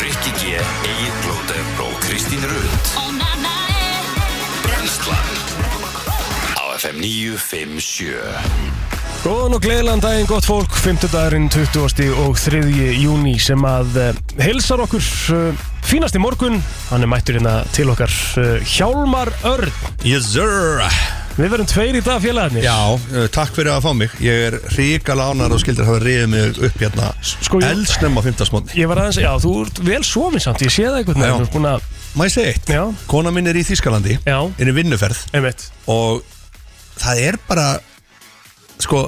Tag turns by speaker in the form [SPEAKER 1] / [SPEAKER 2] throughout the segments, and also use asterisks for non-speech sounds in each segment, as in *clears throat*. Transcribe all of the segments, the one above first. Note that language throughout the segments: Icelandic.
[SPEAKER 1] Rikki G, Egil Blóter og Kristín Rund Brenslan Á FM 957
[SPEAKER 2] Góðan og gleðilegan daginn, gott fólk, 5. dagurinn 20. og 3. júni sem að uh, heilsar okkur uh, fínast í morgun, hann er mættur hérna til okkar uh, Hjálmar Örn.
[SPEAKER 3] Yes sir
[SPEAKER 2] Við verðum tveir í dag félagarnir.
[SPEAKER 3] Já, uh, takk fyrir að fá mig Ég er ríka lánar og skildir að hafa riðið mig upp hérna
[SPEAKER 2] Sko,
[SPEAKER 3] sko,
[SPEAKER 2] ég-
[SPEAKER 3] Elsnum á fymtasmóni
[SPEAKER 2] Ég var aðeins, já, þú ert vel sofin samt, ég sé það einhvern
[SPEAKER 3] Já.
[SPEAKER 2] veginn, þú ert búin að,
[SPEAKER 3] Má ég segja eitt?
[SPEAKER 2] já,
[SPEAKER 3] Kona minn er í Þýskalandi
[SPEAKER 2] já,
[SPEAKER 3] Er í vinnuferð
[SPEAKER 2] einmitt,
[SPEAKER 3] Og það er bara Sko,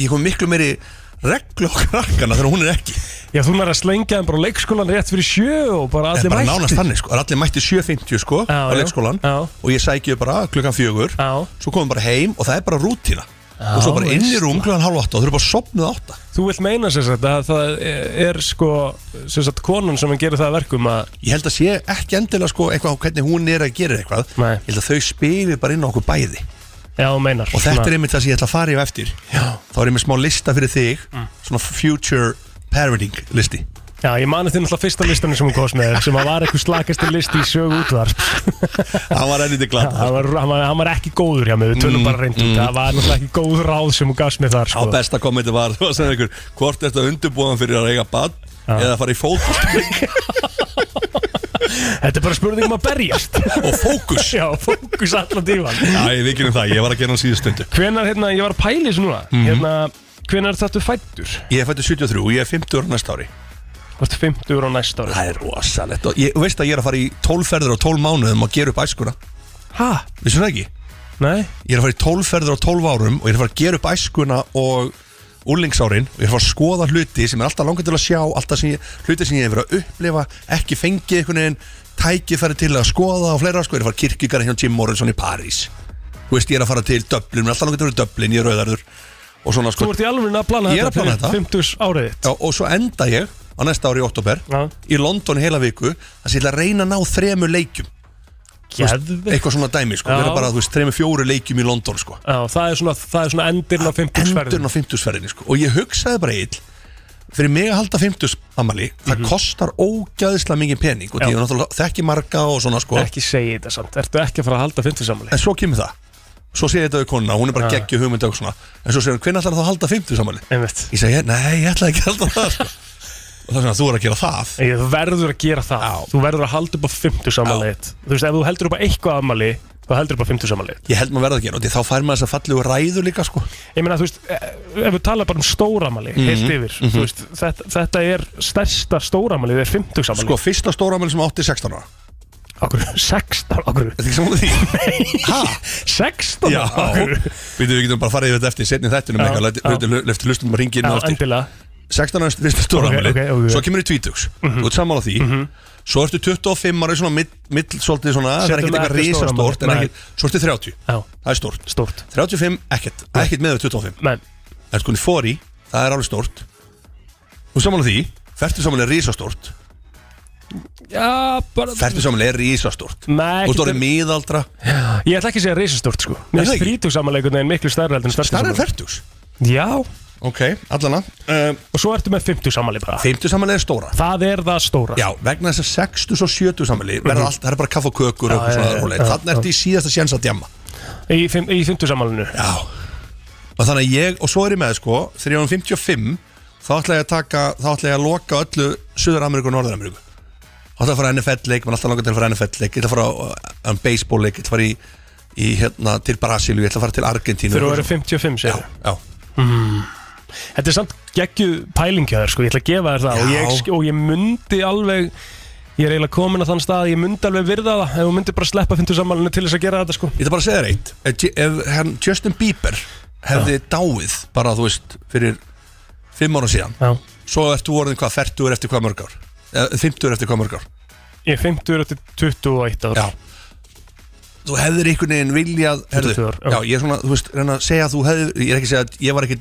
[SPEAKER 3] ég kom miklu meiri reglu á krakkana þegar hún er ekki
[SPEAKER 2] já, þú verður að slengja þeim bara á leikskólan rétt fyrir sjö og bara
[SPEAKER 3] Það
[SPEAKER 2] allir
[SPEAKER 3] er bara nánast
[SPEAKER 2] mættir.
[SPEAKER 3] þannig sko Það er Allir mætti 7.50 sko
[SPEAKER 2] Já,
[SPEAKER 3] á
[SPEAKER 2] já.
[SPEAKER 3] leikskólan
[SPEAKER 2] Já.
[SPEAKER 3] Og ég sæki þau bara "Ah, klukkan fjögur
[SPEAKER 2] Já.
[SPEAKER 3] Svo komum bara heim og það er bara rútina Og svo bara inn í rúm klukkan hálf átta Og þau eru bara sopnuð átta
[SPEAKER 2] Þú vilt meina sem sagt að það er sko, sem sagt, konan sem gerir það að verkum að,
[SPEAKER 3] ég held að sé ekki endilega sko eitthvað á hvernig hún er að gera eitthvað
[SPEAKER 2] Nei.
[SPEAKER 3] ég held að þau spilir bara inn á okkur bæði
[SPEAKER 2] já, þú meinar.
[SPEAKER 3] og þetta er einmitt það sem ég ætla að fara yfir eftir Já. þá er ég með smá lista fyrir þig svona future parenting listi
[SPEAKER 2] Já, ég mani þinn alltaf fyrsta listanum sem hún góðs með sem að var eitthvað slakasti listi í sögu útvarp
[SPEAKER 3] það var enniti glad
[SPEAKER 2] hann, var, hann, var, hann var ekki góður hjá mig, við tölum bara reyndum mm. það var náttúrulega ekki góð ráð sem hún gafst með þar
[SPEAKER 3] á
[SPEAKER 2] sko.
[SPEAKER 3] besta kommenti var þú var að segja ykkur hvort er þetta undirbúðan fyrir að eiga bad eða fara í fótbolt
[SPEAKER 2] Þetta er bara spurning um að berjast
[SPEAKER 3] *laughs* og fókus
[SPEAKER 2] Já, fókus allan tíman
[SPEAKER 3] Æ, við gerum það, ég var að gera hann síðust stundu
[SPEAKER 2] Hvenar, hérna, ég var að pæli þessu núna
[SPEAKER 3] Mhm.
[SPEAKER 2] hérna, Hvenar þetta fættur?
[SPEAKER 3] Ég er fættu 73 og ég er 50 ára næsta ári
[SPEAKER 2] Vart 50 á næsta ári
[SPEAKER 3] Það er rosalegt og ég þú veist að ég er að fara í 12 ferður og 12 mánuðum og gera upp æskuna
[SPEAKER 2] Hæ?
[SPEAKER 3] Vissum það ekki?
[SPEAKER 2] Nei?
[SPEAKER 3] ég er að fara í tólferður á tólf árum og ég er að fara að gera upp æskuna og úrlingsárin og ég er að fara að skoða hluti sem er alltaf langar til að sjá, alltaf sem ég, hluti sem ég er verið að upplifa, ekki fengið einhvern veginn, tækifæri til að skoða og fleira, sko, ég er að fara að kirkjugar hjá Jim Morrison í París þú veist, ég er að fara til Dublin, mér er alltaf langar til að vera í Dublin, ég er auðarður og
[SPEAKER 2] Þú
[SPEAKER 3] svona, sko,
[SPEAKER 2] ert í alveg að plana
[SPEAKER 3] Ég er að plana
[SPEAKER 2] fyrir
[SPEAKER 3] þetta.
[SPEAKER 2] 50 árið þitt
[SPEAKER 3] já, og svo enda ég á næsta ári í oktober,
[SPEAKER 2] Já.
[SPEAKER 3] í London í heila viku, þess að ég ætla að reyna að ná þremur leikjum,
[SPEAKER 2] Geðveikt.
[SPEAKER 3] eitthvað svona dæmi, sko,
[SPEAKER 2] Já.
[SPEAKER 3] vera bara, þú veist, þremur fjóru leikjum í London, sko.
[SPEAKER 2] Já, það er svona, það er svona endirn á 50
[SPEAKER 3] endurinn á 50-sferðinni sko. og ég hugsaði bara eitt fyrir mig að halda 50 ammali það kostar ógæðislega mikið pening
[SPEAKER 2] Mhm.
[SPEAKER 3] og
[SPEAKER 2] Já.
[SPEAKER 3] því ég náttúrulega þekki marga og svona sko.
[SPEAKER 2] Ekki segi þetta samt, ertu ekki að fara að halda 50 sammáli?
[SPEAKER 3] en svo kemur það svo segir þetta við konuna, hún er bara
[SPEAKER 2] Já.
[SPEAKER 3] geggju hugmyndi og svona en svo segir hún, hvernig ætlar það að halda 50 ammali
[SPEAKER 2] Einmitt
[SPEAKER 3] ég segi, nei, ég ætla ekki að halda það sko. og það er svona, þú er að gera það
[SPEAKER 2] Ég, þú verður að gera það
[SPEAKER 3] Já.
[SPEAKER 2] Þú verður að halda upp á 50
[SPEAKER 3] Já.
[SPEAKER 2] samanleitt Þú veist, ef þú heldur upp á eitthvað afmæli Þú heldur upp á 50 samanleitt
[SPEAKER 3] ég held maður verða að gera og því þá fær maður þess að fallegu ræðu líka sko.
[SPEAKER 2] Ég meina, þú veist, eh, ef við tala bara um stóramæli
[SPEAKER 3] Mhm.
[SPEAKER 2] mm Heilt yfir, þú veist, þetta, þetta er Stærsta stóramæli, þetta er 50
[SPEAKER 3] sko,
[SPEAKER 2] samanleitt
[SPEAKER 3] fyrsta stóra ammali sem átti 16 ára
[SPEAKER 2] Okkur, 16, okkur
[SPEAKER 3] Þetta er ekki saman því Ha?
[SPEAKER 2] 16,
[SPEAKER 3] Já,
[SPEAKER 2] okkur
[SPEAKER 3] Við við getum bara farið yfir þetta eftir setni þættinum
[SPEAKER 2] Já, já.
[SPEAKER 3] eitthvað, lefti lustum að ringi inn
[SPEAKER 2] Já,
[SPEAKER 3] á eftir
[SPEAKER 2] endilega
[SPEAKER 3] 16 ára fyrsta stóra
[SPEAKER 2] Ok,
[SPEAKER 3] okay,
[SPEAKER 2] ok, Mhm. ok.
[SPEAKER 3] Svo kemur í tvítugs Þú ert sammála því Svo ertu 25 ára í svona mitt, mitt svolítið svona Það er
[SPEAKER 2] Setjum
[SPEAKER 3] ekkert
[SPEAKER 2] það
[SPEAKER 3] eitthvað
[SPEAKER 2] ekki stóra
[SPEAKER 3] risastórt en
[SPEAKER 2] afmæli.
[SPEAKER 3] ekkert- Svo ertu 30
[SPEAKER 2] Já,
[SPEAKER 3] Það er stórt
[SPEAKER 2] stórt
[SPEAKER 3] 35 ekkert Það er ekkert með við 25
[SPEAKER 2] Men,
[SPEAKER 3] Ertu kunni 40 Það er alveg stórt Þú ert sammála því Fertu sammála er risastórt
[SPEAKER 2] já, bara
[SPEAKER 3] Fertu sammála er risastórt
[SPEAKER 2] Nei,
[SPEAKER 3] Þú ert
[SPEAKER 2] ekki-
[SPEAKER 3] orðið miðaldra
[SPEAKER 2] Ég ætla ekki að segja reisastórt, sko Mér
[SPEAKER 3] Er
[SPEAKER 2] finnst
[SPEAKER 3] það ekki?
[SPEAKER 2] 30 samanleikun en miklu stærra heldur en Eh. 40
[SPEAKER 3] Starra er
[SPEAKER 2] samanleik
[SPEAKER 3] fertugs
[SPEAKER 2] Já,
[SPEAKER 3] Ok, allana um,
[SPEAKER 2] og svo ertu með 50 samanleik bara
[SPEAKER 3] 50 sammála er stóra
[SPEAKER 2] Það er það stóra
[SPEAKER 3] Já, vegna þess að 60 og 70 sammáli verða allt, það er bara kaff og kökur og
[SPEAKER 2] Mhm. Já, já, já,
[SPEAKER 3] svona rólegheit.
[SPEAKER 2] já,
[SPEAKER 3] Þarna ertu í síðasta sjens að djamma
[SPEAKER 2] Í, fimm- í 50 samanleinu
[SPEAKER 3] Já Og þannig að ég, og svo er ég með sko Þegar ég var um 55 Þá ætla ég að taka, þá ætla ég að loka öllu Suður-Ameríku og Norður-Ameríku Þá ætla ég að fara NFL-leik, mann alltaf langar til að fara NFL-leik Ég ætla að fara á um, baseball-leik Ég ætla að fara í, í hérna, til Brasilíu Ég ætla að fara til Argentínu
[SPEAKER 2] Þegar þú eru 55
[SPEAKER 3] Já,
[SPEAKER 2] segir
[SPEAKER 3] já
[SPEAKER 2] Þetta er samt geggju pælingjaður sko, ég ætla að gefa þér það og
[SPEAKER 3] Já.
[SPEAKER 2] ég, sk- og ég myndi alveg Ég er eiginlega komin að þann stað, að ég myndi alveg virða það Ef þú myndi bara sleppa 50 samanleinu til þess að gera þetta sko
[SPEAKER 3] Ég ætla bara að segja þér eitt Ef J- Ef hann, Justin Bieber hefði dáið Bara þú veist, fyrir Fimm ára síðan
[SPEAKER 2] Já
[SPEAKER 3] Svo ertu orðin hvað, 40 eftir hvað mörg ár Eh, 50 eftir hvað mörg ár
[SPEAKER 2] Ég er 50 eftir 21 ár
[SPEAKER 3] Já þú hefðir einhvern veginn viljað herðu,
[SPEAKER 2] 22 ár, já.
[SPEAKER 3] já, ég er svona, þú veist, reyna að segja að þú hefðir, ég er ekki að segja að ég var ekki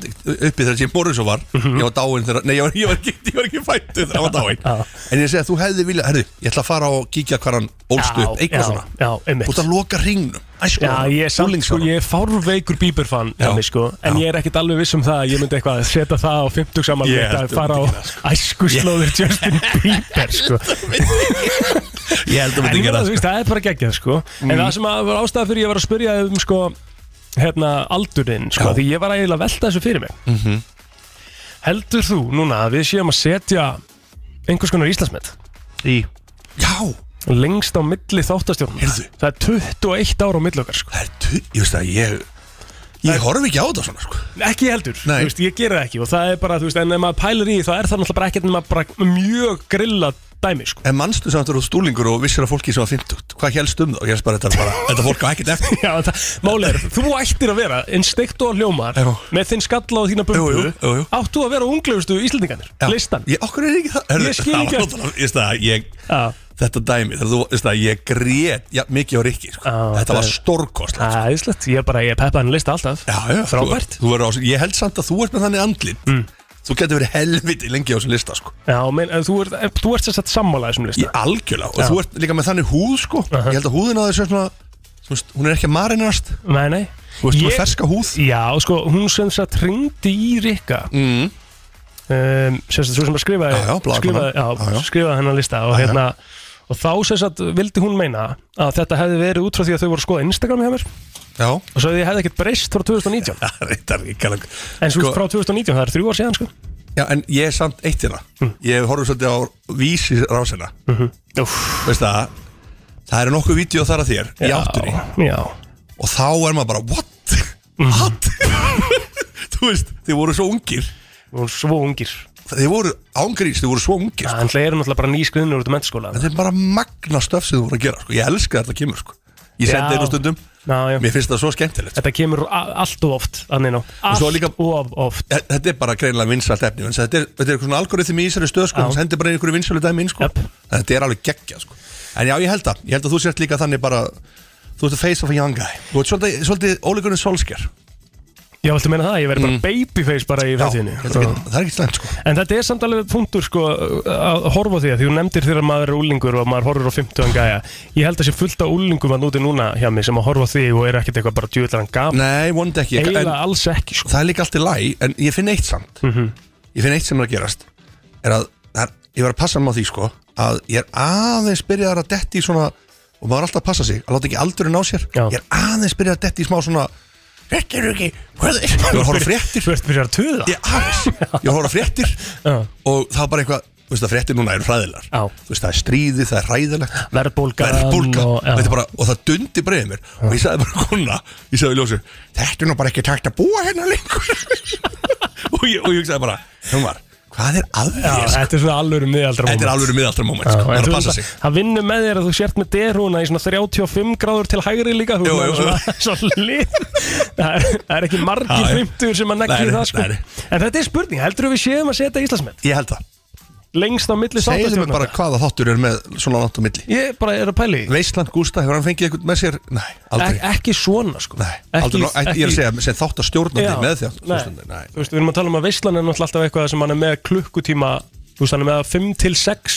[SPEAKER 3] uppi þegar ég morgun svo var,
[SPEAKER 2] Mhm.
[SPEAKER 3] ég var dáin þegar, nei, ég var, ég var ekki, ég var ekki fættu þegar ég var dáin
[SPEAKER 2] Já.
[SPEAKER 3] en ég er að segja að þú hefðir viljað, herðu, ég ætla að fara og kíkja hvar hann ólst upp,
[SPEAKER 2] já,
[SPEAKER 3] eitthvað svona
[SPEAKER 2] já, einmitt
[SPEAKER 3] þú ert að loka ringnum, æsku
[SPEAKER 2] Já, ég er samt, sko, ég er fárveikur bíberfan
[SPEAKER 3] Já.
[SPEAKER 2] Emmi, sko, en
[SPEAKER 3] Já.
[SPEAKER 2] ég er ekkert alveg viss um það að ég myndi eitthvað að setja það á 50 saman
[SPEAKER 3] Ég
[SPEAKER 2] að
[SPEAKER 3] held sko.
[SPEAKER 2] fara á
[SPEAKER 3] þú
[SPEAKER 2] æskuslóðir
[SPEAKER 3] *laughs*
[SPEAKER 2] Justin Bieber, sko
[SPEAKER 3] ég held að
[SPEAKER 2] En ég
[SPEAKER 3] maður ekki
[SPEAKER 2] meina, þú
[SPEAKER 3] það sko.
[SPEAKER 2] veist, það er bara geggjað, sko En
[SPEAKER 3] Mm.
[SPEAKER 2] það sem að var ástæða fyrir ég var að spyrja um, sko, hérna, aldurinn, sko
[SPEAKER 3] Já. Mhm.
[SPEAKER 2] Því ég var eiginlega að velta þessu fyrir mig Heldur þú núna að við séum að setja einhvers konar Íslandsmet í
[SPEAKER 3] já,
[SPEAKER 2] lengst á milli þáttastjórnum
[SPEAKER 3] Heyrðu.
[SPEAKER 2] Það er 21 ára á milli okkar, sko
[SPEAKER 3] það er tu, ég veist að ég ég horf ekki á þetta svona, sko
[SPEAKER 2] Ekki heldur,
[SPEAKER 3] Nei.
[SPEAKER 2] þú veist, ég gera það ekki og það er bara, þú veist, en ef maður pælir í því, þá er það náttúrulega bara ekkert nema bara mjög grilla dæmi, sko
[SPEAKER 3] En manstu samt að þú stúlingur og vissir að fólki sem var 50 Hvað helst um það? Ég helst bara þetta er bara Þetta fólk á ekkert eftir
[SPEAKER 2] *laughs* Já, en það, máli er, þú ættir að vera eins steikt og hljómar
[SPEAKER 3] Já.
[SPEAKER 2] með þinn skalla og þína bumbu
[SPEAKER 3] Jú, jú, jú, jú.
[SPEAKER 2] áttu að vera unglegustu íslendingarnir,
[SPEAKER 3] Já.
[SPEAKER 2] listan
[SPEAKER 3] Ég, okkur er ekki það
[SPEAKER 2] Ég skil ekki að-
[SPEAKER 3] það var náttúrulega- Ég veist það ég,
[SPEAKER 2] Já.
[SPEAKER 3] Þetta dæmi Þegar þú veist það Ég grét já, mikið á Rikki sko.
[SPEAKER 2] Já, það
[SPEAKER 3] Þetta var
[SPEAKER 2] er-
[SPEAKER 3] stórkostlegt
[SPEAKER 2] Það er íslegt, ég er bara, ég peppa hann lista alltaf
[SPEAKER 3] Já, já
[SPEAKER 2] Frábært.
[SPEAKER 3] þú, þú er, á- Ég held samt að þú ert með þannig andlit mm. Þú getur verið helviti lengi á þessum lista sko.
[SPEAKER 2] Já, menn, en þú ert, en þú ert sérst sammála þessum lista
[SPEAKER 3] Ég algjörlega Og
[SPEAKER 2] Já.
[SPEAKER 3] þú ert líka með þannig húð sko. Ég held að húðin á þessu er svona Þú veist, hún er ekki að marinast
[SPEAKER 2] Nei, nei
[SPEAKER 3] Þú veist, hún
[SPEAKER 2] Ég-
[SPEAKER 3] er ferska húð
[SPEAKER 2] Já, sko, hún sem sagt hringdi í Rikka mm. um, sem sagt, svo sem að skrifaði
[SPEAKER 3] Já, já, blaðakonan.
[SPEAKER 2] skrifaði, já,
[SPEAKER 3] Já, já.
[SPEAKER 2] skrifaði hennar lista og,
[SPEAKER 3] Já, já.
[SPEAKER 2] hérna, og þá sem sagt vildi hún meina að þetta hefði verið út frá því að þau voru að skoða Instagram hjá mér
[SPEAKER 3] Já *laughs*
[SPEAKER 2] og svo að ég hefði ekkert breyst frá 2019
[SPEAKER 3] Það er ekki alveg
[SPEAKER 2] en
[SPEAKER 3] Sko-
[SPEAKER 2] svo frá 2019, það er þrjú ár síðan sko.
[SPEAKER 3] Já, en ég er samt eitt hérna
[SPEAKER 2] Mm.
[SPEAKER 3] Ég horfði svolítið á vísi rásina
[SPEAKER 2] Úff,
[SPEAKER 3] Veist það, það eru nokkuð vídeo þar að þér Í áttunni
[SPEAKER 2] Já,
[SPEAKER 3] Og þá er maður bara, what?
[SPEAKER 2] Mm.
[SPEAKER 3] What? *laughs* Þú veist, þið voru svo ungir
[SPEAKER 2] hún svo ungir
[SPEAKER 3] Þið voru ángrís, þið voru svo ungir
[SPEAKER 2] Það er náttúrulega bara nýskriðnur út af mentaskóla
[SPEAKER 3] Þetta er bara magna stöf sem þú voru að gera sko. Ég elska þetta kemur sko. Ég
[SPEAKER 2] Já.
[SPEAKER 3] sendi einu stundum
[SPEAKER 2] Já, já.
[SPEAKER 3] Mér finnst það svo skemmtilegt sko.
[SPEAKER 2] Þetta kemur a- allt og oft þannig nú. Allt
[SPEAKER 3] svo líka-
[SPEAKER 2] og oft
[SPEAKER 3] Þe- Þetta er bara greinlega vinsalt efni vegna þess að Þetta er, þetta er eitthvað svona algoritmi í þessari stöð sko,
[SPEAKER 2] Já.
[SPEAKER 3] hún sendir bara einhverju vinsalu dæmi inn sko.
[SPEAKER 2] Jöp.
[SPEAKER 3] Þetta er alveg geggja sko. En já, ég held að, ég held að þú sért líka þannig bara Þú ert að face of a young guy Þú ert svolítið, svolítið ólíkunum solskjær
[SPEAKER 2] Já, viltu meina það? Ég verði bara
[SPEAKER 3] Mm.
[SPEAKER 2] babyface bara í fættinni
[SPEAKER 3] Það er ekki slæmt sko.
[SPEAKER 2] En þetta er samt alveg punktur sko að horfa á því að því þú nefndir þegar maður er úlingur og maður horfir á 50 gæja Ég held að sé fullt af úlingum að núti núna hjá mig sem að horfa á því og er ekkert eitthvað bara djúðlar en gaf
[SPEAKER 3] Nei, vonandi ekki en,
[SPEAKER 2] Eiginlega alls ekki sko
[SPEAKER 3] Það er líka allt í læ, en ég finn eitt samt Ég finn eitt sem er að gerast Er að, það er, ég var að passa mig á því sko Að ég er aðeins byrjaðar að detti í svona Og maður er alltaf að passa sig Að láta ekki aldurinn á sér
[SPEAKER 2] Já.
[SPEAKER 3] Ég er aðeins byrjaðar að detti í smá svona Ekki, ekki, hvað er það? Ég var að horfa á fréttir
[SPEAKER 2] Þú ert fyrir að tuða
[SPEAKER 3] Ég aðeins, ég var að horfa á fréttir
[SPEAKER 2] Já.
[SPEAKER 3] Og það er bara eitthvað, þú veist að fréttir núna eru hræðilegar
[SPEAKER 2] Já.
[SPEAKER 3] Þú veist það er stríði, það er hræðilegt
[SPEAKER 2] Verðbólgan
[SPEAKER 3] verðbólga
[SPEAKER 2] og- já.
[SPEAKER 3] og, bara, og það dundi breiði mér og ég sagði bara kona, ég sagði við ljósu þetta er nú bara ekki takt að búa hérna lengur *laughs* og, ég, og ég sagði bara Hjumar, hvað er að
[SPEAKER 2] Já,
[SPEAKER 3] þér? sko?
[SPEAKER 2] þetta er svona alvöru miðaldra
[SPEAKER 3] Þetta er alveg miðaldra moment, sko.
[SPEAKER 2] Já,
[SPEAKER 3] það
[SPEAKER 2] en
[SPEAKER 3] er
[SPEAKER 2] þú
[SPEAKER 3] að passa
[SPEAKER 2] veist
[SPEAKER 3] sig
[SPEAKER 2] að- Það vinnur með þér að þú sért með derhúna í svona 35 gráður til hægri líka Þú
[SPEAKER 3] Jú,
[SPEAKER 2] veist,
[SPEAKER 3] jú,
[SPEAKER 2] svona, svona lið Það er, það er ekki margir
[SPEAKER 3] Já, já.
[SPEAKER 2] 50 sem að negli
[SPEAKER 3] Nei,
[SPEAKER 2] það sko
[SPEAKER 3] nei.
[SPEAKER 2] En þetta er spurning, heldur við séum að setja Íslandsmet
[SPEAKER 3] Ég held það,
[SPEAKER 2] Lengst á milli
[SPEAKER 3] segðu mér
[SPEAKER 2] sáttastjórnar?
[SPEAKER 3] bara hvaða þáttur er með svona langt á milli
[SPEAKER 2] Ég bara er að pæli
[SPEAKER 3] Veistland Gústa, hefur hann fengið eitthvað með sér? Nei, aldrei
[SPEAKER 2] Ek, Ekki svona sko
[SPEAKER 3] Nei, aldrei, ekki, ég er að segja, sem þátt að stjórnandi
[SPEAKER 2] Já,
[SPEAKER 3] með þér
[SPEAKER 2] nei.
[SPEAKER 3] stjórnandi, nei.
[SPEAKER 2] Þú veist, við erum að tala um að veislan er náttúrulega alltaf eitthvað sem hann er með klukkutíma Þú veist, hann er með 5 til 6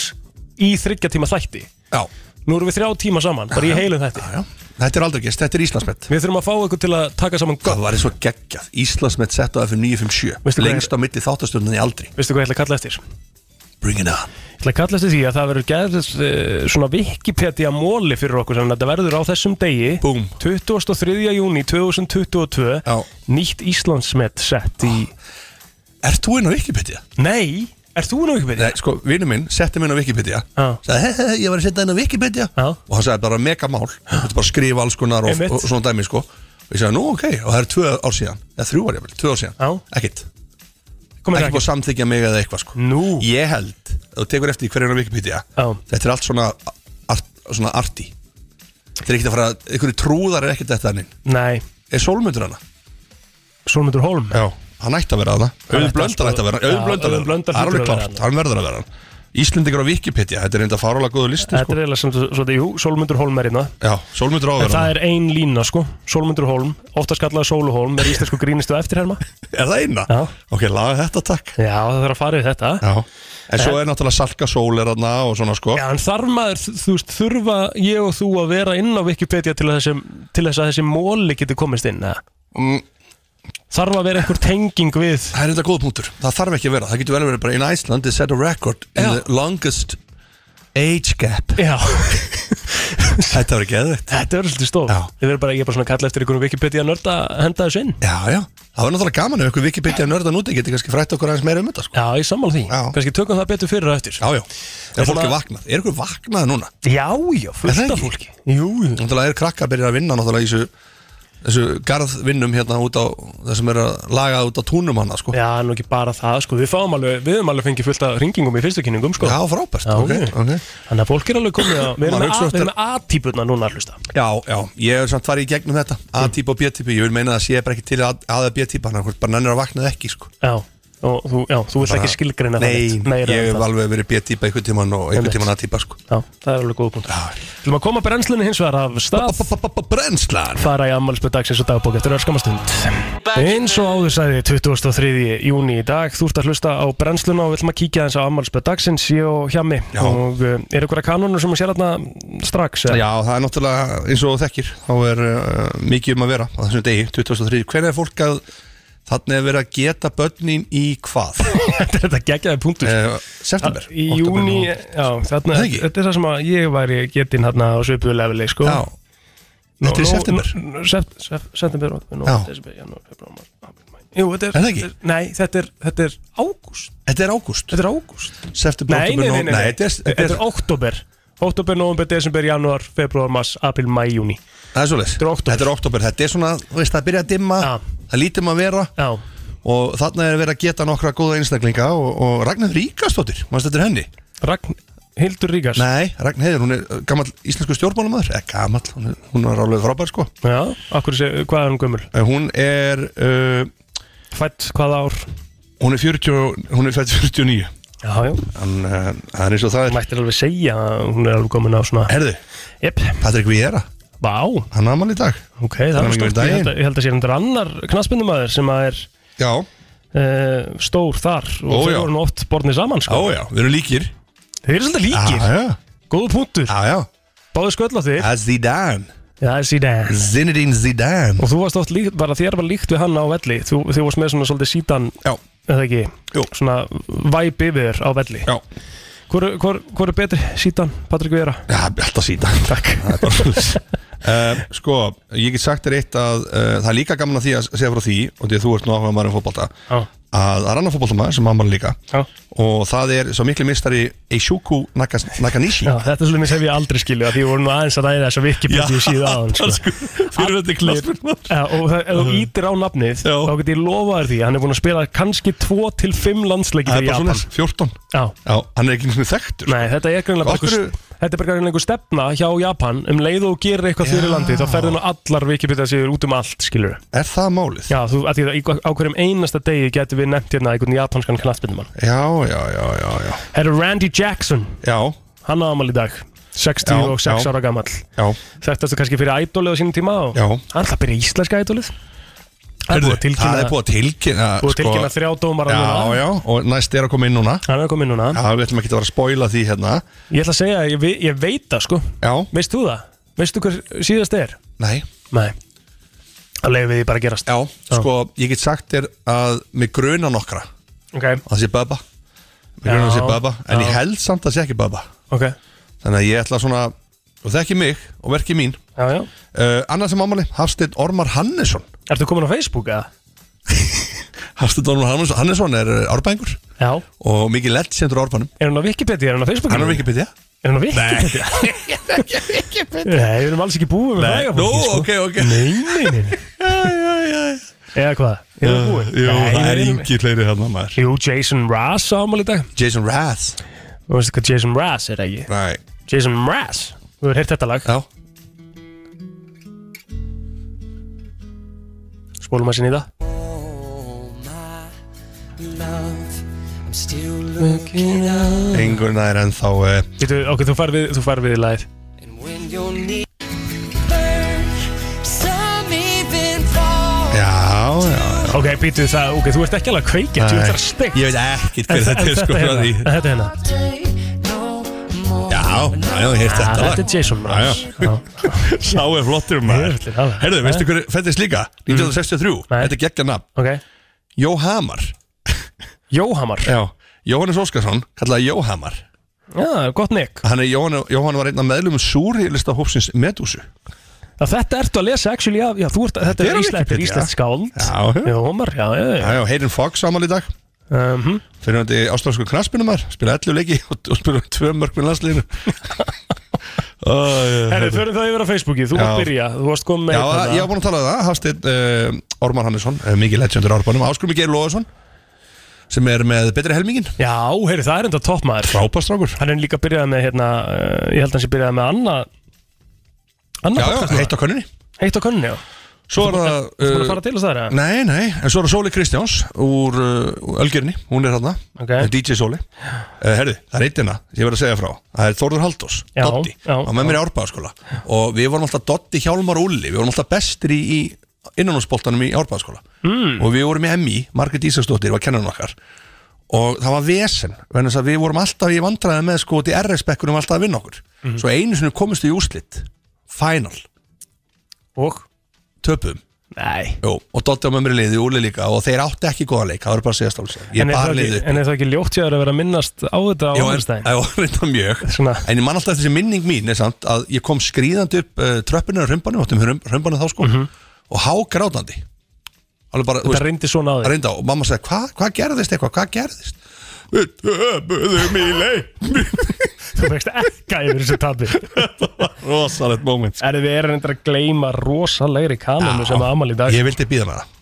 [SPEAKER 2] í þryggja tíma þætti
[SPEAKER 3] Já,
[SPEAKER 2] Nú erum við þrjá tíma saman, bara í heilum þætti
[SPEAKER 3] já, já. Þetta er aldrei gæst, þetta er Íslandsmet
[SPEAKER 2] Við þurfum að fá eitthvað til að taka saman
[SPEAKER 3] Það var eins og geggjað, Íslandsmet sett á FM 957
[SPEAKER 2] Veistu hvað
[SPEAKER 3] Lengst á milli þáttastjórnandi aldrei
[SPEAKER 2] Veistu hvað ég ætla að kalla eftir? Ég
[SPEAKER 3] Bring it on
[SPEAKER 2] ætla að kalla eftir því að það verður gerðist uh, svona Wikipedia móli fyrir okkur þannig að þetta verður á þessum degi
[SPEAKER 3] Búm.
[SPEAKER 2] 23. júni 2022
[SPEAKER 3] Já.
[SPEAKER 2] nýtt Íslandsmet sett í
[SPEAKER 3] Ert þú inn á Wikipedia?
[SPEAKER 2] Ah. Nei, er þú nú Wikipedia?
[SPEAKER 3] Nei, sko, vinnu minn setti mig inn á Wikipedia
[SPEAKER 2] Já.
[SPEAKER 3] Sagði, he, he, he, ég var að setja inn á Wikipedia
[SPEAKER 2] Já.
[SPEAKER 3] Og hann sagði bara mega mál Þetta er bara að skrifa alls konar og,
[SPEAKER 2] Einmitt.
[SPEAKER 3] og svona dæmi, sko Og ég sagði, nú, ok, og það er tvö ár síðan Eða þrjú ár, jafnvel, tvö ár síðan
[SPEAKER 2] Já.
[SPEAKER 3] Ekkit,
[SPEAKER 2] Komið
[SPEAKER 3] ekki
[SPEAKER 2] ekki
[SPEAKER 3] búið að samþykja mig eða eitthvað, sko
[SPEAKER 2] Nú.
[SPEAKER 3] Ég held, ef þú tekur eftir hverjum á Wikipedia
[SPEAKER 2] Já.
[SPEAKER 3] Þetta er allt svona, art, svona arti Þetta er ekkit að fara, einhverju trúðar er ekkit þetta hann inn
[SPEAKER 2] Nei,
[SPEAKER 3] Er sólmundur hana?
[SPEAKER 2] Solmundur Holm
[SPEAKER 3] Já Hann ætti að vera hana
[SPEAKER 2] Hann ætti
[SPEAKER 3] Auðblöndar
[SPEAKER 2] alltaf-
[SPEAKER 3] ætti að vera
[SPEAKER 2] Já,
[SPEAKER 3] hann Auðblöndar
[SPEAKER 2] Auður Blöndal
[SPEAKER 3] Það er
[SPEAKER 2] hlýtur
[SPEAKER 3] alveg
[SPEAKER 2] að vera
[SPEAKER 3] klart, hann verður að vera hann Íslendingar á Wikipedia, þetta er enda fárálega góðu listi
[SPEAKER 2] Þetta
[SPEAKER 3] sko.
[SPEAKER 2] er eiginlega sem svona, jú, Sólmundur Holm er hérna
[SPEAKER 3] Já, Sólmundur
[SPEAKER 2] En
[SPEAKER 3] áður
[SPEAKER 2] það er ein lína, sko Sólmundur Holm, ofta skallaði Sóluholm Er íslensku grínistu eftirherma
[SPEAKER 3] Er það eina?
[SPEAKER 2] Já.
[SPEAKER 3] Ok, laga þetta takk
[SPEAKER 2] Já, það þarf að fara við þetta
[SPEAKER 3] Já, en svo er náttúrulega Salka Sól er þarna og svona sko
[SPEAKER 2] Já, en þar maður, þú veist, þurfa ég og þú að vera inn á Wikipedia til, að þessum, til þess að þessi móli getur komist inn, eða?
[SPEAKER 3] Mm.
[SPEAKER 2] Þarf að vera einhver tenging við
[SPEAKER 3] Það er enda góð punktur, það þarf ekki að vera Það getur vel að vera bara in Iceland is set a record in
[SPEAKER 2] Já.
[SPEAKER 3] the longest age gap
[SPEAKER 2] Já, *laughs*
[SPEAKER 3] Þetta var ekki eðvitt
[SPEAKER 2] þetta verður svolítið stór
[SPEAKER 3] Já.
[SPEAKER 2] Þið verður bara, ég er bara svona að kalla eftir einhverjum Wikipedia nörd að henda þessu inn
[SPEAKER 3] Já, já, það var náttúrulega gaman ef ykkur Wikipedia nördan úti getur kannski frætt okkur aðeins meira um þetta sko.
[SPEAKER 2] Já, ég sammála því,
[SPEAKER 3] Já.
[SPEAKER 2] kannski tökum það betur fyrir og eftir
[SPEAKER 3] Já, já, er fólki
[SPEAKER 2] það-
[SPEAKER 3] vaknað? Er ykkur vaknað núna?
[SPEAKER 2] Já, já,
[SPEAKER 3] Er það
[SPEAKER 2] fullt af
[SPEAKER 3] ekki?
[SPEAKER 2] fólki Jú, jú.
[SPEAKER 3] Náttúrulega er krakkar byrjar að vinna náttúrulega í þessu, þessu garðvinnum hérna út á þessum er að laga út á túnum hana sko.
[SPEAKER 2] já, nú ekki bara það, sko, við fáum alveg, við höfum alveg fengið fullt af ringingum í fyrstu kynningum, sko
[SPEAKER 3] Já, frábært
[SPEAKER 2] Já,
[SPEAKER 3] ok,
[SPEAKER 2] jú.
[SPEAKER 3] ok.
[SPEAKER 2] Þannig að fólk er alveg komið að, við erum
[SPEAKER 3] Maður
[SPEAKER 2] með
[SPEAKER 3] hugsa
[SPEAKER 2] A-
[SPEAKER 3] oft
[SPEAKER 2] við erum
[SPEAKER 3] að-
[SPEAKER 2] með A-típurna núna að hlusta
[SPEAKER 3] Já, já, ég er samt farið í gegnum þetta A-típa og B-típa, ég vil meina að það sé bara ekki til að- aða B-típa, hann hvort bara nennir að vakna eða ekki sko.
[SPEAKER 2] Já, og þú, já, þú vilt ekki skilgreina það
[SPEAKER 3] Nei,
[SPEAKER 2] neitt, meira
[SPEAKER 3] ég
[SPEAKER 2] en
[SPEAKER 3] hef
[SPEAKER 2] það.
[SPEAKER 3] alveg verið B-típa einhvern tíman og einhvern
[SPEAKER 2] Einmitt.
[SPEAKER 3] tíman A-típa sko.
[SPEAKER 2] Já, það er alveg góð punkt
[SPEAKER 3] Já.
[SPEAKER 2] Þú erum að koma brennslunni hins vegar af stað
[SPEAKER 3] Brennslan
[SPEAKER 2] fara í ammálspöð dagsins og dagbók eftir örskamastund eins og áður sæði 23. júni í dag þú ert að hlusta á brennsluna og við ætlum að kíkja eins á ammálspöð dagsins ég og hjá mig
[SPEAKER 3] Já.
[SPEAKER 2] og uh, er einhverja kanonur sem að sér þarna strax eða?
[SPEAKER 3] Já, það er náttúrulega eins og þú þekkir þá er uh, mikið um að vera á þessum degi, 2003, hvernig er fólk að þannig að vera að geta börnin í hvað?
[SPEAKER 2] *laughs* *laughs* þetta geggjaði punktur
[SPEAKER 3] uh, september
[SPEAKER 2] í
[SPEAKER 3] október,
[SPEAKER 2] júni,
[SPEAKER 3] nóvember.
[SPEAKER 2] já, þarna,
[SPEAKER 3] Það ekki?
[SPEAKER 2] þetta er það sem að ég væri getinn hérna á svipuðu leveli sko.
[SPEAKER 3] Já,
[SPEAKER 2] Nú-
[SPEAKER 3] þetta er
[SPEAKER 2] nú-
[SPEAKER 3] september
[SPEAKER 2] nú- nú- sept- sep- September, okkur, nú,
[SPEAKER 3] Já.
[SPEAKER 2] desember, janúar, februar, mars, apríl, maí Jú, þetta er
[SPEAKER 3] Er það ekki?
[SPEAKER 2] þetta er- Nei, þetta er, þetta er ágúst
[SPEAKER 3] Þetta er ágúst
[SPEAKER 2] Þetta er ágúst
[SPEAKER 3] September,
[SPEAKER 2] Nei, nei,
[SPEAKER 3] október,
[SPEAKER 2] nei, nei,
[SPEAKER 3] nóvember.
[SPEAKER 2] nei.
[SPEAKER 3] þetta er,
[SPEAKER 2] Þetta er
[SPEAKER 3] þetta er,
[SPEAKER 2] oktober Oktober, november, desember, janúar, februar, mars, apríl, mæ, júni
[SPEAKER 3] það er svoleiðis
[SPEAKER 2] þetta er október.
[SPEAKER 3] Þetta er oktober, þetta er svona, þú veist, það byrja að dimma
[SPEAKER 2] Já.
[SPEAKER 3] það lítum að vera
[SPEAKER 2] Já,
[SPEAKER 3] og þarna er verið að geta nokkra góða einstaklinga og, og Ragnar Ríkastóttir, mannst þetta er henni?
[SPEAKER 2] Ragnhildur Ríkars
[SPEAKER 3] Nei, Ragnar Heiður, hún er uh, gamall íslensku stjórnmálamæður, eða gamall, hún er- hún er alveg frábær sko
[SPEAKER 2] Já, akkur sé, hvað er hún gömul?
[SPEAKER 3] Eh, Hún er uh,
[SPEAKER 2] Fætt hvað ár?
[SPEAKER 3] Hún er 40, og- hún er fætt 49
[SPEAKER 2] Já, já,
[SPEAKER 3] Hann, eh, það er eins og það
[SPEAKER 2] hún
[SPEAKER 3] er
[SPEAKER 2] mættir alveg segja að Hún er alveg komin á svona
[SPEAKER 3] Herðu,
[SPEAKER 2] Jep,
[SPEAKER 3] Patrik Viera,
[SPEAKER 2] vá,
[SPEAKER 3] hann er amal í dag
[SPEAKER 2] ok, það
[SPEAKER 3] Hann
[SPEAKER 2] er
[SPEAKER 3] er ekki
[SPEAKER 2] stórt
[SPEAKER 3] við
[SPEAKER 2] Ég held
[SPEAKER 3] daginn.
[SPEAKER 2] að- ég held að sé hendur annar knassbindumæður sem að er
[SPEAKER 3] Já,
[SPEAKER 2] uh, stór þar og
[SPEAKER 3] Ó,
[SPEAKER 2] þau
[SPEAKER 3] já.
[SPEAKER 2] voru nú oft borðni saman sko.
[SPEAKER 3] já, við erum líkir
[SPEAKER 2] þeir eru svolítið
[SPEAKER 3] Já,
[SPEAKER 2] líkir,
[SPEAKER 3] já,
[SPEAKER 2] góðu punktur
[SPEAKER 3] já, já
[SPEAKER 2] báðu sköll á þig,
[SPEAKER 3] Það er Zidane,
[SPEAKER 2] það er síðan
[SPEAKER 3] Zinedine Zidane
[SPEAKER 2] og þú varst oft líkt, bara þér var líkt við hann á velli þú, þú varst með svona svolítið síðan
[SPEAKER 3] Já,
[SPEAKER 2] eða ekki,
[SPEAKER 3] Jú.
[SPEAKER 2] svona væp yfir þér á velli
[SPEAKER 3] já,
[SPEAKER 2] hvor, hvor, hvor er betri síðan, Patrik Vera?
[SPEAKER 3] já, alltaf Zidane
[SPEAKER 2] Takk
[SPEAKER 3] *laughs* Það er bara svoleiðis. Eh, Sko, ég get sagt þér eitt að uh, það er líka gaman að því að segja frá því og því að þú ert nú áhuga maður um fótbolta
[SPEAKER 2] Já.
[SPEAKER 3] að það er annar fótboltamaður sem amal líka
[SPEAKER 2] Já.
[SPEAKER 3] og það er svo miklu mistari Eishuku Nakas- Nakanishi
[SPEAKER 2] Já, þetta er svolítið minn sem ég aldrei skilja því við vorum nú aðeins að ræða þess að Wikipedia síðu aðan sko.
[SPEAKER 3] fyrir þetta klassmennmar
[SPEAKER 2] Já, og það, ef þú ítir á nafnið
[SPEAKER 3] Já.
[SPEAKER 2] þá get ég lofað þér því, hann er búin að spila kannski 2-5 landsleiki
[SPEAKER 3] Það er
[SPEAKER 2] fyrir
[SPEAKER 3] bara svona
[SPEAKER 2] Japan
[SPEAKER 3] 14
[SPEAKER 2] Já,
[SPEAKER 3] Já, hann er ekki einu sinni þekktur
[SPEAKER 2] Nei, þetta er greinlega bara
[SPEAKER 3] Af hverju-
[SPEAKER 2] einhver, þetta er bara greinlega einhver stefna hjá Japan um leið og þú gerir eitthvað fyrir
[SPEAKER 3] Já.
[SPEAKER 2] landi þá ferður nú allar Wikipedia síður út um allt skilur
[SPEAKER 3] Er það málið?
[SPEAKER 2] Já, þú, að því að í- á hverjum einasta degi getur við nefnt hérna einhvern japanskan knattbyndumann
[SPEAKER 3] Já, já, já, já Já,
[SPEAKER 2] Herra Randy Jackson,
[SPEAKER 3] já,
[SPEAKER 2] hann á amal í dag 66
[SPEAKER 3] Já, já.
[SPEAKER 2] ára gamall
[SPEAKER 3] já.
[SPEAKER 2] Þetta er kannski fyrir ædolið á sínum tíma og
[SPEAKER 3] Já.
[SPEAKER 2] hann ætla að byrja í íslenska ædolið Það er búið að tilkynna,
[SPEAKER 3] það er búið að tilkynna sko.
[SPEAKER 2] búið að tilkynna þrjá dómar
[SPEAKER 3] Já, já, og næst er að koma inn núna
[SPEAKER 2] Hann er kominn núna
[SPEAKER 3] Já, við ætlum ekki að vera að spoila því hérna
[SPEAKER 2] Ég ætla að segja, að ég, ve- ég veit það sko
[SPEAKER 3] Já,
[SPEAKER 2] Veist þú það? Veistu hver síðast er?
[SPEAKER 3] nei
[SPEAKER 2] Nei Það leiði við því bara að gerast
[SPEAKER 3] Já, sko, ég get sagt þér að mig gruna nokkra að
[SPEAKER 2] Ok,
[SPEAKER 3] það sé Bubba Mig gruna að
[SPEAKER 2] Já,
[SPEAKER 3] það sé Bubba En
[SPEAKER 2] já.
[SPEAKER 3] ég held samt að það sé ekki Bubba
[SPEAKER 2] ok
[SPEAKER 3] Þannig að ég ætla svona Og þekki mig og verki mín
[SPEAKER 2] Já, já
[SPEAKER 3] uh, Annað sem ámali, Hafsteinn Ormar Hannesson
[SPEAKER 2] Ertu komin á Facebook eða?
[SPEAKER 3] Hafsteinn Ormar Hannesson, Hannesson er árbæðingur
[SPEAKER 2] Já
[SPEAKER 3] og mikið legendur á orfanum
[SPEAKER 2] Er hún á Wikipedia? Er hún á Facebook?
[SPEAKER 3] hann er Wikipedia
[SPEAKER 2] Er hún á Wikipedia? *laughs* Nei Nei, við erum alls ekki búið með fræga
[SPEAKER 3] nú,
[SPEAKER 2] fólki,
[SPEAKER 3] ok, ok
[SPEAKER 2] Nei, nei, nei,
[SPEAKER 3] *laughs*
[SPEAKER 2] nei Eða hvað? Er hún búið?
[SPEAKER 3] Uh, Jú, það er
[SPEAKER 2] erum-
[SPEAKER 3] yngi fleiri hérna maður
[SPEAKER 2] Jú, Jason Raz ámál í dag
[SPEAKER 3] Jason Rath
[SPEAKER 2] Þú veistu hvað Jason Raz er ekki?
[SPEAKER 3] Nei,
[SPEAKER 2] Jason Raz Þú hefur heyrt þetta lag
[SPEAKER 3] já
[SPEAKER 2] Spólum að sinni í það
[SPEAKER 4] Oh my love,
[SPEAKER 3] Engur nær ennþá eh,
[SPEAKER 2] Býtu, ok, þú fær við, þú fær við í lagið
[SPEAKER 3] Já, já
[SPEAKER 2] Ok, býtu það, ok, þú ert ekki alveg að kveikja Þú ert að steikt
[SPEAKER 3] Ég veit ekkert hver þetta er sko frá
[SPEAKER 2] hérna,
[SPEAKER 3] því.
[SPEAKER 2] en þetta hérna
[SPEAKER 3] Já, já, já, ég hef
[SPEAKER 2] Ah,
[SPEAKER 3] þetta
[SPEAKER 2] Þetta er
[SPEAKER 3] lag
[SPEAKER 2] Jason Mraz
[SPEAKER 3] Já, *laughs* Sá er flottur maður
[SPEAKER 2] Jöfullinn, alveg.
[SPEAKER 3] Herðu, veistu hver fættist líka? 1963,
[SPEAKER 2] Nei.
[SPEAKER 3] þetta er geggja nafn
[SPEAKER 2] Ok,
[SPEAKER 3] Jó Hamar
[SPEAKER 2] Jóhamar
[SPEAKER 3] Já Jóhannes Óskarsson, kallaði Jóhamar
[SPEAKER 2] Já, gott nek
[SPEAKER 3] Hann er Jóhann, Jóhann var einn af meðlum Súri lista hópsins Medúsu
[SPEAKER 2] Já, Þetta ertu að lesa actually af, já, þú ert, þetta
[SPEAKER 3] Þetta er
[SPEAKER 2] er
[SPEAKER 3] á
[SPEAKER 2] Ísland, þetta er
[SPEAKER 3] Wikipedia.
[SPEAKER 2] Ísland skáld
[SPEAKER 3] Já, já,
[SPEAKER 2] Jóhamar, já, já, já
[SPEAKER 3] já, Hayden Fox ámali í dag
[SPEAKER 2] Mhm.
[SPEAKER 3] fyrirhandi ástralsku knaspinumar spila 11 leiki og, og spila tvö mörg með *laughs* landsliðinu
[SPEAKER 2] Herri, förum það yfir á Facebooki, þú
[SPEAKER 3] Já.
[SPEAKER 2] mátt byrja Þú varst komið með hérna-
[SPEAKER 3] Já,
[SPEAKER 2] einn
[SPEAKER 3] ég
[SPEAKER 2] þarna.
[SPEAKER 3] var búin að tala um það Hafsteinn uh, Ormar Hannesson, uh, mikið legendur árbænum Áskrumi Geir Lóðarsson sem er með betri helmingin
[SPEAKER 2] já, herri, það er enda toppmaður
[SPEAKER 3] Frábastrákur
[SPEAKER 2] Hann er líka byrjaði með, hérna, uh, ég held að hann sé byrjaði með annað
[SPEAKER 3] Já,
[SPEAKER 2] Annað
[SPEAKER 3] já,
[SPEAKER 2] podcast,
[SPEAKER 3] heitt á könninni
[SPEAKER 2] heitt á könni, já
[SPEAKER 3] Svo er það
[SPEAKER 2] Þú búin að
[SPEAKER 3] uh,
[SPEAKER 2] fara til þess það, eða?
[SPEAKER 3] Nei, nei, en svo er það Sóli Kristjáns úr uh, Ölgerinni, hún er hérna
[SPEAKER 2] Ok.
[SPEAKER 3] DJ Sóli uh, Herðu, það er eittina, ég verð að segja frá Það er Þórður Haldós,
[SPEAKER 2] Já,
[SPEAKER 3] Dotti
[SPEAKER 2] já,
[SPEAKER 3] Hann var með mér í Árbæðaskóla Og við vorum alltaf Dotti Hjálmar og Ulli Við vorum alltaf bestir í, í innanúsboltanum í Árbæðaskóla mm. Og við vorum í MI, Margrét Ísaksdóttir var kennarinn okkar Og það var vesen vegna þess að Við vorum alltaf í vandræði með sko Því RS-bekkunum alltaf að vinna okkur
[SPEAKER 2] Mhm.
[SPEAKER 3] Svo einu sinni komist í úslit, final
[SPEAKER 2] Og?
[SPEAKER 3] Töpum
[SPEAKER 2] Nei
[SPEAKER 3] Jú, og Dotti á mömri liði, Úli líka og þeir átti ekki góða leik, það voru bara að segja stáls ég
[SPEAKER 2] En er,
[SPEAKER 3] bara
[SPEAKER 2] það
[SPEAKER 3] liði
[SPEAKER 2] ekki, en er það ekki ljótt ég að vera að minnast á þetta á
[SPEAKER 3] Já, en
[SPEAKER 2] Einstein?
[SPEAKER 3] það var reynda mjög
[SPEAKER 2] Svona.
[SPEAKER 3] En ég man alltaf þessi minning mín er samt að ég kom skríðandi upp uh, tröppinu og römbanu, áttum römbanu þá sko og hágrátandi Alveg bara, þú
[SPEAKER 2] Mhm. Þetta reyndi svona á
[SPEAKER 3] það
[SPEAKER 2] þig
[SPEAKER 3] reynda og mamma sagði, hvað hva gerðist eitthvað, hvað gerðist Við töpuðum í leik
[SPEAKER 2] Þú veist ekka yfir þessu tabi
[SPEAKER 3] Rosalegt moment sko.
[SPEAKER 2] Er við erum reyndar að gleyma rosalegri kanonu sem að amal í dag
[SPEAKER 3] Ég vildi býða með það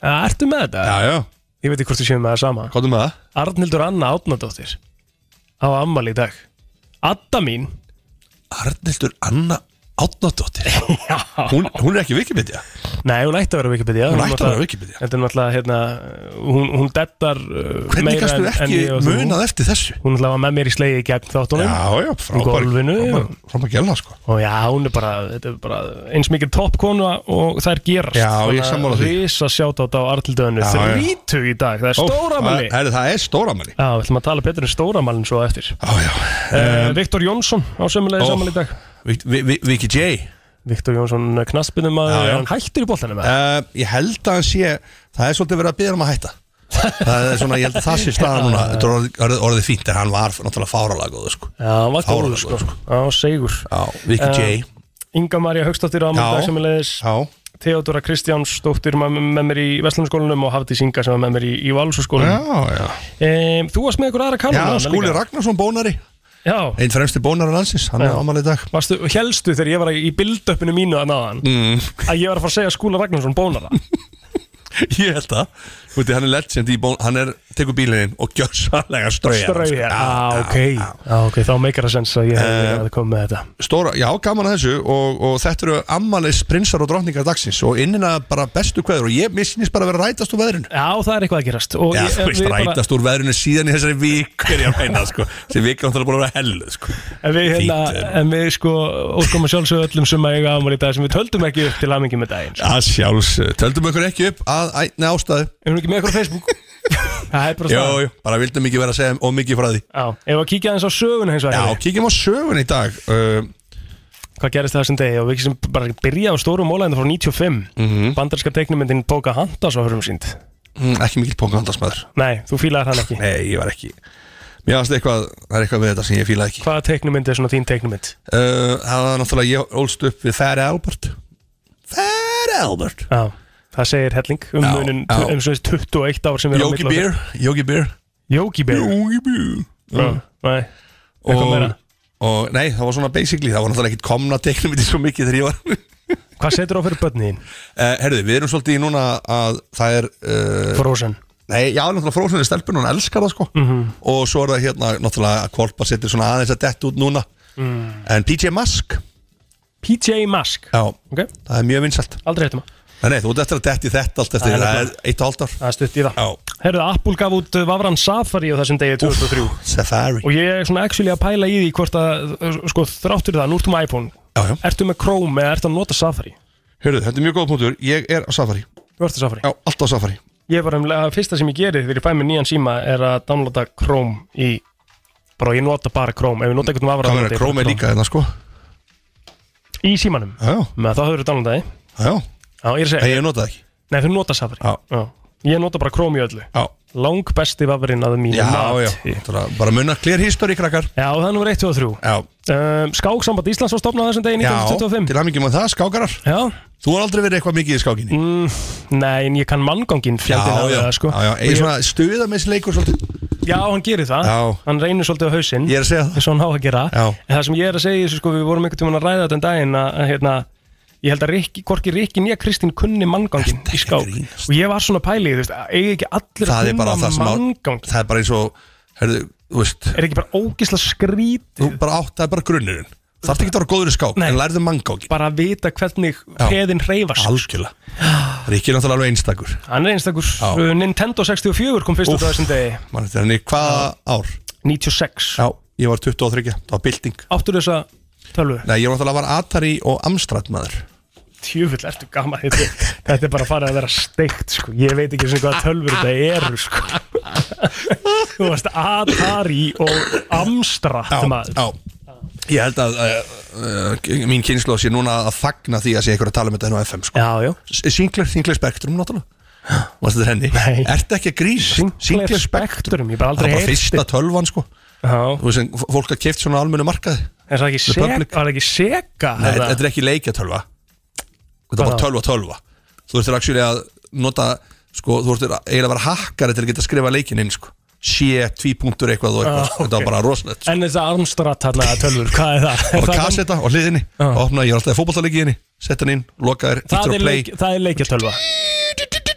[SPEAKER 2] Ah, Ertu með þetta?
[SPEAKER 3] Já, já,
[SPEAKER 2] Ég veit ekki hvort þú séum með það sama
[SPEAKER 3] hvað er með það?
[SPEAKER 2] Arnildur Anna Átnadóttir á amal í dag Adda mín
[SPEAKER 3] Arnildur Anna
[SPEAKER 2] *laughs*
[SPEAKER 3] Átnadóttir hún, hún er ekki Wikipedia
[SPEAKER 2] Nei, hún ætti að vera á Wikipedia
[SPEAKER 3] Hún ætti að
[SPEAKER 2] náttúrulega-
[SPEAKER 3] vera á Wikipedia.
[SPEAKER 2] Þetta er náttúrulega, hérna, hún, hún dettar uh,
[SPEAKER 3] Hvernig
[SPEAKER 2] meira
[SPEAKER 3] kannstu
[SPEAKER 2] en- en
[SPEAKER 3] ekki
[SPEAKER 2] ég og þú.
[SPEAKER 3] munað eftir þessu?
[SPEAKER 2] Hún ætlaði að með mér í slegi í gegn þáttunum
[SPEAKER 3] Já, já, frábær
[SPEAKER 2] gólfinu,
[SPEAKER 3] frábær- Frábær gæla, sko
[SPEAKER 2] Og já, hún er bara, þetta er bara eins mikið toppkona og það er gerast
[SPEAKER 3] Já, ég sammála því.
[SPEAKER 2] Rísa sjátt á þetta á Arlildöðinu
[SPEAKER 3] Já, já.
[SPEAKER 2] Þrítug í dag, það er stóramæli
[SPEAKER 3] Það er- það er stóramæli
[SPEAKER 2] Já, við ætlum að tala betur um stóramælin svo á eftir
[SPEAKER 3] Já, já
[SPEAKER 2] uh, Viktor Jónsson á sömulegi
[SPEAKER 3] Eh, ó.
[SPEAKER 2] oh. saman í dag
[SPEAKER 3] Vik- Vi- Vi- Viki J
[SPEAKER 2] Viktor
[SPEAKER 3] eh,
[SPEAKER 2] Jónsson knaspinum að
[SPEAKER 3] Já, já.
[SPEAKER 2] hann hættir í boltanum eða?
[SPEAKER 3] uh, Ég held að hann sé Það er svolítið verið að byrja um að *laughs* hætta Það er svona, ég held að það sé staða núna Þetta er orðið- orðið, orðið fínt En hann var náttúrulega fáralega góður, sko
[SPEAKER 2] Já, hann var góður
[SPEAKER 3] Fáránlegur,
[SPEAKER 2] sko
[SPEAKER 3] sko.
[SPEAKER 2] Já, segur
[SPEAKER 3] Já, Viki J
[SPEAKER 2] Eh, Inga Marja Högstóttir á
[SPEAKER 3] Já.
[SPEAKER 2] ammali dag sömulegis
[SPEAKER 3] Já
[SPEAKER 2] Theodora Kristjánsdóttir ma- með mér í Vestlunarskólanum og Hafdís Inga sem var með mér í, í Valsúrskólanum
[SPEAKER 3] já
[SPEAKER 2] um, Þú varst með ykkur aðra kannan
[SPEAKER 3] Já, Skúli Ragnarsson bónari
[SPEAKER 2] Já,
[SPEAKER 3] Einn fremsti bónari landsins Hann
[SPEAKER 2] Já.
[SPEAKER 3] er ámæli í dag
[SPEAKER 2] Varstu, helstu þegar ég var í build-upinu mínu að náðan
[SPEAKER 3] Mm.
[SPEAKER 2] að ég var að fara að segja Skúla Ragnarsson bónara
[SPEAKER 3] *laughs* Ég held það Þú veit, hann er legend í bón Hann er, tekur bílininn og sko. gjör sannlega ströja
[SPEAKER 2] Strauja, ah, ok ah, ok, þá meikar það sens að ég hef
[SPEAKER 3] Eh.
[SPEAKER 2] verið að koma með þetta
[SPEAKER 3] Stóra, já, gaman að þessu og, og þetta eru ammælis prinsar og drottningar dagsins og innina bara bestu kveður og ég misnist bara að vera að rætast úr veðrinu
[SPEAKER 2] Já, það er eitthvað að gerast og
[SPEAKER 3] Já,
[SPEAKER 2] ég,
[SPEAKER 3] þú
[SPEAKER 2] ef
[SPEAKER 3] veist,
[SPEAKER 2] við bara-
[SPEAKER 3] rætast úr veðrinu síðan í þessari vik er ég að meina, sko sem vik er náttúrulega búin að vera hellu, sko
[SPEAKER 2] En við, hérna,
[SPEAKER 3] Fínt,
[SPEAKER 2] en við sko óskum að sjálfsögðu öllum sem að eiga ámur í dag sem við töldum ekki upp til hamingi með daginn sko.
[SPEAKER 3] Já, sjálfs, töldum ykkur ekki upp að ætni ástæðu
[SPEAKER 2] Erum við ekki með ykkur á
[SPEAKER 3] *laughs*
[SPEAKER 2] Facebook? það er bara
[SPEAKER 3] Jó,
[SPEAKER 2] það
[SPEAKER 3] jú, bara vildum ekki vera að segja og mikið frá því
[SPEAKER 2] Já, ef að kíkja aðeins á söguna hins
[SPEAKER 3] Já,
[SPEAKER 2] vegar
[SPEAKER 3] kíkjum á sögun í dag uh,
[SPEAKER 2] hvað gerist það sem degi og við sem bara byrja á stóru mólæðinu frá 95 mm
[SPEAKER 3] mhm,
[SPEAKER 2] -hmm. bandarska teiknumyndin Póka Handas á hörum sínd
[SPEAKER 3] mm, ekki mikill póngandasmaður
[SPEAKER 2] Nei, þú fílaðar hann ekki
[SPEAKER 3] Nei, ég var ekki Mér varst eitthvað, það er eitthvað við þetta sem ég fíla ekki uh,
[SPEAKER 2] Hvaða teiknumynd er svona þín teiknumynd?
[SPEAKER 3] Það var náttúrulega, ég ólst upp við Færi Albert Færi Albert
[SPEAKER 2] Já, það segir helling um
[SPEAKER 3] Já,
[SPEAKER 2] munin
[SPEAKER 3] já.
[SPEAKER 2] um svona þessi 21 ár sem við
[SPEAKER 3] Jóki Beer Jóki Beer
[SPEAKER 2] Jóki Beer
[SPEAKER 3] Jóki Beer
[SPEAKER 2] Já, Nei, eitthvað meira
[SPEAKER 3] og, og nei, það var svona basically Það var náttúrulega ekkit komna teiknum Þetta svo mikið þegar ég var *laughs* uh,
[SPEAKER 2] Hvað setur á fyrir börnin þín?
[SPEAKER 3] Herðu, við erum svolítið í núna að það er uh,
[SPEAKER 2] Frozen
[SPEAKER 3] Nei, já, náttúrulega frósunni stelpun Hún elskar það sko
[SPEAKER 2] Mhm.
[SPEAKER 3] Og svo er það hérna, náttúrulega að Kolpa setur svona aðeins að dett út núna
[SPEAKER 2] Mm.
[SPEAKER 3] En PJ Mask
[SPEAKER 2] PJ Mask
[SPEAKER 3] Já,
[SPEAKER 2] Ok,
[SPEAKER 3] það er mjög vinsalt
[SPEAKER 2] aldrei um hættum að
[SPEAKER 3] Nei, nei, þú ert eftir að detti þetta allt
[SPEAKER 2] Það
[SPEAKER 3] eftir
[SPEAKER 2] er
[SPEAKER 3] Það er eitt og halvt ár
[SPEAKER 2] Það er stutt í það
[SPEAKER 3] Já.
[SPEAKER 2] Herðu, Apple gaf út uh, Vavran Safari á þessum degi 2003
[SPEAKER 3] Safari
[SPEAKER 2] Og ég er svona actually að pæla í því hvort að uh, Sko þráttur það, nú ertu með iPhone
[SPEAKER 3] Já, já
[SPEAKER 2] Ertu með Chrome eða ertu að nota Safari?
[SPEAKER 3] Hörðu, þetta er mjög góð punktur Ég er á Safari
[SPEAKER 2] Þú ert að Safari
[SPEAKER 3] Já, alltaf á Safari
[SPEAKER 2] Ég var umlega, fyrsta sem ég geri þegar ég fæ mér nýjan síma er að downloada Chrome í Bara ég nota bara Chrome Ef ég nota eitthvað um Vavran
[SPEAKER 3] Kamera Chrome er líka þarna, sko
[SPEAKER 2] Í símanum
[SPEAKER 3] Já, já,
[SPEAKER 2] Með það höfður downloadaði
[SPEAKER 3] já
[SPEAKER 2] Já, ég er að segja
[SPEAKER 3] Nei, ég nota það ekki
[SPEAKER 2] Nei, þú nota Safari
[SPEAKER 3] Já.
[SPEAKER 2] Ég nota bara Chrome í öllu
[SPEAKER 3] Já,
[SPEAKER 2] Lang besti vafrin að mínu
[SPEAKER 3] já,
[SPEAKER 2] mati.
[SPEAKER 3] já Þetta er Bara munna Clear history, krakkar
[SPEAKER 2] Já, það er nummer 1, 2 og 3
[SPEAKER 3] Já,
[SPEAKER 2] um, Skáksamband Íslands var stopnað þessum degi
[SPEAKER 3] já
[SPEAKER 2] 1925
[SPEAKER 3] Til aðmyggjum að það, skákarar
[SPEAKER 2] Já,
[SPEAKER 3] Þú har aldrei verið eitthvað mikið í skákinni
[SPEAKER 2] nei, en ég kann manngangin
[SPEAKER 3] Já,
[SPEAKER 2] fjöldin af
[SPEAKER 3] já,
[SPEAKER 2] það, sko
[SPEAKER 3] já, já,
[SPEAKER 2] Og
[SPEAKER 3] ég er svona stuðamisleikur svolítið
[SPEAKER 2] ég, já, hann gerir það,
[SPEAKER 3] Já.
[SPEAKER 2] hann reynir svolítið á hausinn
[SPEAKER 3] Ég er að segja það
[SPEAKER 2] eins og hann á að gera
[SPEAKER 3] Já.
[SPEAKER 2] En það sem ég er að segja, þessu, sko, við vorum einhvern tímann að ræða þetta um daginn að, að, hérna, ég held að Rikki, Korki Rikki nýja Kristín kunni manngangin í skák
[SPEAKER 3] grínast?
[SPEAKER 2] og ég var svona pælið, þú veist, að eiga ekki allir
[SPEAKER 3] Það er bara það sem á
[SPEAKER 2] manngangin,
[SPEAKER 3] Það er bara eins og, herðu, þú veist
[SPEAKER 2] er ekki bara ógisla skrít
[SPEAKER 3] Þú bara átt, það er bara grunnurinn Það er ekki að vera góður í skák
[SPEAKER 2] Nei.
[SPEAKER 3] En lærðu manngangin
[SPEAKER 2] bara að vita hvernig
[SPEAKER 3] Já.
[SPEAKER 2] peðin reyfast
[SPEAKER 3] Algjörlega Ríkir er náttúrulega alveg einstakur
[SPEAKER 2] hann er einstakur,
[SPEAKER 3] Já.
[SPEAKER 2] Uh, Nintendo 64 kom fyrst út
[SPEAKER 3] Úff.
[SPEAKER 2] á þessum degi
[SPEAKER 3] Man, þetta er henni hvaða ár?
[SPEAKER 2] 96
[SPEAKER 3] Já, ég var 23, það var bylting
[SPEAKER 2] áttur þessa tölvu
[SPEAKER 3] Nei, ég var náttúrulega var Atari og Amstrad maður
[SPEAKER 2] tjöfull ertu gaman þetta, þetta er bara að fara að vera steikt sko. ég veit ekki sem hvað tölvur þetta eru sko. þú varst Atari og Amstrad maður.
[SPEAKER 3] já Ég held að uh, uh, mín kynslu sé núna að fagna því að sé einhver að tala um þetta enn á FM sko.
[SPEAKER 2] já, já
[SPEAKER 3] Sinclair, Sinclair Spectrum náttúrulega Varst þetta henni?
[SPEAKER 2] Nei.
[SPEAKER 3] Ertu ekki að grínast?
[SPEAKER 2] Sinclair Spectrum, ég bara
[SPEAKER 3] Það
[SPEAKER 2] aldrei
[SPEAKER 3] var bara
[SPEAKER 2] heyrt
[SPEAKER 3] fyrsta tölvan sko
[SPEAKER 2] Já.
[SPEAKER 3] Þú veist, sem fólk að keft svona á almennu markaði
[SPEAKER 2] er það ekki, seg,
[SPEAKER 3] Republic.
[SPEAKER 2] var það ekki Sega
[SPEAKER 3] Nei,
[SPEAKER 2] eða?
[SPEAKER 3] þetta er ekki leikjatölva Þetta er bara
[SPEAKER 2] Hvað þá?
[SPEAKER 3] tölva tölva Þú ert actually að nota sko, Þú ert eiginlega að vera hakkari til að geta að skrifa leikin inn sko. Sjé, tví punktur eitthvað, og eitthvað.
[SPEAKER 2] Ah,
[SPEAKER 3] Þetta
[SPEAKER 2] ok.
[SPEAKER 3] var bara rosalegt sko.
[SPEAKER 2] en þess að Amstrad þarna tölvur, hvað er það? Er
[SPEAKER 3] Og
[SPEAKER 2] það, gam-
[SPEAKER 3] kassetta á hliðinni
[SPEAKER 2] Ah.
[SPEAKER 3] Opna, ég er alltaf í fótboltaleiki í henni Sett hann inn, loka þér,
[SPEAKER 2] það, er
[SPEAKER 3] íttur og play
[SPEAKER 2] leik, það er leikjartölva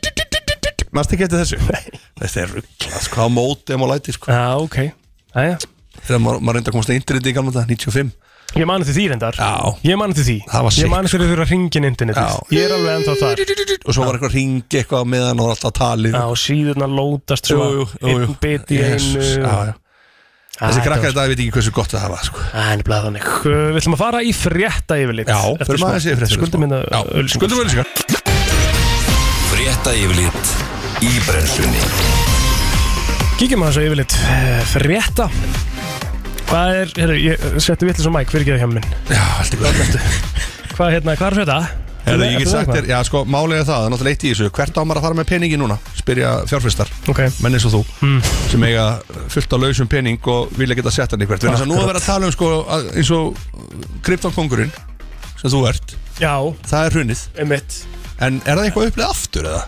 [SPEAKER 3] Mæst ekki eftir þessu? Þetta er ruggla, sko, á móti um á læti sko.
[SPEAKER 2] já, ok Æja.
[SPEAKER 3] Þegar maður, maður reyndi að komast að interneti í gamla þetta, 95
[SPEAKER 2] ég mani til því reyndar
[SPEAKER 3] Já.
[SPEAKER 2] ég mani til því,
[SPEAKER 3] Það var
[SPEAKER 2] ég
[SPEAKER 3] sick,
[SPEAKER 2] mani til því að ringja inn internetið,
[SPEAKER 3] Já.
[SPEAKER 2] ég er alveg ennþá þar
[SPEAKER 3] Og svo var eitthvað að ringi eitthvað á meðan og alltaf talið
[SPEAKER 2] Já, og síðurna lótast svona
[SPEAKER 3] Jú, jú, jú, jú.
[SPEAKER 2] einn bit í
[SPEAKER 3] Jesus,
[SPEAKER 2] einu
[SPEAKER 3] já, já.
[SPEAKER 2] Æ,
[SPEAKER 3] Þessi
[SPEAKER 2] þetta
[SPEAKER 3] krakkar
[SPEAKER 2] var-
[SPEAKER 3] þetta veit ekki hversu gott það hafa sko.
[SPEAKER 2] Það er nefnilega þannig Uh, Við ætlum að fara í frétta yfirlit
[SPEAKER 3] Já, fyrir maður þessi fréttir sko.
[SPEAKER 2] Skuldum hérna minna
[SPEAKER 3] Skuldum minna
[SPEAKER 1] Frétta yfirlit í brennslunni
[SPEAKER 2] Kíkjum að þessu yfirlit Eh, Frétta Hvað er, herru, ég setti vitlis á mæk, fyrir ekki það hjá minn
[SPEAKER 3] Já, allt í góð
[SPEAKER 2] Hvað, hérna, hvað er frétta?
[SPEAKER 3] Herðu,
[SPEAKER 2] Ertu
[SPEAKER 3] ég
[SPEAKER 2] með
[SPEAKER 3] get sagt
[SPEAKER 2] eitthvað?
[SPEAKER 3] þér, já sko, málega það, það er náttúrulega eitt í þessu Hvert á maður að fara með peningi núna? Spyrja fjárfistar,
[SPEAKER 2] Ok,
[SPEAKER 3] menn eins og þú
[SPEAKER 2] Hmm.
[SPEAKER 3] Sem eiga fullt á lausum pening og vilja geta sett hann eitthvað Þannig að nú er verið að tala um sko, að- eins og kryptokongurinn sem þú ert,
[SPEAKER 2] já,
[SPEAKER 3] það er hrunið
[SPEAKER 2] einmitt
[SPEAKER 3] En er það eitthvað upplið aftur eða?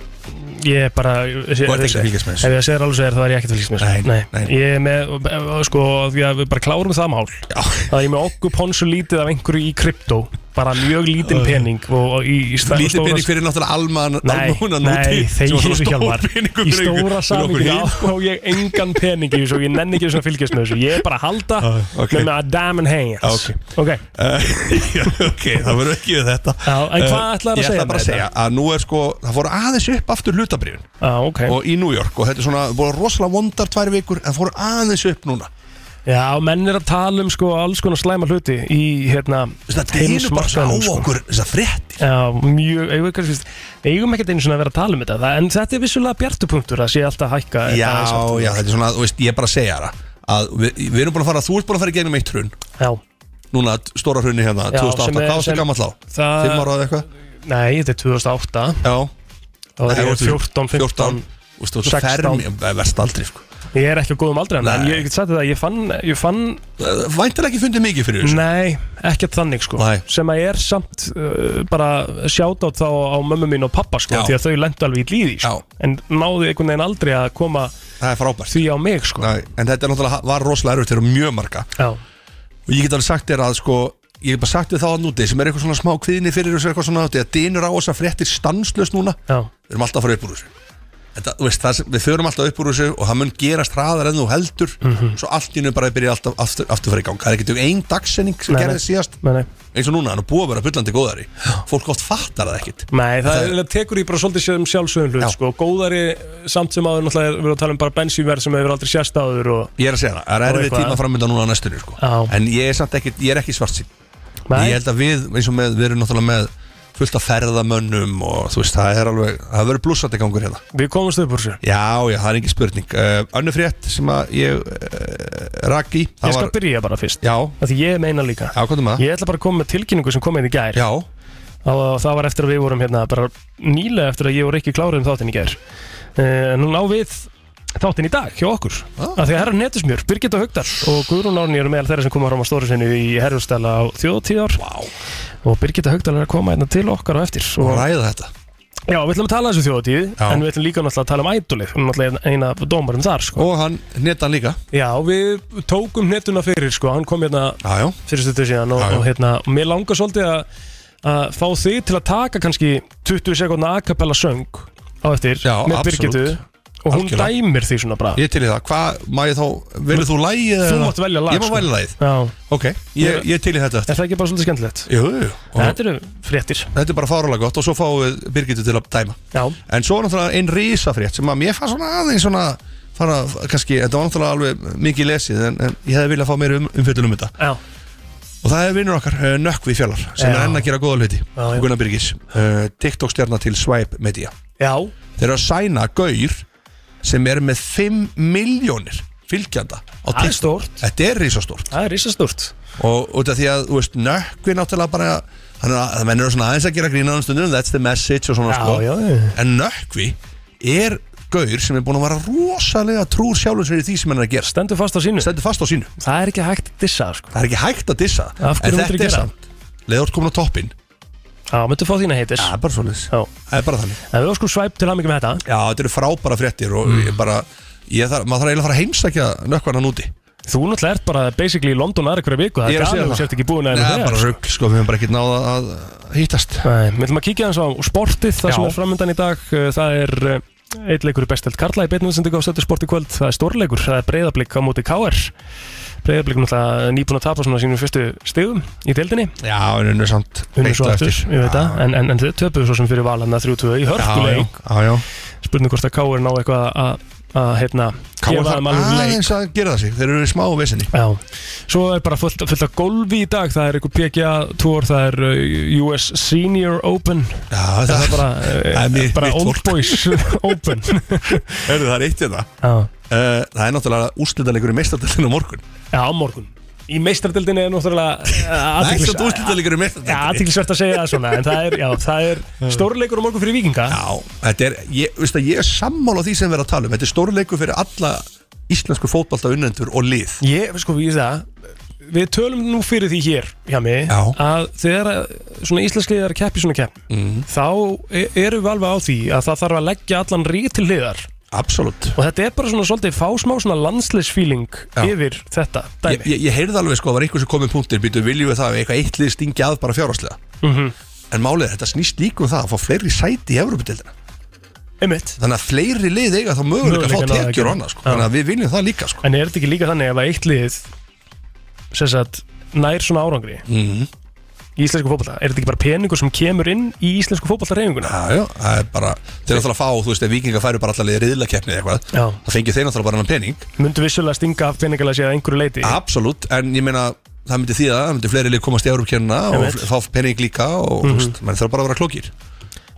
[SPEAKER 2] Ég er bara Þú
[SPEAKER 3] ert ekki að fylgjast með þessu?
[SPEAKER 2] Ef ég segir alveg segir það er ég ekki að fylgjast með þessu.
[SPEAKER 3] Nei, nei.
[SPEAKER 2] Ég er með, sko, því að við bara klárum það mál
[SPEAKER 3] Já,
[SPEAKER 2] Það er ég með okkur ponsu lítið af einhverju í kryptó Bara mjög lítinn pening og, og í, í stæ-
[SPEAKER 3] lítið
[SPEAKER 2] stóra-
[SPEAKER 3] pening fyrir náttúrulega alman
[SPEAKER 2] Nei, nei, þeir eru hjálmar Í stóra samingi á ég engan pening í þessu og ég nenni ekki þessum að fylgjast með þessu Ég er bara að halda
[SPEAKER 3] Ah, ok. Ah,
[SPEAKER 2] með með að damn hands
[SPEAKER 3] Ok.
[SPEAKER 2] okay.
[SPEAKER 3] Eh, *laughs* Ok, það verður ekki við þetta
[SPEAKER 2] Já, en hvað
[SPEAKER 3] Eh,
[SPEAKER 2] ætlarðu að
[SPEAKER 3] Ég
[SPEAKER 2] segja um
[SPEAKER 3] ætla bara
[SPEAKER 2] með
[SPEAKER 3] að segja að nú er sko, það fóru aðeins upp aftur hlutabrifin
[SPEAKER 2] Á, Ah, ok
[SPEAKER 3] og í New York og þetta er svona, voru rosalega vondar tvær vikur en fóru aðeins upp núna
[SPEAKER 2] Já, menn er að tala um sko alls konar slæma hluti í hérna
[SPEAKER 3] Þetta er bara á
[SPEAKER 2] heimsmarkaðnum, sko.
[SPEAKER 3] okkur þessar fréttir
[SPEAKER 2] Já, mjög, eigum, kannski, eigum ekkert einu svona að vera að tala um þetta það- En þetta er vissulega bjartupunktur að sé alltaf að hækka
[SPEAKER 3] Já,
[SPEAKER 2] aðeins aftur.
[SPEAKER 3] já, þetta er svona, þú veist, ég er bara að segja það að við, við erum búin að fara, þú ert búin að fara í gegnum eitt hrun
[SPEAKER 2] já
[SPEAKER 3] núna, stóra hrunni hérna,
[SPEAKER 2] Já,
[SPEAKER 3] 2008,
[SPEAKER 2] sem er-
[SPEAKER 3] hvað varst
[SPEAKER 2] sem-
[SPEAKER 3] það gammal á?
[SPEAKER 2] það-
[SPEAKER 3] 5 ára eða eitthvað?
[SPEAKER 2] Nei, þetta er 2008
[SPEAKER 3] Já,
[SPEAKER 2] Þá er ég
[SPEAKER 3] Nei, þú-
[SPEAKER 2] 14, 15
[SPEAKER 3] Þú veist, þú ert
[SPEAKER 2] 16.
[SPEAKER 3] fermi, verst aldrei sko.
[SPEAKER 2] Ég er ekki á góðum aldrei En
[SPEAKER 3] Nei.
[SPEAKER 2] ég get sagt þetta, ég fann, ég fann
[SPEAKER 3] Væntar ekki fundið mikið fyrir þessu
[SPEAKER 2] Nei, ekkert þannig sko
[SPEAKER 3] Nei.
[SPEAKER 2] Sem að er samt uh, bara sjátátt þá á mömmu mín og pappa sko
[SPEAKER 3] Já.
[SPEAKER 2] Því að þau lendu alveg í líði sko.
[SPEAKER 3] Já.
[SPEAKER 2] En náðu einhvern veginn aldrei að koma
[SPEAKER 3] Það er frábært
[SPEAKER 2] því á mig sko
[SPEAKER 3] Nei, En þetta er náttúrulega, var rosalega erfitt fyrir mjög marga
[SPEAKER 2] Já,
[SPEAKER 3] Og ég get alveg sagt þér að sko Ég get bara sagt þér þá að núti sem er eitthvað svona smá kviðinni fyrir þessu eitthvað svona Þegar dinur á þess að fréttir stanslust núna
[SPEAKER 2] já,
[SPEAKER 3] Við erum alltaf að fara upp úr þessu þetta, þú veist, það, sem- við förum alltaf upp úr þessu og það mun gerast hraðar en þú heldur
[SPEAKER 2] Mhm.
[SPEAKER 3] svo allt í nú bara byrja alltaf aftur, aftur fyrir gang það er ekki ein dagsenning sem
[SPEAKER 2] Nei,
[SPEAKER 3] gerði
[SPEAKER 2] nei.
[SPEAKER 3] síðast
[SPEAKER 2] Nei, nei.
[SPEAKER 3] eins og núna, hann er búið að vera byllandi góðari fólk oft fattar það ekkit
[SPEAKER 2] Nei, það,
[SPEAKER 3] Það
[SPEAKER 2] það tekur í bara svolítið sem sjálfsögum hlut
[SPEAKER 3] Já.
[SPEAKER 2] sko. Góðari samt sem áður náttúrulega er- við erum að tala um bara bensínverð sem hefur aldrei sérst áður og...
[SPEAKER 3] ég er að segja það, það
[SPEAKER 2] Og
[SPEAKER 3] er erfið
[SPEAKER 2] eitthvað.
[SPEAKER 3] tíma framönda núna á næstunni sko.
[SPEAKER 2] Já.
[SPEAKER 3] en ég er samt ekkit, ég er ekki svart sín
[SPEAKER 2] Nei,
[SPEAKER 3] ég held að við, eins og með, við erum náttúrulega með fullt af ferðamönnum og þú veist, það er alveg, það verður blúsandi gangur hérna
[SPEAKER 2] við komumst upp úr sér
[SPEAKER 3] Já, já, það er engin spurning uh, Önnu frétt sem að ég uh, rak í það
[SPEAKER 2] Ég skal
[SPEAKER 3] var-
[SPEAKER 2] byrja bara fyrst
[SPEAKER 3] Já,
[SPEAKER 2] Af Því ég meina líka
[SPEAKER 3] já, hvað er maður?
[SPEAKER 2] Ég ætla bara að koma með tilkynningu sem kom einn í gær
[SPEAKER 3] Já,
[SPEAKER 2] og það var eftir að við vorum hérna bara nýlega eftir að ég og Rikki kláruðum þáttinn í gær Eh, en hún á við þáttinn í dag hjá okkur
[SPEAKER 3] Ah.
[SPEAKER 2] ah. að því að herra netusmjör, Birgitta Haugdal og Guðrún Árni eru meðal þeirra sem koma fram á stóru sinni í herjumstæla á þjóðtíðar
[SPEAKER 3] vá,
[SPEAKER 2] og Birgitta Haugdal er að koma hérna til okkar á eftir
[SPEAKER 3] og
[SPEAKER 2] og
[SPEAKER 3] ræða þetta
[SPEAKER 2] já, við ætlum að tala um þessu þjóðtíð
[SPEAKER 3] Já.
[SPEAKER 2] en við ætlum líka náttúrulega að tala um ædolið hún er náttúrulega eina af dómarum þar sko.
[SPEAKER 3] Og hann, netan líka
[SPEAKER 2] já, við tókum netuna fyrir sko. hann kom hérna
[SPEAKER 3] Já, já,
[SPEAKER 2] fyrir stötu síðan og,
[SPEAKER 3] Já, já.
[SPEAKER 2] og hérna, og mér langar svolítið að, að fá þig til að taka kannski 20 sekundna acapella söng á eftir
[SPEAKER 3] Já,
[SPEAKER 2] með
[SPEAKER 3] absolutt.
[SPEAKER 2] Birgitu og hún
[SPEAKER 3] Algjörlega.
[SPEAKER 2] dæmir því svona bara
[SPEAKER 3] ég til í það Hvað, má ég þá, verður þú lægið?
[SPEAKER 2] Þú
[SPEAKER 3] eða?
[SPEAKER 2] mátt velja lag,
[SPEAKER 3] Ég má
[SPEAKER 2] sko.
[SPEAKER 3] velja lagið
[SPEAKER 2] Já,
[SPEAKER 3] Ok, ég, ég til í þetta
[SPEAKER 2] er
[SPEAKER 3] eftir
[SPEAKER 2] það ekki bara svolítið skemmtilegt?
[SPEAKER 3] Jú, jú, og
[SPEAKER 2] Þetta eru fréttir
[SPEAKER 3] þetta er bara fárulega gott Og svo fáum við Birgitu til að dæma
[SPEAKER 2] Já,
[SPEAKER 3] En svo er náttúrulega einn risafrétt sem að mér fannst svona aðeins svona fara, kannski, þetta var náttúrulega alveg mikið lesið en, en ég hefði viljað fá meira um, umfjöldun um þetta
[SPEAKER 2] já,
[SPEAKER 3] og það er vinnur okkar, uh, Nökkvi Fjallar sem
[SPEAKER 2] Já.
[SPEAKER 3] er enn að gera góða hluti
[SPEAKER 2] Já, já.
[SPEAKER 3] Gunnar Byrgis, uh, TikTok stjarnar til Swipe Media
[SPEAKER 2] já,
[SPEAKER 3] þeir eru að sæna gaur sem er með 5 miljónir fylgjanda
[SPEAKER 2] það
[SPEAKER 3] á
[SPEAKER 2] er
[SPEAKER 3] TikTok
[SPEAKER 2] stórt
[SPEAKER 3] þetta er risastórt
[SPEAKER 2] Það er risastúrt
[SPEAKER 3] og út af því að, þú veist, Nökkvi náttúrulega bara hann er að, það mennur svona aðeins að gera grína stundum, that's the message og svona
[SPEAKER 2] Já,
[SPEAKER 3] sko.
[SPEAKER 2] já, já.
[SPEAKER 3] en Nökkvi er gaur sem er búin að vera rosalega trúr sjálfum sér í því sem hann er að gera
[SPEAKER 2] Stendur fast á sínu
[SPEAKER 3] stendur fast á sínu
[SPEAKER 2] Það er ekki hægt að dissa það, sko
[SPEAKER 3] það er ekki hægt að dissa það.
[SPEAKER 2] Af hverju
[SPEAKER 3] en
[SPEAKER 2] myndirðu
[SPEAKER 3] þetta er
[SPEAKER 2] gera
[SPEAKER 3] samt leður komin á toppin
[SPEAKER 2] Já, myndu fá þína heitir
[SPEAKER 3] er bara svolítið
[SPEAKER 2] Já,
[SPEAKER 3] Það er bara þannig
[SPEAKER 2] en við óskum svæp til hamingi með þetta
[SPEAKER 3] Já, þetta eru frábæra fréttir og
[SPEAKER 2] Mm.
[SPEAKER 3] ég bara ég þarf, maður þarf eiginlega að fara að heimsækja nökkvarnan úti
[SPEAKER 2] Þú náttúrulega ert bara basically í London aðra hverja viku Það
[SPEAKER 3] Ég
[SPEAKER 2] er
[SPEAKER 3] að
[SPEAKER 2] gæmur,
[SPEAKER 3] segja
[SPEAKER 2] þú
[SPEAKER 3] það.
[SPEAKER 2] sért ekki búin að
[SPEAKER 3] Nei,
[SPEAKER 2] henni
[SPEAKER 3] það er bara rugg, sko, við höfum bara ekki náða að hýtast
[SPEAKER 2] Nei, við ætlum að kíkja hans á sportið það sem
[SPEAKER 3] Já.
[SPEAKER 2] er framöndan í dag Uh, það er uh, einn leikur í bestelt Karla í beinum sem tegur á stöldu sporti kvöld það er stórleikur, það er breyðablík á móti KR breyðablík náttúrulega nýbúin að tapa svona sínum fyrstu stigum í deildinni
[SPEAKER 3] Já, en unnur samt
[SPEAKER 2] unnur svo
[SPEAKER 3] beint á
[SPEAKER 2] aftur, ég veit það, en, en, en þau töpuðu svo sem fyrir valanna 3-2 í
[SPEAKER 3] Já, já,
[SPEAKER 2] hörkuleik
[SPEAKER 3] já, já.
[SPEAKER 2] spurning hvort að KR ná eitthvað að að hérna,
[SPEAKER 3] Káur þarf
[SPEAKER 2] þeim alveg leik
[SPEAKER 3] aðeins að gera það sig Þeir eru í smá vesinni
[SPEAKER 2] Já, svo er bara fullt, fullt af golfi í dag, það er einhver PGA Tour, það er uh, US Senior Open,
[SPEAKER 3] Já, það,
[SPEAKER 2] það er
[SPEAKER 3] *laughs*
[SPEAKER 2] bara,
[SPEAKER 3] Það er
[SPEAKER 2] eh,
[SPEAKER 3] mitt-
[SPEAKER 2] bara
[SPEAKER 3] mitt
[SPEAKER 2] Old
[SPEAKER 3] fólk. *laughs*
[SPEAKER 2] Boys Open
[SPEAKER 3] Heyrðu, það er eitt hérna. þetta
[SPEAKER 2] Já,
[SPEAKER 3] uh, Það er náttúrulega úrslitaleikur í meistardildinu á morgun
[SPEAKER 2] já á morgun Í meistardildinni er náttúrulega eh,
[SPEAKER 3] Það er
[SPEAKER 2] athyglis-
[SPEAKER 3] ekkert úrslitaleikur í
[SPEAKER 2] Já,
[SPEAKER 3] meistardildinu
[SPEAKER 2] aðtiklisvert að segja það svona En það er, já, það er stórleikur á morgun fyrir vikinga
[SPEAKER 3] Já, þetta er, ég, veist að ég er sammála því sem við erum að tala um Þetta er stórleikur fyrir alla íslensku fótbalta og lið
[SPEAKER 2] Ég, sko, ég það Við tölum nú fyrir því hér, hjá mig
[SPEAKER 3] Já.
[SPEAKER 2] Að þegar að svona íslenskliðar keppi svona kepp
[SPEAKER 3] Mhm.
[SPEAKER 2] mm. Þá e- erum við alveg á því að það þarf að leggja allan rík til hliðar
[SPEAKER 3] Absolutt
[SPEAKER 2] Og þetta er bara svona svolítið fásmá svona landslisfíling
[SPEAKER 3] Já.
[SPEAKER 2] yfir þetta
[SPEAKER 3] Ég,
[SPEAKER 2] dæmi
[SPEAKER 3] ég, ég heyrði alveg sko að það var eitthvað sem komið punktir býtu viljum við það að eitthvað eitt lið stingi að bara fjárháslega
[SPEAKER 2] Mhm.
[SPEAKER 3] -hmm. en málið er þetta snýst líka um það að fá fleiri sæti í Evropadeildina
[SPEAKER 2] Einmitt
[SPEAKER 3] þannig að fleiri lið eiga þá möguleika
[SPEAKER 2] Möguleika
[SPEAKER 3] að fá
[SPEAKER 2] ná að
[SPEAKER 3] tekjur
[SPEAKER 2] gera.
[SPEAKER 3] og annað sko.
[SPEAKER 2] Já.
[SPEAKER 3] þannig að við viljum það líka sko.
[SPEAKER 2] En er þetta ekki líka þannig ef að eitt lið sem sagt, nær svona árangri
[SPEAKER 3] Mhm.
[SPEAKER 2] í íslensku fótballa er þetta ekki bara peningur sem kemur inn í íslensku fótballa reyfinguna
[SPEAKER 3] já, já, það er bara þeir náttúrulega fá, þú veist, ef vikingar færu bara allar liðið riðlakeppni eða eitthvað,
[SPEAKER 2] Já.
[SPEAKER 3] það fengi þeir náttúrulega bara hann pening
[SPEAKER 2] myndu vissulega stinga af peningalega sér að einhverju leiti
[SPEAKER 3] absolutt, en ég meina það myndi þýða, það myndi fleiri lið komast í Evropakernina og
[SPEAKER 2] Einmitt. Mhm.
[SPEAKER 3] fl- fá pening líka og mm -hmm. mann þarf bara að vera klókir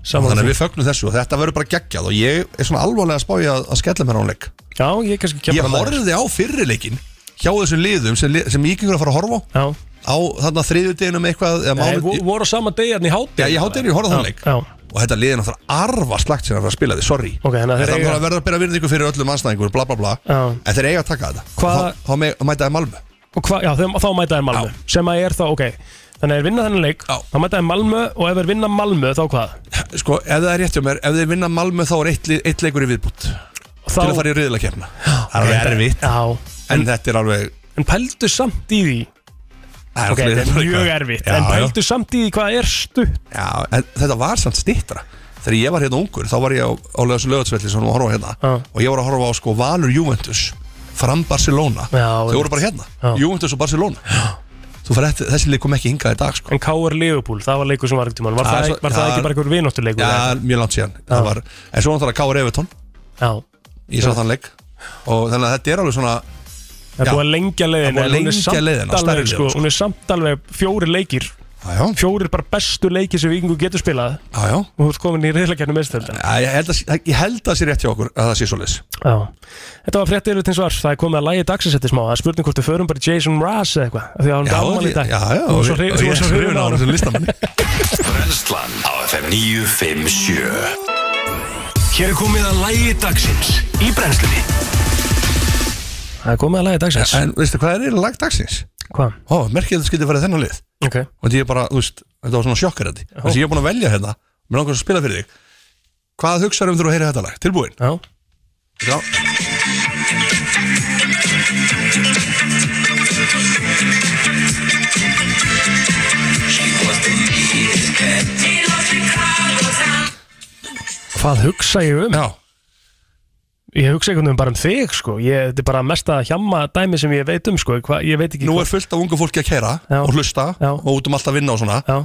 [SPEAKER 2] Saman
[SPEAKER 3] þannig að
[SPEAKER 2] því.
[SPEAKER 3] við fögnum þessu og þetta verður bara geggjað og ég er svona alvarlega að spája að skella mér á hún leik
[SPEAKER 2] Já, ég kannski
[SPEAKER 3] Ég
[SPEAKER 2] kemur
[SPEAKER 3] horfði á fyrirleikin hjá þessum liðum sem, li- sem ég gengur að fara að horfa á
[SPEAKER 2] Já,
[SPEAKER 3] á þarna þriðjudeginum eitthvað eða
[SPEAKER 2] Nei,
[SPEAKER 3] mánu
[SPEAKER 2] vo- voru á sama degi hérna í hátíð
[SPEAKER 3] Já, ég hátt einu, ég horfði á þann leik
[SPEAKER 2] Já,
[SPEAKER 3] og þetta liðin að það arfa slagt sem að fara að spila því, sorry
[SPEAKER 2] Ok, þannig að þeir
[SPEAKER 3] Þetta
[SPEAKER 2] eiga-
[SPEAKER 3] eiga... verður að bera virðingu fyrir öllum anstæðingur, bla bla bla
[SPEAKER 2] Já.
[SPEAKER 3] en þeir eiga að taka þetta
[SPEAKER 2] Hvað-
[SPEAKER 3] Og þá, þá me- mæta það Malmö
[SPEAKER 2] og hva, já þeim, þá mæta þeir Malmö sem að er þá, ok Þannig að þeir vinna þennan leik,
[SPEAKER 3] Já.
[SPEAKER 2] þá mæta þeir Malmö og ef þeir vinna Malmö, þá hvað?
[SPEAKER 3] Sko, ef það er rétt hjá mér, ef þeir vinna Malmö þá er eitt, lið- eitt leikur í viðbútt
[SPEAKER 2] Þá,
[SPEAKER 3] til að fara í riðlakefna Það er alveg erfitt,
[SPEAKER 2] Já,
[SPEAKER 3] en þetta er alveg
[SPEAKER 2] en pældu samt í því
[SPEAKER 3] það
[SPEAKER 2] Ok,
[SPEAKER 3] alveg-
[SPEAKER 2] þetta er mjög erfitt, en
[SPEAKER 3] já, já.
[SPEAKER 2] pældu samt í því hvað er stutt
[SPEAKER 3] Já, en þetta var samt stittra þegar ég var hérna ungur þá var ég á, á lögatsvelli sem hún var að horfa á hérna
[SPEAKER 2] Já.
[SPEAKER 3] og ég var að horfa á sko Valur Juventus fram Barcelona
[SPEAKER 2] Já,
[SPEAKER 3] þau voru bara hérna,
[SPEAKER 2] Já.
[SPEAKER 3] Juventus og Barcelona Já. þú fyrir eftir, þessi leik kom ekki hingað í dag sko.
[SPEAKER 2] En KR Liverpool, það var leikur sem var ekkert tímann Var,
[SPEAKER 3] Já,
[SPEAKER 2] það,
[SPEAKER 3] svo-
[SPEAKER 2] var það
[SPEAKER 3] já.
[SPEAKER 2] ekki bara einhver vináttuleikur?
[SPEAKER 3] Já, mjög langt síðan Það var, En svo náttúrulega Káur Evertón
[SPEAKER 2] já.
[SPEAKER 3] Ég sá þann leik Og þannig að þetta er alveg svona
[SPEAKER 2] Það
[SPEAKER 3] Já.
[SPEAKER 2] er búið að lengja leiðin
[SPEAKER 3] Það er búið að lengja leiðina, stærri
[SPEAKER 2] alveg,
[SPEAKER 3] leiðin,
[SPEAKER 2] sko,
[SPEAKER 3] sko.
[SPEAKER 2] Hún er samt alveg fjóri leikir
[SPEAKER 3] Já, já,
[SPEAKER 2] Fjórir bara bestu leikir sem vikingu getur spilað
[SPEAKER 3] já, já.
[SPEAKER 2] Og þú ert komin í reyðleikjarnu meðstöldar
[SPEAKER 3] Æ, Ég held að ég held að það sé rétt hjá okkur að það sé svoleiðis
[SPEAKER 2] Já, þetta var fréttið yfir tinsvar Það er komið að lægi dagsinsetti smá Það er spurning hvort við förum bara í Jason Mraz eða eitthvað af Því að hann gaman í
[SPEAKER 3] já,
[SPEAKER 2] dag
[SPEAKER 3] já, já
[SPEAKER 2] Þú er
[SPEAKER 3] og-
[SPEAKER 2] svo
[SPEAKER 3] og
[SPEAKER 2] hrifin
[SPEAKER 3] ég er
[SPEAKER 2] svo hrifin á
[SPEAKER 3] hrifinn
[SPEAKER 2] hann
[SPEAKER 3] þessum listamanni
[SPEAKER 1] Brenslan á FM 957
[SPEAKER 2] Hér er komið að lægi dagsins í brennslunni Það er komið að lægi dagsins
[SPEAKER 3] En veistu hvað er eiginlega lag dagsins?
[SPEAKER 2] Hvað?
[SPEAKER 3] Ó, merkið að þetta skyldi verið þennan lið
[SPEAKER 2] Ok,
[SPEAKER 3] Og því ég bara, þú veist, þetta var svona sjokkar þetta Þannig að ég er búin að velja hérna Mér langar að spila fyrir þig Hvað hugsaður um þú að heyra þetta lag? Tilbúin?
[SPEAKER 2] já
[SPEAKER 3] Já
[SPEAKER 2] Hvað hugsa ég um?
[SPEAKER 3] Já
[SPEAKER 2] Ég hugsa einhvern veginn bara um þig sko ég, Þetta er bara mesta hjamma dæmi sem ég veit um sko Hva, Ég veit ekki
[SPEAKER 3] Nú
[SPEAKER 2] hvað-
[SPEAKER 3] er fullt af ungu fólki að kæra
[SPEAKER 2] Já.
[SPEAKER 3] Og hlusta
[SPEAKER 2] Já.
[SPEAKER 3] Og út um allt að vinna og svona
[SPEAKER 2] Já,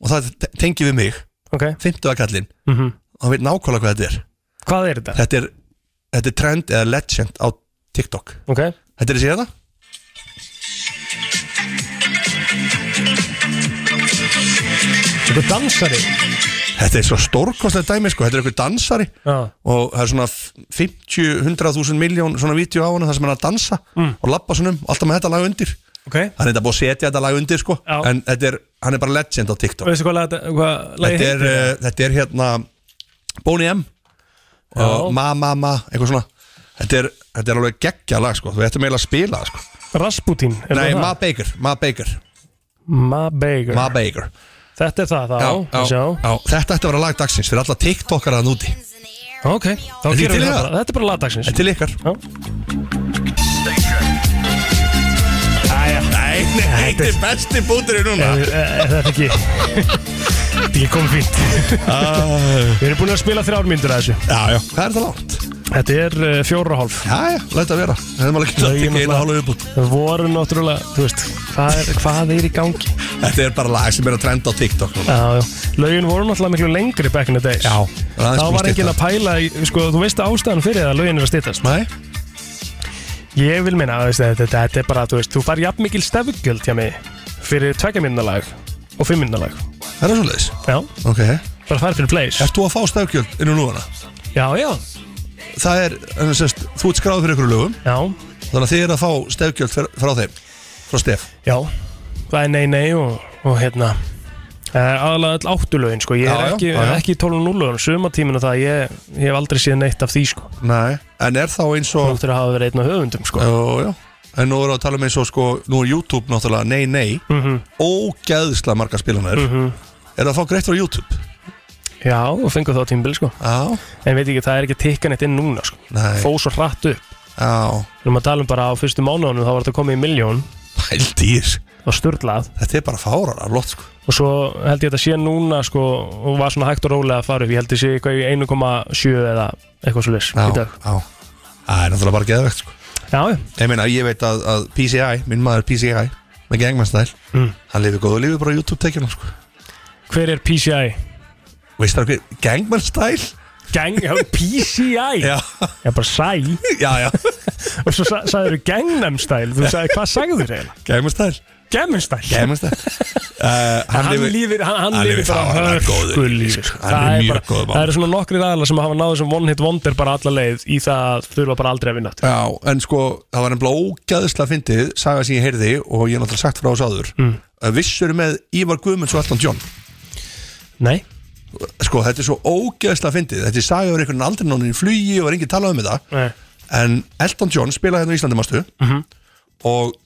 [SPEAKER 3] Og það te- tengi við mig
[SPEAKER 2] ok
[SPEAKER 3] Fimmtugakallinn
[SPEAKER 2] mm
[SPEAKER 3] og hann veit nákvæmlega hvað þetta er
[SPEAKER 2] Hvað er þetta?
[SPEAKER 3] þetta er, þetta er trend eða legend á TikTok
[SPEAKER 2] Ok,
[SPEAKER 3] þetta er þessi hérna
[SPEAKER 2] þetta er dansari
[SPEAKER 3] þetta er svo stórkostlega dæmi sko, þetta er einhver dansari
[SPEAKER 2] Já,
[SPEAKER 3] og það er svona 50-100.000 miljón svona vídeo á hann þar sem hann er að dansa
[SPEAKER 2] Mm.
[SPEAKER 3] og lappa svona um, alltaf með þetta lag undir
[SPEAKER 2] ok
[SPEAKER 3] hann er þetta búið að setja þetta lag undir sko
[SPEAKER 2] Já.
[SPEAKER 3] en þetta er, hann er bara legend á TikTok
[SPEAKER 2] Veistu hvað, lag- hvað lagi
[SPEAKER 3] þetta er, uh, þetta er hérna Boney M og
[SPEAKER 2] Já.
[SPEAKER 3] Ma Ma Ma, eitthvað svona þetta er, þetta er alveg geggja lag sko, þú ættum eiginlega að spila það, sko.
[SPEAKER 2] Rasputin er
[SPEAKER 3] nei,
[SPEAKER 2] það
[SPEAKER 3] Ma
[SPEAKER 2] það?
[SPEAKER 3] Baker, Ma Baker
[SPEAKER 2] Ma Baker
[SPEAKER 3] Ma Baker
[SPEAKER 2] Þetta er það þá, já, sjá
[SPEAKER 3] já. Þetta ætti að vera lag dagsins fyrir alla TikTokar að núti
[SPEAKER 2] Ok, þá
[SPEAKER 3] Þetta
[SPEAKER 2] gerum
[SPEAKER 3] er til
[SPEAKER 2] við
[SPEAKER 3] í
[SPEAKER 2] það
[SPEAKER 3] það.
[SPEAKER 2] bara Þetta er bara lagdagsins
[SPEAKER 3] En til ykkar
[SPEAKER 2] Já.
[SPEAKER 3] Nei, nei, þetta er besti búturinn núna
[SPEAKER 2] Er- er- er Þetta er
[SPEAKER 3] *laughs*
[SPEAKER 2] ekki Þetta er ekki komið fínt
[SPEAKER 3] Ah.
[SPEAKER 2] Við erum búin að spila þrjármyndur að þessu
[SPEAKER 3] Já, já Hvað er það langt?
[SPEAKER 2] Þetta er uh, fjóra og hálf
[SPEAKER 3] Já, já, læta að vera Það er maður ekki að
[SPEAKER 2] Lögin
[SPEAKER 3] tekja eina
[SPEAKER 2] náttúrulega-
[SPEAKER 3] hálfa viðbútt
[SPEAKER 2] Það voru náttúrulega, þú veist, hvað er, hvað er í gangi?
[SPEAKER 3] Þetta er bara lag sem er að trenda á TikTok núna
[SPEAKER 2] Já, já, lögin voru náttúrulega miklu lengri back in the days
[SPEAKER 3] Já,
[SPEAKER 2] Þá
[SPEAKER 3] það er aðeins búin að
[SPEAKER 2] var enginn
[SPEAKER 3] stytta.
[SPEAKER 2] að pæla, í, sko, þú veist ástæðan fyrir það að lögin er að styttast
[SPEAKER 3] Nei,
[SPEAKER 2] Ég vil minna, veist, þetta, þetta, þetta er bara, þú veist, þú fær jafn mikil stefgjöld hjá mig Fyrir tvekja minna lag og fimm minna lag
[SPEAKER 3] það er svoleiðis
[SPEAKER 2] Já,
[SPEAKER 3] Ok
[SPEAKER 2] bara fær fyrir plays
[SPEAKER 3] Ert þú að fá stafgjöld inn úr núna?
[SPEAKER 2] Já, já,
[SPEAKER 3] Það er, en það sést, þú ert skráð fyrir ykkur lögum
[SPEAKER 2] já,
[SPEAKER 3] Þannig að þið er að fá stafgjöld fyr- frá þeim Frá Stef
[SPEAKER 2] já Það er nei, nei og, og hérna Það er aðalega öll áttulögin, sko Ég er
[SPEAKER 3] Já, já,
[SPEAKER 2] ekki,
[SPEAKER 3] já, já.
[SPEAKER 2] ekki í 12.0-lögin Sumatíminu það, ég, ég hef aldrei séð neitt af því, sko
[SPEAKER 3] Nei En er þá eins og
[SPEAKER 2] Þáttur að hafa verið einn af höfundum, sko
[SPEAKER 3] Já, já En nú erum við að tala um eins og sko Nú er YouTube náttúrulega nei, nei
[SPEAKER 2] Mhm.
[SPEAKER 3] Ógæðslega marga spilanar Er það að fá greitt frá YouTube?
[SPEAKER 2] Já, og fengu þá tímbil sko
[SPEAKER 3] Já
[SPEAKER 2] En veit ekki, það er ekki tikkan eitt inn núna sko
[SPEAKER 3] Nei
[SPEAKER 2] Fó svo hratt upp
[SPEAKER 3] Já
[SPEAKER 2] Við erum að tala um bara á fyrstu mánuðunum þá var þetta komið í miljón
[SPEAKER 3] Pældýr
[SPEAKER 2] og sturlað
[SPEAKER 3] Þetta er bara fárar af lott sko
[SPEAKER 2] og svo held ég að þetta sé núna sko og var svona hægt og rólega að fara upp ég held ég sé eitthvað í 1,7 eða eitthvað svo leys í
[SPEAKER 3] Já
[SPEAKER 2] dag
[SPEAKER 3] Já Það er náttúrulega bara geðvegt sko
[SPEAKER 2] Já, já,
[SPEAKER 3] Ég meina, ég veit að, að PCI Minn maður PCI Með gangmannstæl
[SPEAKER 2] Mm.
[SPEAKER 3] Hann lifið góðu lífi bara á YouTube tekjunum sko
[SPEAKER 2] hver er PCI?
[SPEAKER 3] Veist það hver Gangmannstæl?
[SPEAKER 2] Gang, já, PCI
[SPEAKER 3] Já
[SPEAKER 2] Já, bara sæ
[SPEAKER 3] *laughs* Já, já
[SPEAKER 2] og svo sa, sagður þú Gangnam Style þú sagði, hvað sagður þér eiginlega?
[SPEAKER 3] Gangmannstæl
[SPEAKER 2] Gangnam Style *laughs*
[SPEAKER 3] Gangmannstæl uh,
[SPEAKER 2] Eh, Hann, lifir, hann, hann lifir bara
[SPEAKER 3] fáránlega góðu
[SPEAKER 2] hörku
[SPEAKER 3] lífi,
[SPEAKER 2] lífi
[SPEAKER 3] sko.
[SPEAKER 2] sko.
[SPEAKER 3] Hann
[SPEAKER 2] Það er
[SPEAKER 3] lifir mjög
[SPEAKER 2] bara-
[SPEAKER 3] góðu máli.
[SPEAKER 2] Það eru svona nokkri aðlar sem hafa náðu sem one hit wonder bara alla leið í það að þurfa bara aldrei að vinna aftur
[SPEAKER 3] Já, en sko, það var nefnilega ógæðislega fyndið, saga sem ég heyrði og ég er náttúrulega sagt frá þessu áður mm. Vissur með Ívar Guðmunds og Elton John
[SPEAKER 2] Nei,
[SPEAKER 3] Sko, þetta er svo ógæðislega fyndið Þetta er saga var einhvern aldrei náttúrulega í flugi og var enginn talað um þetta
[SPEAKER 2] Nei.
[SPEAKER 3] En Elton John spilaði hérna á Íslandi mástu -hmm. og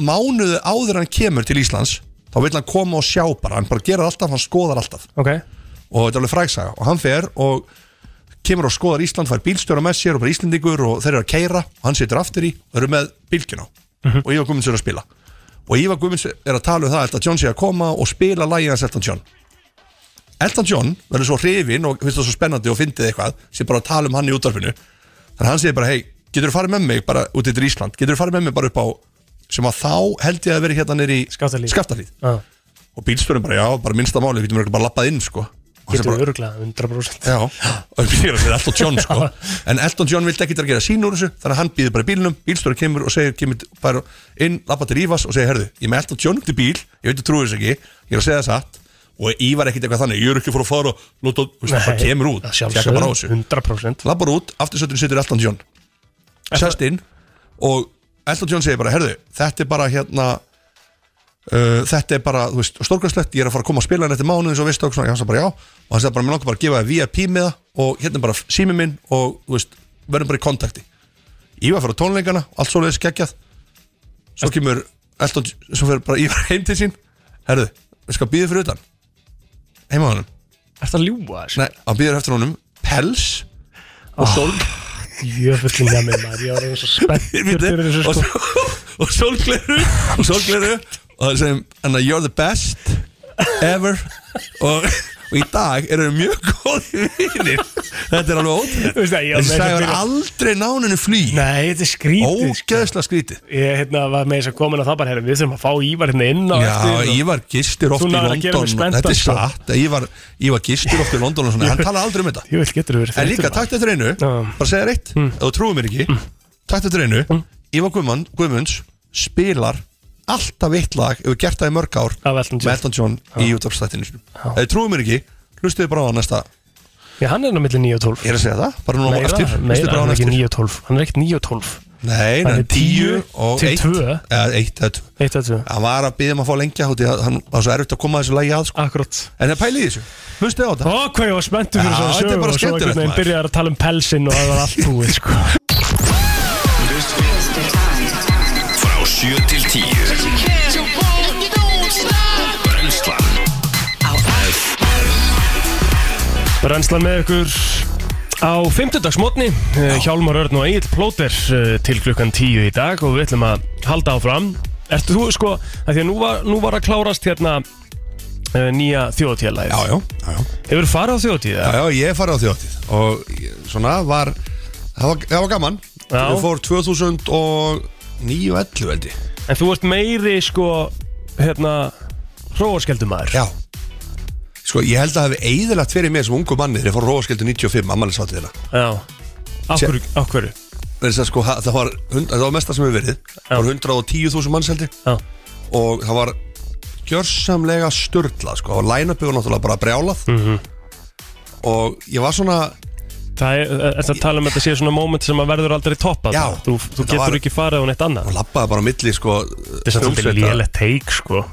[SPEAKER 3] mánuðu áður en hann kemur til Íslands þá vill hann koma og sjá bara, hann bara gerir alltaf, hann skoðar alltaf
[SPEAKER 2] ok
[SPEAKER 3] og þetta er alveg fræksaga og hann fer og kemur og skoðar Ísland, fær bílstjóra með sér og bara Íslendingur og þeir eru að keira og hann situr aftur í og eru með bílgjuna og Ívar Guðmunds er að spila og Ívar Guðmunds er að tala um það að John sé að koma og spila lægin hans Elton John Elton John verður svo hrifin og finnst það svo spennandi og fyndið eitthvað sem bara að tala um hann í útvarfinu þannig að hann segir bara, hei, getur þú farið með mig bara út yfir Ísland, getur þú farið með mig bara upp á sem að þá held ég að vera hérna nýri
[SPEAKER 2] Skaftahlíð.
[SPEAKER 3] Skaftahlíð
[SPEAKER 2] Já,
[SPEAKER 3] og bílstjórinn bara, já, bara minnsta máli, við getum örugglega bara lappað inn sko. Og hann
[SPEAKER 2] getur
[SPEAKER 3] bara,
[SPEAKER 2] við öruglega 100%
[SPEAKER 3] Já, og býður fyrir Elton John sko. en Elton John vildi ekkert að gera sín úr þessu þannig að hann býður bara í bílnum, bílstóri kemur og segir, kemur bara inn, lappa til Ívas og segir, herðu, ég er með Elton John út í bíl ég veit að trúi þessu ekki, ég er að segja það satt og Ívar ekkert eitthvað þannig, ég er ekki fór að fara og lóta, þú veist, það bara kemur út, tjekka bara á þessu
[SPEAKER 2] 100%
[SPEAKER 3] lappar út, aftursöndin situr Elton John sest inn og Elton John segir bara, herðu, þetta er bara hérna uh, þetta er bara, þú veist, stórkastlegt ég er að fara að koma að spila hann eftir mánuð eins og veist og svona, ég hans að bara já, og hann sagði bara, mér langar bara að gefa þér VIP með það og hérna er bara sími minn og, þú veist, verðum bara í kontakti ég var að fara á tónleikana, allt svo leiðis geggjað svo kemur Elton, svo fyrir bara Ívar heim til sín herðu, við skal býða fyrir utan heima á honum,
[SPEAKER 2] Er það ljúa þessu?
[SPEAKER 3] nei, hann býður eftir honum pels og sól
[SPEAKER 2] Jöfullin hjá mér maður, ég var
[SPEAKER 3] *laughs*
[SPEAKER 2] eins og spenntur
[SPEAKER 3] Bíddu,
[SPEAKER 2] fyrir þessu
[SPEAKER 3] og,
[SPEAKER 2] sko
[SPEAKER 3] *laughs* og sólgleru og sólgleru og það segjum "And you're the best ever og, og í dag eru þau mjög góði vinir þetta er alveg ótrúlega
[SPEAKER 2] Þú veist það, ég var
[SPEAKER 3] þessi
[SPEAKER 2] með
[SPEAKER 3] sagði
[SPEAKER 2] þetta
[SPEAKER 3] var aldrei náninu flý
[SPEAKER 2] Nei, þetta er skrítið sko.
[SPEAKER 3] ógeðslega skrítið
[SPEAKER 2] Ég hérna, var með þess að komin að það bara herri, Við þurfum að fá Ívar hérna inn á
[SPEAKER 3] Já,
[SPEAKER 2] eftir og-
[SPEAKER 3] Ívar gistir oft
[SPEAKER 2] Þú
[SPEAKER 3] í
[SPEAKER 2] náður að gera
[SPEAKER 3] London
[SPEAKER 2] mig spenntan,
[SPEAKER 3] Þetta er
[SPEAKER 2] sko.
[SPEAKER 3] satt, Ívar, Ívar gistir oft í London og svona,
[SPEAKER 2] *laughs*
[SPEAKER 3] hann tala aldrei um þetta
[SPEAKER 2] Jú, þetta getur verið
[SPEAKER 3] En líka,
[SPEAKER 2] þreyttur,
[SPEAKER 3] takk eftir einu,
[SPEAKER 2] Já. Mm.
[SPEAKER 3] bara segja reitt Ef þú trúir mér ekki, takk eftir einu Ívar Guðmund, Guðmunds spilar alltaf eitt lag Ef við gert það í mörg ár
[SPEAKER 2] Af Elton John.
[SPEAKER 3] með Elton John í útvarpsþættinu sínum Ef þú trúir mér ekki, hlustuðu bara á hann næsta
[SPEAKER 2] maður. Já, hann er ná milli 9 og 12
[SPEAKER 3] Ég er að segja það, bara núna á
[SPEAKER 2] Meira,
[SPEAKER 3] eftir Hlustuðu
[SPEAKER 2] meira,
[SPEAKER 3] bara á
[SPEAKER 2] hann
[SPEAKER 3] hann
[SPEAKER 2] er ekki 9 og
[SPEAKER 3] eftir
[SPEAKER 2] 12 Hann er ekkert 9 og 12
[SPEAKER 3] Nei,
[SPEAKER 2] Hann
[SPEAKER 3] nei,
[SPEAKER 2] er
[SPEAKER 3] 10 og
[SPEAKER 2] til
[SPEAKER 3] 1
[SPEAKER 2] tvö.
[SPEAKER 3] Eða 1 eða 2
[SPEAKER 2] Eitt að 2
[SPEAKER 3] Hann var að byggja maður að fá lengja út í að hann var svo erfitt að koma að þessu lagi að sko.
[SPEAKER 2] Akkurat
[SPEAKER 3] En það pæli í þessu, hlustuðu á þetta
[SPEAKER 2] Ó, hvað ég var spenntur fyrir
[SPEAKER 3] Já,
[SPEAKER 2] þess að
[SPEAKER 3] þetta er
[SPEAKER 2] sögu og
[SPEAKER 3] bara
[SPEAKER 2] svo
[SPEAKER 3] skemmtilegt,
[SPEAKER 2] einhvern veginn
[SPEAKER 3] maður.
[SPEAKER 2] byrjar að tala um pelsinn og það var allt búið sko.
[SPEAKER 1] Frá 7 til 10 Brenslan
[SPEAKER 2] Brennslan með ykkur á fimmtudagsmotni Hjálmar Örn og Egil Plóter eh, til klukkan 10 í dag og við ætlum að halda áfram Ertu þú sko, að því að nú var, nú var að klárast hérna eh, nýja þjóðtíðalæð
[SPEAKER 3] Já, já, já, já
[SPEAKER 2] Hefur farið á þjóðtíða?
[SPEAKER 3] Já, já, ég farið á þjóttið og ég- svona var, það var, það var gaman
[SPEAKER 2] Já.
[SPEAKER 3] Ég fór 2009 og 11 veldi
[SPEAKER 2] En þú ert meiri sko, hérna, hróarskeldumæður
[SPEAKER 3] Já Sko, ég held að það hefði eiðilegt fyrir mér sem ungu manni þegar ég fór Róðskjöldu 95, ammælisváttiðina
[SPEAKER 2] Já Á
[SPEAKER 3] Sé-
[SPEAKER 2] hverju, á hverju?
[SPEAKER 3] það, sko, það, það, var, hund- það var mesta sem hefur verið Það var 110.000 manns heldur
[SPEAKER 2] Já,
[SPEAKER 3] og það var gjörsamlega störtlað sko. og line-upið var náttúrulega bara brjálað -hmm. og ég var svona
[SPEAKER 2] það er, er það að tala um að þetta sé svona moment sem að verður aldrei toppað
[SPEAKER 3] Já.
[SPEAKER 2] Þú, þú
[SPEAKER 3] Þetta
[SPEAKER 2] getur
[SPEAKER 3] var-
[SPEAKER 2] ekki farið á neitt annað
[SPEAKER 3] og lappaði bara á milli sko,
[SPEAKER 2] Þetta er samt svolítið
[SPEAKER 3] hljómsveita.
[SPEAKER 2] lélega teik *laughs* sko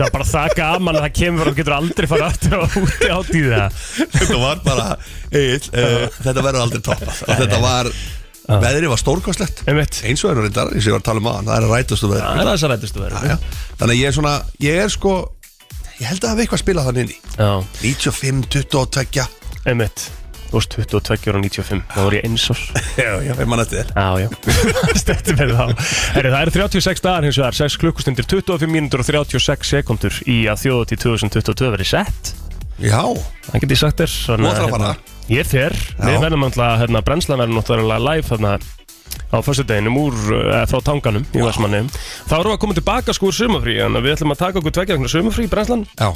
[SPEAKER 2] Það var bara það gaman að það kemur og þú getur aldrei fara aftur á úti átt í það
[SPEAKER 3] þetta var bara eitt, uh, þetta verður aldrei toppað og þetta var, veðrið var stórkostlegt
[SPEAKER 2] Einmitt.
[SPEAKER 3] eins og eru reyndar, eins og ég var að tala um aðan það er að rætast og
[SPEAKER 2] Það
[SPEAKER 3] veðrið
[SPEAKER 2] er það sem rættist að vera
[SPEAKER 3] Já. þannig að ég er svona, ég er sko ég held að það hafi eitthvað að spila þannig inn í
[SPEAKER 2] Já,
[SPEAKER 3] 95, 22
[SPEAKER 2] einmitt Þú varst 22 og 95, þá var ég eins og
[SPEAKER 3] já, já, ég man eftir þér
[SPEAKER 2] Já, *laughs* já, stætti með þá Herri, það eru 36 dagar hins vegar 6 klukkustundir, 25 mínútur og 36 sekundur í að þjóða til 2022 verið sett
[SPEAKER 3] já,
[SPEAKER 2] Það geti ég sagt þér Þú
[SPEAKER 3] ætlar að fara?
[SPEAKER 2] Ég fer, við
[SPEAKER 3] Já.
[SPEAKER 2] verðum alltaf, hérna, brennslan verður náttúrulega live þarna á föstudeginum úr, eða frá tanganum í Vestmannum Þá erum við að koma tilbaka sko úr sumafrí Þannig að við ætlum að taka okkur tveggja vegna sumafrí í brennslan
[SPEAKER 3] já,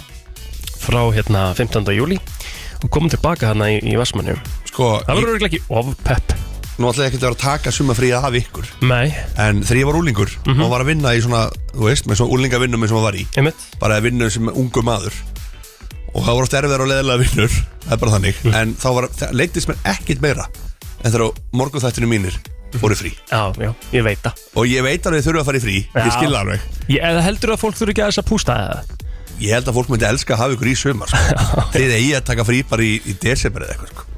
[SPEAKER 2] frá hérna 15. júli og komum tilbaka hérna í, í Vestmannum
[SPEAKER 3] sko
[SPEAKER 2] Það
[SPEAKER 3] ég,
[SPEAKER 2] verður örugglega ekki ofpepp
[SPEAKER 3] nú ætla ég ekkert að vera að taka sumafríða af ykkur
[SPEAKER 2] Nei,
[SPEAKER 3] en þegar ég var úlingur og var að vinna í svona, þú veist, með svona úlingavinnum eins og maður var í
[SPEAKER 2] einmitt
[SPEAKER 3] bara að vinna sem ungu maður og það voru oft erfiðar og leðilega vinnur það er bara þannig,
[SPEAKER 2] Mm.
[SPEAKER 3] en þá var, það leittist mér ekkit meira en þegar á morgunþættinu mínir fóru í frí
[SPEAKER 2] Já, já, ég veit það
[SPEAKER 3] og ég veit alveg þau þurfa að fara í frí,
[SPEAKER 2] Já.
[SPEAKER 3] ég skil það alveg
[SPEAKER 2] ég, Eða heldur að fólk þurfi ekki að þess að pústa það
[SPEAKER 3] ég held að fólk myndi elska að hafa ykkur í sumar
[SPEAKER 2] *laughs*
[SPEAKER 3] sko. þið eigi að taka frí bara í, í desember eða eitthvað sko.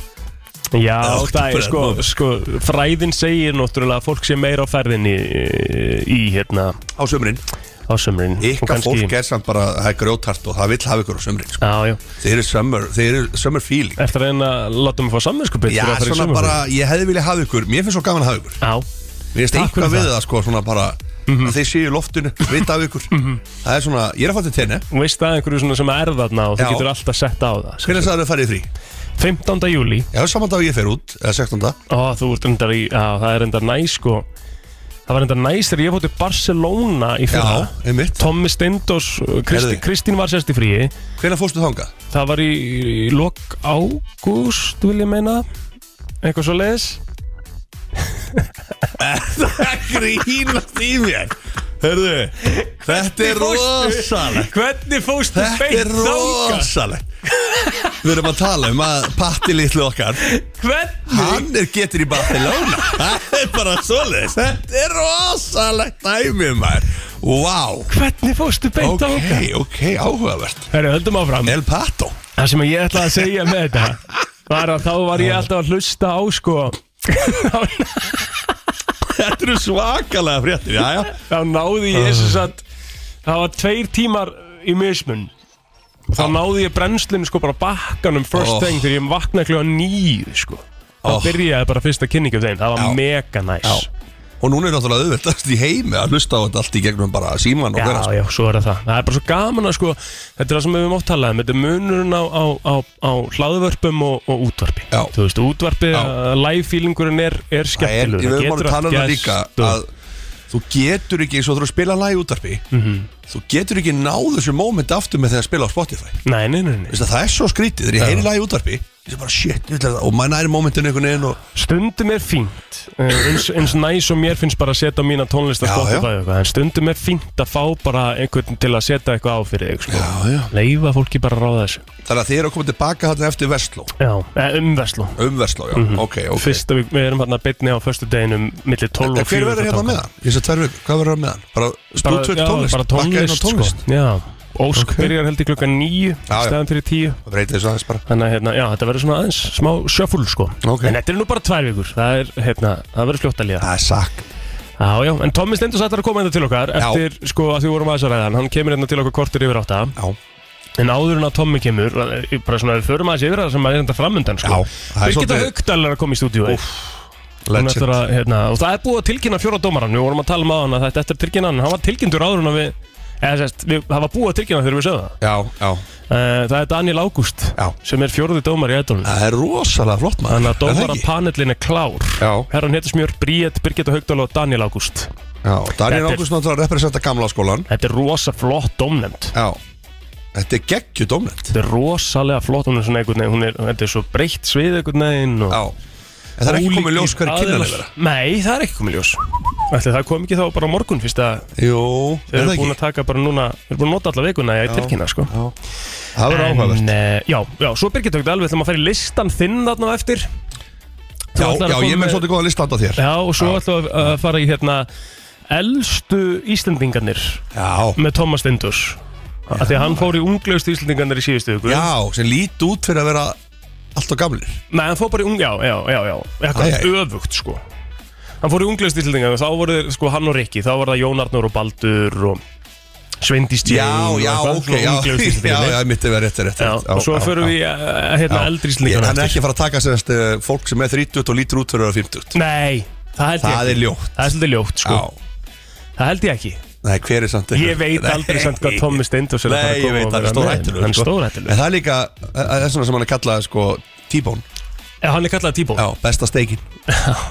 [SPEAKER 2] Já,
[SPEAKER 3] Já,
[SPEAKER 2] það er sko,
[SPEAKER 3] október.
[SPEAKER 2] sko fræðin segir náttúrulega að fólk sé meira á ferðinni í, í hérna
[SPEAKER 3] á sömurinn,
[SPEAKER 2] á sömurinn
[SPEAKER 3] ykkar fólk er samt bara það er grjótart og það vill hafa ykkur á sömurinn sko.
[SPEAKER 2] Já, já
[SPEAKER 3] þið eru summer, þið eru summer feeling
[SPEAKER 2] Eftir að reyna að láta mig fá samvinskupið
[SPEAKER 3] já, svona bara, ég hefði viljað hafa ykkur, mér finnst svo gaman að hafa ykkur
[SPEAKER 2] Já,
[SPEAKER 3] Mér finnst
[SPEAKER 2] Takk fyrir
[SPEAKER 3] eitthvað við það sko svona bara að þeir séu í loftinu, vita af ykkur það er svona, ég er að fara til tenni
[SPEAKER 2] Þú veist að einhverju svona sem er þarna og þú
[SPEAKER 3] Já.
[SPEAKER 2] getur alltaf sett á það
[SPEAKER 3] hvernig það er að fara í frí?
[SPEAKER 2] 15. júli
[SPEAKER 3] Já, saman dag og ég fer út, eða 16.
[SPEAKER 2] Ó, þú ert endar í, á, það er endar næs sko Það var endar næs þegar ég fótt í Barcelona í
[SPEAKER 3] Já,
[SPEAKER 2] fyrra
[SPEAKER 3] einmitt
[SPEAKER 2] Tommi Steindós, Kristi,
[SPEAKER 3] Heyrðu.
[SPEAKER 2] Kristín var sérst í fríi
[SPEAKER 3] Hvernig fórstu þangað?
[SPEAKER 2] Það var í, í lok ágúst, vil ég meina Eitthvað svo leis
[SPEAKER 3] Það *laughs* grínast í mér Hörðu, þetta er rosalegt
[SPEAKER 2] Hvernig fóstu
[SPEAKER 3] Þetta er rosalegt Við erum að tala um að Patti litlu okkar
[SPEAKER 2] Hvernig?
[SPEAKER 3] Hann er getur í Barcelona *laughs* Það er bara svoleiðis Þetta er rosalegt dæmi maður Vá
[SPEAKER 2] Hvernig fóstu beint
[SPEAKER 3] Ok,
[SPEAKER 2] okay.
[SPEAKER 3] ok, áhugavert
[SPEAKER 2] Herru, höldum áfram
[SPEAKER 3] El Pato
[SPEAKER 2] Það sem ég ætlaði að segja með þetta var að þá var ég alltaf að hlusta á sko
[SPEAKER 3] Þetta eru svakalega fréttir Jæja
[SPEAKER 2] *laughs* þá náði ég þess að það var tveir tímar í mismun þá náði ég brennslinu sko bara bakkanum first
[SPEAKER 3] Oh.
[SPEAKER 2] thing þegar ég vaknaði kljóða nýju sko þá
[SPEAKER 3] Oh.
[SPEAKER 2] byrjaði bara fyrsta kynningu af þeim það var
[SPEAKER 3] Já.
[SPEAKER 2] mega næs
[SPEAKER 3] Já. Og núna er náttúrulega auðvitað í heimi að hlusta á þetta allt í gegnum bara síman og
[SPEAKER 2] Já,
[SPEAKER 3] hverja
[SPEAKER 2] já, svo er það. Það er bara svo gaman að sko, þetta er það sem við höfum áttalega um, þetta er munurinn á, á, á, á hlaðvörpum og, og útvarpi.
[SPEAKER 3] Já.
[SPEAKER 2] Þú veist, útvarpi,
[SPEAKER 3] Já.
[SPEAKER 2] uh, live-feelingurinn er, er
[SPEAKER 3] Það er,
[SPEAKER 2] skemmtilegur.
[SPEAKER 3] við erum bara að tala um það líka
[SPEAKER 2] gerst sko. og-
[SPEAKER 3] að þú getur ekki, eins og þú þurfum að spila lag í útarpi
[SPEAKER 2] Mhm.
[SPEAKER 3] þú getur ekki náð þessu moment aftur með þegar að spila á Spotify
[SPEAKER 2] Nei, nei, nei, nei.
[SPEAKER 3] Veistu, það er svo skrítið, þegar ég heyri lag í útarpi ég er bara shit, ég ætla það, og maður næri momentinu einhvern veginn og
[SPEAKER 2] Stundum er fínt, uh, eins, eins næs og mér finnst bara að setja á mína tónlist að
[SPEAKER 3] Já,
[SPEAKER 2] stoppa
[SPEAKER 3] já.
[SPEAKER 2] það eitthvað, en stundum er fínt að fá bara einhvern til að setja eitthvað á fyrir þig, sko.
[SPEAKER 3] Já, já.
[SPEAKER 2] Leifa fólki bara að ráða þessu.
[SPEAKER 3] þannig að þið eru að koma tilbaka þarna eftir Vestló,
[SPEAKER 2] Já, eh, um Vestló.
[SPEAKER 3] um Vestló, já,
[SPEAKER 2] Mhm.
[SPEAKER 3] ok, ok
[SPEAKER 2] Fyrsta, við, við erum hérna beinni á förstu deginum millir 12
[SPEAKER 3] En
[SPEAKER 2] og 4.
[SPEAKER 3] hver verður hérna með hann? Ég sé tvær vikur, hvað verður hann með hann? Bara
[SPEAKER 2] bara,
[SPEAKER 3] spútvöld
[SPEAKER 2] já,
[SPEAKER 3] tónlist,
[SPEAKER 2] bara
[SPEAKER 3] bakka inn á
[SPEAKER 2] tónlist, Sko.
[SPEAKER 3] tónlist.
[SPEAKER 2] já, Ósk
[SPEAKER 3] Ok.
[SPEAKER 2] byrjar held í klukkan nýju
[SPEAKER 3] Já, já.
[SPEAKER 2] staðan fyrir tíu
[SPEAKER 3] Það breytir þessu aðeins bara
[SPEAKER 2] þannig að hérna, já, þetta verður svona aðeins smá shuffle sko
[SPEAKER 3] Ok.
[SPEAKER 2] en þetta er nú bara tvær vikur það, er, hérna, það verður fljótt að líða
[SPEAKER 3] Það er sakk
[SPEAKER 2] já, já, en Tommi Stendus ætlar að koma hérna til okkar
[SPEAKER 3] Já.
[SPEAKER 2] eftir sko að því vorum aðeins að ræða hann hann kemur hérna til okkar kortur yfir átta
[SPEAKER 3] Já,
[SPEAKER 2] en áður en að Tommi kemur eh, bara svona við förum aðeins yfir það sem er hérna framöndan
[SPEAKER 3] já
[SPEAKER 2] sko
[SPEAKER 3] Það er
[SPEAKER 2] Birgitta
[SPEAKER 3] svolítið
[SPEAKER 2] Haugdal er að koma í stúdíu Hún
[SPEAKER 3] legend
[SPEAKER 2] eftir að, hérna, og það er búið að tilkynna fjóra dómaran við vorum að tala um á hann að þetta er eftir tilkynna hann hann var tilkynntur áður en að við eða sérst, við, það var búið að tilkynna þegar við sögðum það
[SPEAKER 3] Já, já,
[SPEAKER 2] uh, það er Daniel Ágúst
[SPEAKER 3] já
[SPEAKER 2] sem er fjóruði dómar í ædolun
[SPEAKER 3] Það er rosalega flott maður
[SPEAKER 2] þannig að
[SPEAKER 3] Er það
[SPEAKER 2] dómara
[SPEAKER 3] ekki?
[SPEAKER 2] panelin er klár
[SPEAKER 3] Já,
[SPEAKER 2] herran héttur smjör Bríett, Birgitta Haugdal og Daniel Ágúst
[SPEAKER 3] já, Daniel
[SPEAKER 2] Þetta er-
[SPEAKER 3] Ágúst náttúrulega representa gamla skólan
[SPEAKER 2] þetta er rosa flott dómnefnd
[SPEAKER 3] Já Þetta er geggju dómnend
[SPEAKER 2] þetta er rosalega flott hún er svona einhvern veginn, hún er, þetta er svo breytt svið einhvern veginn og
[SPEAKER 3] Já En það er ekki
[SPEAKER 2] ólíkir
[SPEAKER 3] komið ljós hverju
[SPEAKER 2] aðilar.
[SPEAKER 3] kynnan er
[SPEAKER 2] nei, það er ekki komið ljós Ætli, það kom ekki þá bara á morgun fyrst að
[SPEAKER 3] Jú,
[SPEAKER 2] Þeir
[SPEAKER 3] er það
[SPEAKER 2] eru búin
[SPEAKER 3] ekki
[SPEAKER 2] að taka bara núna Þeir eru búin að nota alla vikuna í að
[SPEAKER 3] Já.
[SPEAKER 2] tilkynna sko
[SPEAKER 3] Já Það verður áhugavert
[SPEAKER 2] uh, Já, já, svo Birgit tók þetta alveg Þegar maður fær í listan þinn þarna á eftir Þú
[SPEAKER 3] Já,
[SPEAKER 2] ætlar að
[SPEAKER 3] já,
[SPEAKER 2] koma
[SPEAKER 3] ég er með svolítið góða listand á þér
[SPEAKER 2] Já, og svo ætlum við að fara í hérna Elstu Íslendingarnir
[SPEAKER 3] Já
[SPEAKER 2] Með Thomas Stendurs Af því að hann fór í unglegustu Íslendingarnir í síðustu viku
[SPEAKER 3] Já, sem lít út fyrir að vera allt og gamlir
[SPEAKER 2] Nei, hann fór bara í ung, já, já, já, já Eitthvað
[SPEAKER 3] Æ, æ.
[SPEAKER 2] öfugt, sko Hann fór í unglegustu Íslendingarnir Þá voru þeir, sko, hann og Rikki Þá var það Jón Arnur og Baldur og Sveindís Jane
[SPEAKER 3] Já,
[SPEAKER 2] og
[SPEAKER 3] já,
[SPEAKER 2] eitthvað,
[SPEAKER 3] ok
[SPEAKER 2] svona
[SPEAKER 3] *laughs* Já,
[SPEAKER 2] unglegustu
[SPEAKER 3] já,
[SPEAKER 2] Íslendingarnir.
[SPEAKER 3] já, mitt er verið rétt, rétt
[SPEAKER 2] Já,
[SPEAKER 3] rétt.
[SPEAKER 2] og svo
[SPEAKER 3] já,
[SPEAKER 2] förum
[SPEAKER 3] já.
[SPEAKER 2] við uh, hérna
[SPEAKER 3] Já.
[SPEAKER 2] eldri
[SPEAKER 3] Ég-
[SPEAKER 2] íslendingarna
[SPEAKER 3] Hann er
[SPEAKER 2] eftir.
[SPEAKER 3] ekki að fara að taka sérst eh, fólk sem er 30 og lítur út fyrir að vera 50
[SPEAKER 2] Nei, það held ég
[SPEAKER 3] Það
[SPEAKER 2] ekki
[SPEAKER 3] er ljótt.
[SPEAKER 2] Það er svolítið ljótt, sko
[SPEAKER 3] Já
[SPEAKER 2] Það held ég ekki
[SPEAKER 3] Nei, hver er samt *laughs*
[SPEAKER 2] Ég veit aldrei samt hvað Tommi Steindós er að fara að
[SPEAKER 3] Nei, ég
[SPEAKER 2] koma
[SPEAKER 3] veit,
[SPEAKER 2] og
[SPEAKER 3] hann er
[SPEAKER 2] vera með.
[SPEAKER 3] stórhættulegur
[SPEAKER 2] Hann er
[SPEAKER 3] sko.
[SPEAKER 2] stórhættulegur.
[SPEAKER 3] En það er líka, það er svona sem hann er kallað sko, T-bone,
[SPEAKER 2] Já, Eh, hann er kallað Tíbó
[SPEAKER 3] já, besta
[SPEAKER 2] *laughs*
[SPEAKER 3] steikin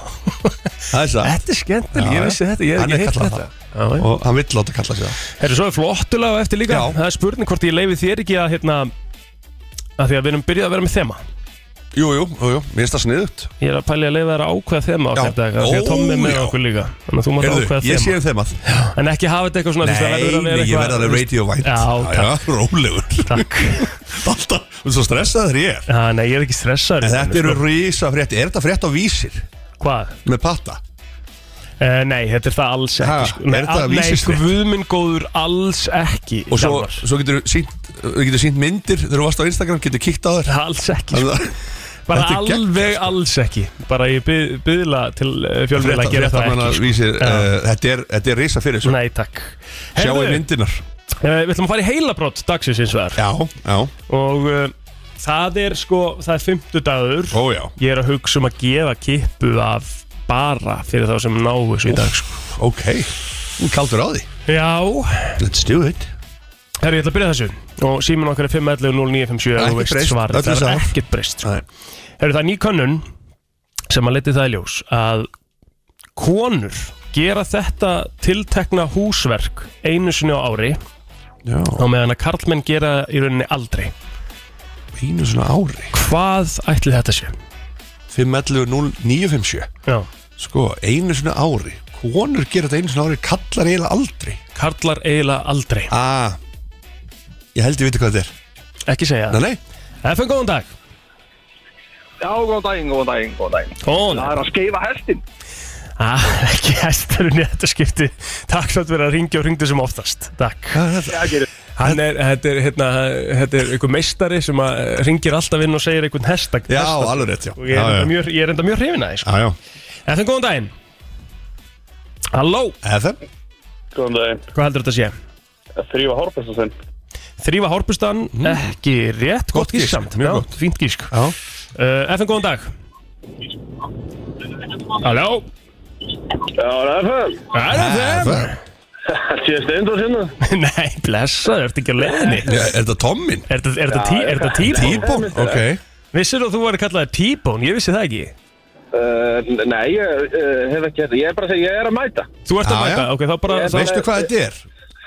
[SPEAKER 3] Það er það
[SPEAKER 2] Þetta er skemmtileg,
[SPEAKER 3] Já,
[SPEAKER 2] ég
[SPEAKER 3] já.
[SPEAKER 2] vissi þetta, ég
[SPEAKER 3] Hann
[SPEAKER 2] hef
[SPEAKER 3] er
[SPEAKER 2] ekki heilt
[SPEAKER 3] kallað
[SPEAKER 2] þetta
[SPEAKER 3] það.
[SPEAKER 2] Já, já.
[SPEAKER 3] Og hann vill láta kalla sig það
[SPEAKER 2] Herru, svo er flottulega eftir líka
[SPEAKER 3] Já.
[SPEAKER 2] Það er spurning hvort ég leifi þér ekki að hérna að því að við erum byrjað að vera með þema
[SPEAKER 3] Jú, jú, jú, jú, mér finnst það sniðut
[SPEAKER 2] Ég er að pæli að leifa þér að ákveða þema
[SPEAKER 3] Já.
[SPEAKER 2] okkar dag af Því að
[SPEAKER 3] Ó,
[SPEAKER 2] Tommi er með
[SPEAKER 3] já.
[SPEAKER 2] okkur líka Þannig að þú mátt
[SPEAKER 3] Herðu,
[SPEAKER 2] ákveða
[SPEAKER 3] ég sé
[SPEAKER 2] þema
[SPEAKER 3] um þeim að Nei,
[SPEAKER 2] En ekki hafa þetta eitthvað svona þú veist, það verður að vera
[SPEAKER 3] nei, ég
[SPEAKER 2] eitthvað-
[SPEAKER 3] verð alveg radiovænt
[SPEAKER 2] Já,
[SPEAKER 3] rólegur
[SPEAKER 2] *laughs* Takk
[SPEAKER 3] Alltaf, þú veist, svo stressaður ég er
[SPEAKER 2] Já, Nei, ég er ekki stressaður
[SPEAKER 3] En
[SPEAKER 2] í
[SPEAKER 3] þetta
[SPEAKER 2] rauninni,
[SPEAKER 3] eru rísa frétti, er þetta frétt á vísir
[SPEAKER 2] sko. Hvað?
[SPEAKER 3] með patta?
[SPEAKER 2] Uh, nei, þetta er það alls ekki
[SPEAKER 3] Ha,
[SPEAKER 2] sko.
[SPEAKER 3] er
[SPEAKER 2] Nei,
[SPEAKER 3] þetta
[SPEAKER 2] al- nei,
[SPEAKER 3] vísisrétt?
[SPEAKER 2] guðminn góður alls ekki
[SPEAKER 3] Og svo,
[SPEAKER 2] Hjálmar.
[SPEAKER 3] svo getur þú sínt myndir þegar þú varst á Instagram, getur kíkt á þér
[SPEAKER 2] Alls ekki, sko.
[SPEAKER 3] Þannig að-
[SPEAKER 2] bara
[SPEAKER 3] þetta er sko.
[SPEAKER 2] alveg alls ekki Bara ég byð, byðla til uh, fjölmiðla að gera
[SPEAKER 3] Frétta-
[SPEAKER 2] það
[SPEAKER 3] fréttamanna
[SPEAKER 2] ekki sko.
[SPEAKER 3] vísir, eh, Þetta er- þetta er risa fyrir þessu
[SPEAKER 2] Nei, takk
[SPEAKER 3] Sjáu
[SPEAKER 2] Herðu,
[SPEAKER 3] myndinar
[SPEAKER 2] uh, Við ætlum að fara í heilabrótt dagsins eins og þar
[SPEAKER 3] Já, já,
[SPEAKER 2] Og uh, það er sko, það er fimmtudagur
[SPEAKER 3] ó já
[SPEAKER 2] Ég er að hugsa um að gefa kippu af bara fyrir þá sem ná þessu í dag sko.
[SPEAKER 3] Ok, Þú er kaldur á því
[SPEAKER 2] Já,
[SPEAKER 3] Þetta stjúðu hitt
[SPEAKER 2] herri, ég ætla að byrja þessu Og símin okkar er 511 0957
[SPEAKER 3] Það er
[SPEAKER 2] og þú
[SPEAKER 3] ekkert
[SPEAKER 2] veist svarið.
[SPEAKER 3] breyst, öllu
[SPEAKER 2] Það er
[SPEAKER 3] sama.
[SPEAKER 2] ekkert breyst Herri, það er ný könnun sem að leti það í ljós að konur gera þetta tiltekna húsverk einu sinni á ári
[SPEAKER 3] Já,
[SPEAKER 2] og meðan að karlmenn gera í rauninni aldrei
[SPEAKER 3] einu svona ári
[SPEAKER 2] Hvað ætli þetta sé?
[SPEAKER 3] 511 0957
[SPEAKER 2] Já,
[SPEAKER 3] Sko, einu svona ári Konur gera þetta einu svona ári Kallar eiginlega aldrei
[SPEAKER 2] karlar eiginlega aldrei
[SPEAKER 3] Ah, ég held ég viti hvað þetta er
[SPEAKER 2] Ekki segja það
[SPEAKER 3] Nei, nei,
[SPEAKER 2] FN, góðan dag
[SPEAKER 4] Já, góðan daginn, góðan daginn, góðan daginn.
[SPEAKER 2] Góðan
[SPEAKER 4] Það
[SPEAKER 2] dag
[SPEAKER 4] er að skeifa hestin.
[SPEAKER 2] Ah, *laughs* Ekki hesturinn í þetta skipti Takk svo að vera að ringja og ringdu sem oftast Takk
[SPEAKER 3] hvað er þetta?
[SPEAKER 4] Það gerir.
[SPEAKER 2] Hann er, þetta er, hérna, þetta er einhver meistari sem að ringir alltaf inn og segir einhvern hestag
[SPEAKER 3] Já, alveg rétt, já
[SPEAKER 2] Og hérna ég er
[SPEAKER 3] já,
[SPEAKER 2] enda
[SPEAKER 3] já.
[SPEAKER 2] mjög, ég er enda mjög hrifin aðeins sko.
[SPEAKER 3] já, já.
[SPEAKER 2] Eftir góðan daginn Halló,
[SPEAKER 3] FM
[SPEAKER 4] Góðan daginn.
[SPEAKER 2] hvað heldur þetta að sé?
[SPEAKER 4] Þrýfa Hórpesta sinn.
[SPEAKER 2] Þrýfa hórpustan, ekki rétt, Mhm. gott
[SPEAKER 3] Gott gísk,
[SPEAKER 2] gísk samt
[SPEAKER 3] mjög
[SPEAKER 2] Já,
[SPEAKER 3] gott.
[SPEAKER 2] Fínt gísk uh,
[SPEAKER 3] Já
[SPEAKER 2] Eftir góðan dag Halló,
[SPEAKER 4] Já, það er það.
[SPEAKER 2] er það þeim?
[SPEAKER 4] Það sé steindur sinna.
[SPEAKER 2] *laughs* Nei, blessa, ertu ekki á leiðinni
[SPEAKER 3] Er er þetta Tommin?
[SPEAKER 2] Er þetta- er þetta tí- er þetta tíbón?
[SPEAKER 3] Íbón? Ok
[SPEAKER 2] Vissir þú að þú væri kallaði tíbón, ég vissi það ekki
[SPEAKER 4] Uh, nei, ég uh, hef ekki þetta. Ég er bara að segja, ég er að mæta.
[SPEAKER 2] Þú ert að
[SPEAKER 3] Já,
[SPEAKER 2] mæta,
[SPEAKER 3] já.
[SPEAKER 2] ok, þá bara
[SPEAKER 4] Ég er
[SPEAKER 2] þá-
[SPEAKER 4] bara-
[SPEAKER 3] Veistu hvað þetta er?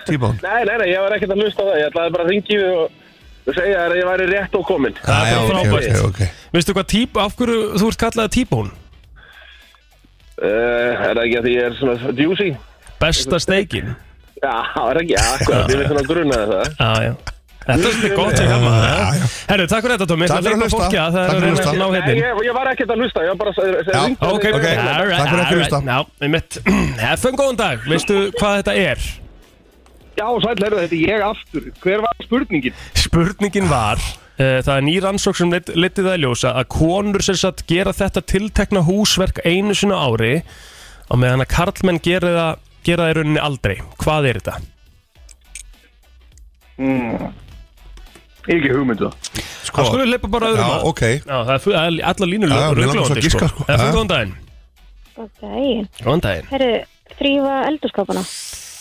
[SPEAKER 3] Tíbón
[SPEAKER 4] Nei, nei, nei, ég var ekkert að hlusta á það. Ég ætlaði bara að ringi við og og segja þér að ég væri rétt og komin.
[SPEAKER 2] Það er bara
[SPEAKER 3] ok,
[SPEAKER 2] frábært.
[SPEAKER 3] ok, ok
[SPEAKER 2] Veistu hvað tíbón, af hverju þú ert kallaði tíbón?
[SPEAKER 4] Uh, er það ekki að því ég er svona juicy?
[SPEAKER 2] Besta steikin
[SPEAKER 4] Já, það er ekki, já, akkurat, ég veit svona grunaði það.
[SPEAKER 2] Já, já Þetta er svolítið gott hjá
[SPEAKER 3] Já,
[SPEAKER 2] maður
[SPEAKER 3] já.
[SPEAKER 2] Herru, takk fyrir þetta Tómi
[SPEAKER 3] Takk fyrir að hlusta.
[SPEAKER 2] fólki, að Það
[SPEAKER 3] Takk
[SPEAKER 2] er að
[SPEAKER 3] fyrir
[SPEAKER 2] reyna að
[SPEAKER 3] að hlusta.
[SPEAKER 2] ná
[SPEAKER 4] Nei,
[SPEAKER 2] hérna
[SPEAKER 4] ég, ég var ekkert að hlusta, ég var bara að segja,
[SPEAKER 3] Já,
[SPEAKER 4] ringdu
[SPEAKER 2] Ok,
[SPEAKER 4] þér.
[SPEAKER 2] alright,
[SPEAKER 3] Takk fyrir að
[SPEAKER 2] alright.
[SPEAKER 3] hlusta.
[SPEAKER 2] Já, við *clears throat* mitt Hefum góðan dag, veistu hvað þetta er?
[SPEAKER 4] Já, sæl, heyrðu, þetta er ég aftur. Hver var spurningin?
[SPEAKER 2] Spurningin var uh, Það er nýr ansók sem lit, litið það í ljósa að konur sem sagt gera þetta tiltekna húsverk einu sinna ári og meðan að karlmenn gera það gera það í rauninni aldrei Hvað er þetta?
[SPEAKER 4] Ekki hugmyndu það.
[SPEAKER 2] Sko, það skulle leipa bara öðrum
[SPEAKER 3] Já,
[SPEAKER 2] að
[SPEAKER 3] ok
[SPEAKER 2] Já, það er fu- það er allar línur
[SPEAKER 3] Já, mig langar svo að
[SPEAKER 2] ruglandi, sko.
[SPEAKER 3] giska, sko.
[SPEAKER 2] Hefum
[SPEAKER 3] Já.
[SPEAKER 2] góðan daginn
[SPEAKER 5] Ok,
[SPEAKER 2] Góðan daginn
[SPEAKER 5] herru, þrýfa eldurskapana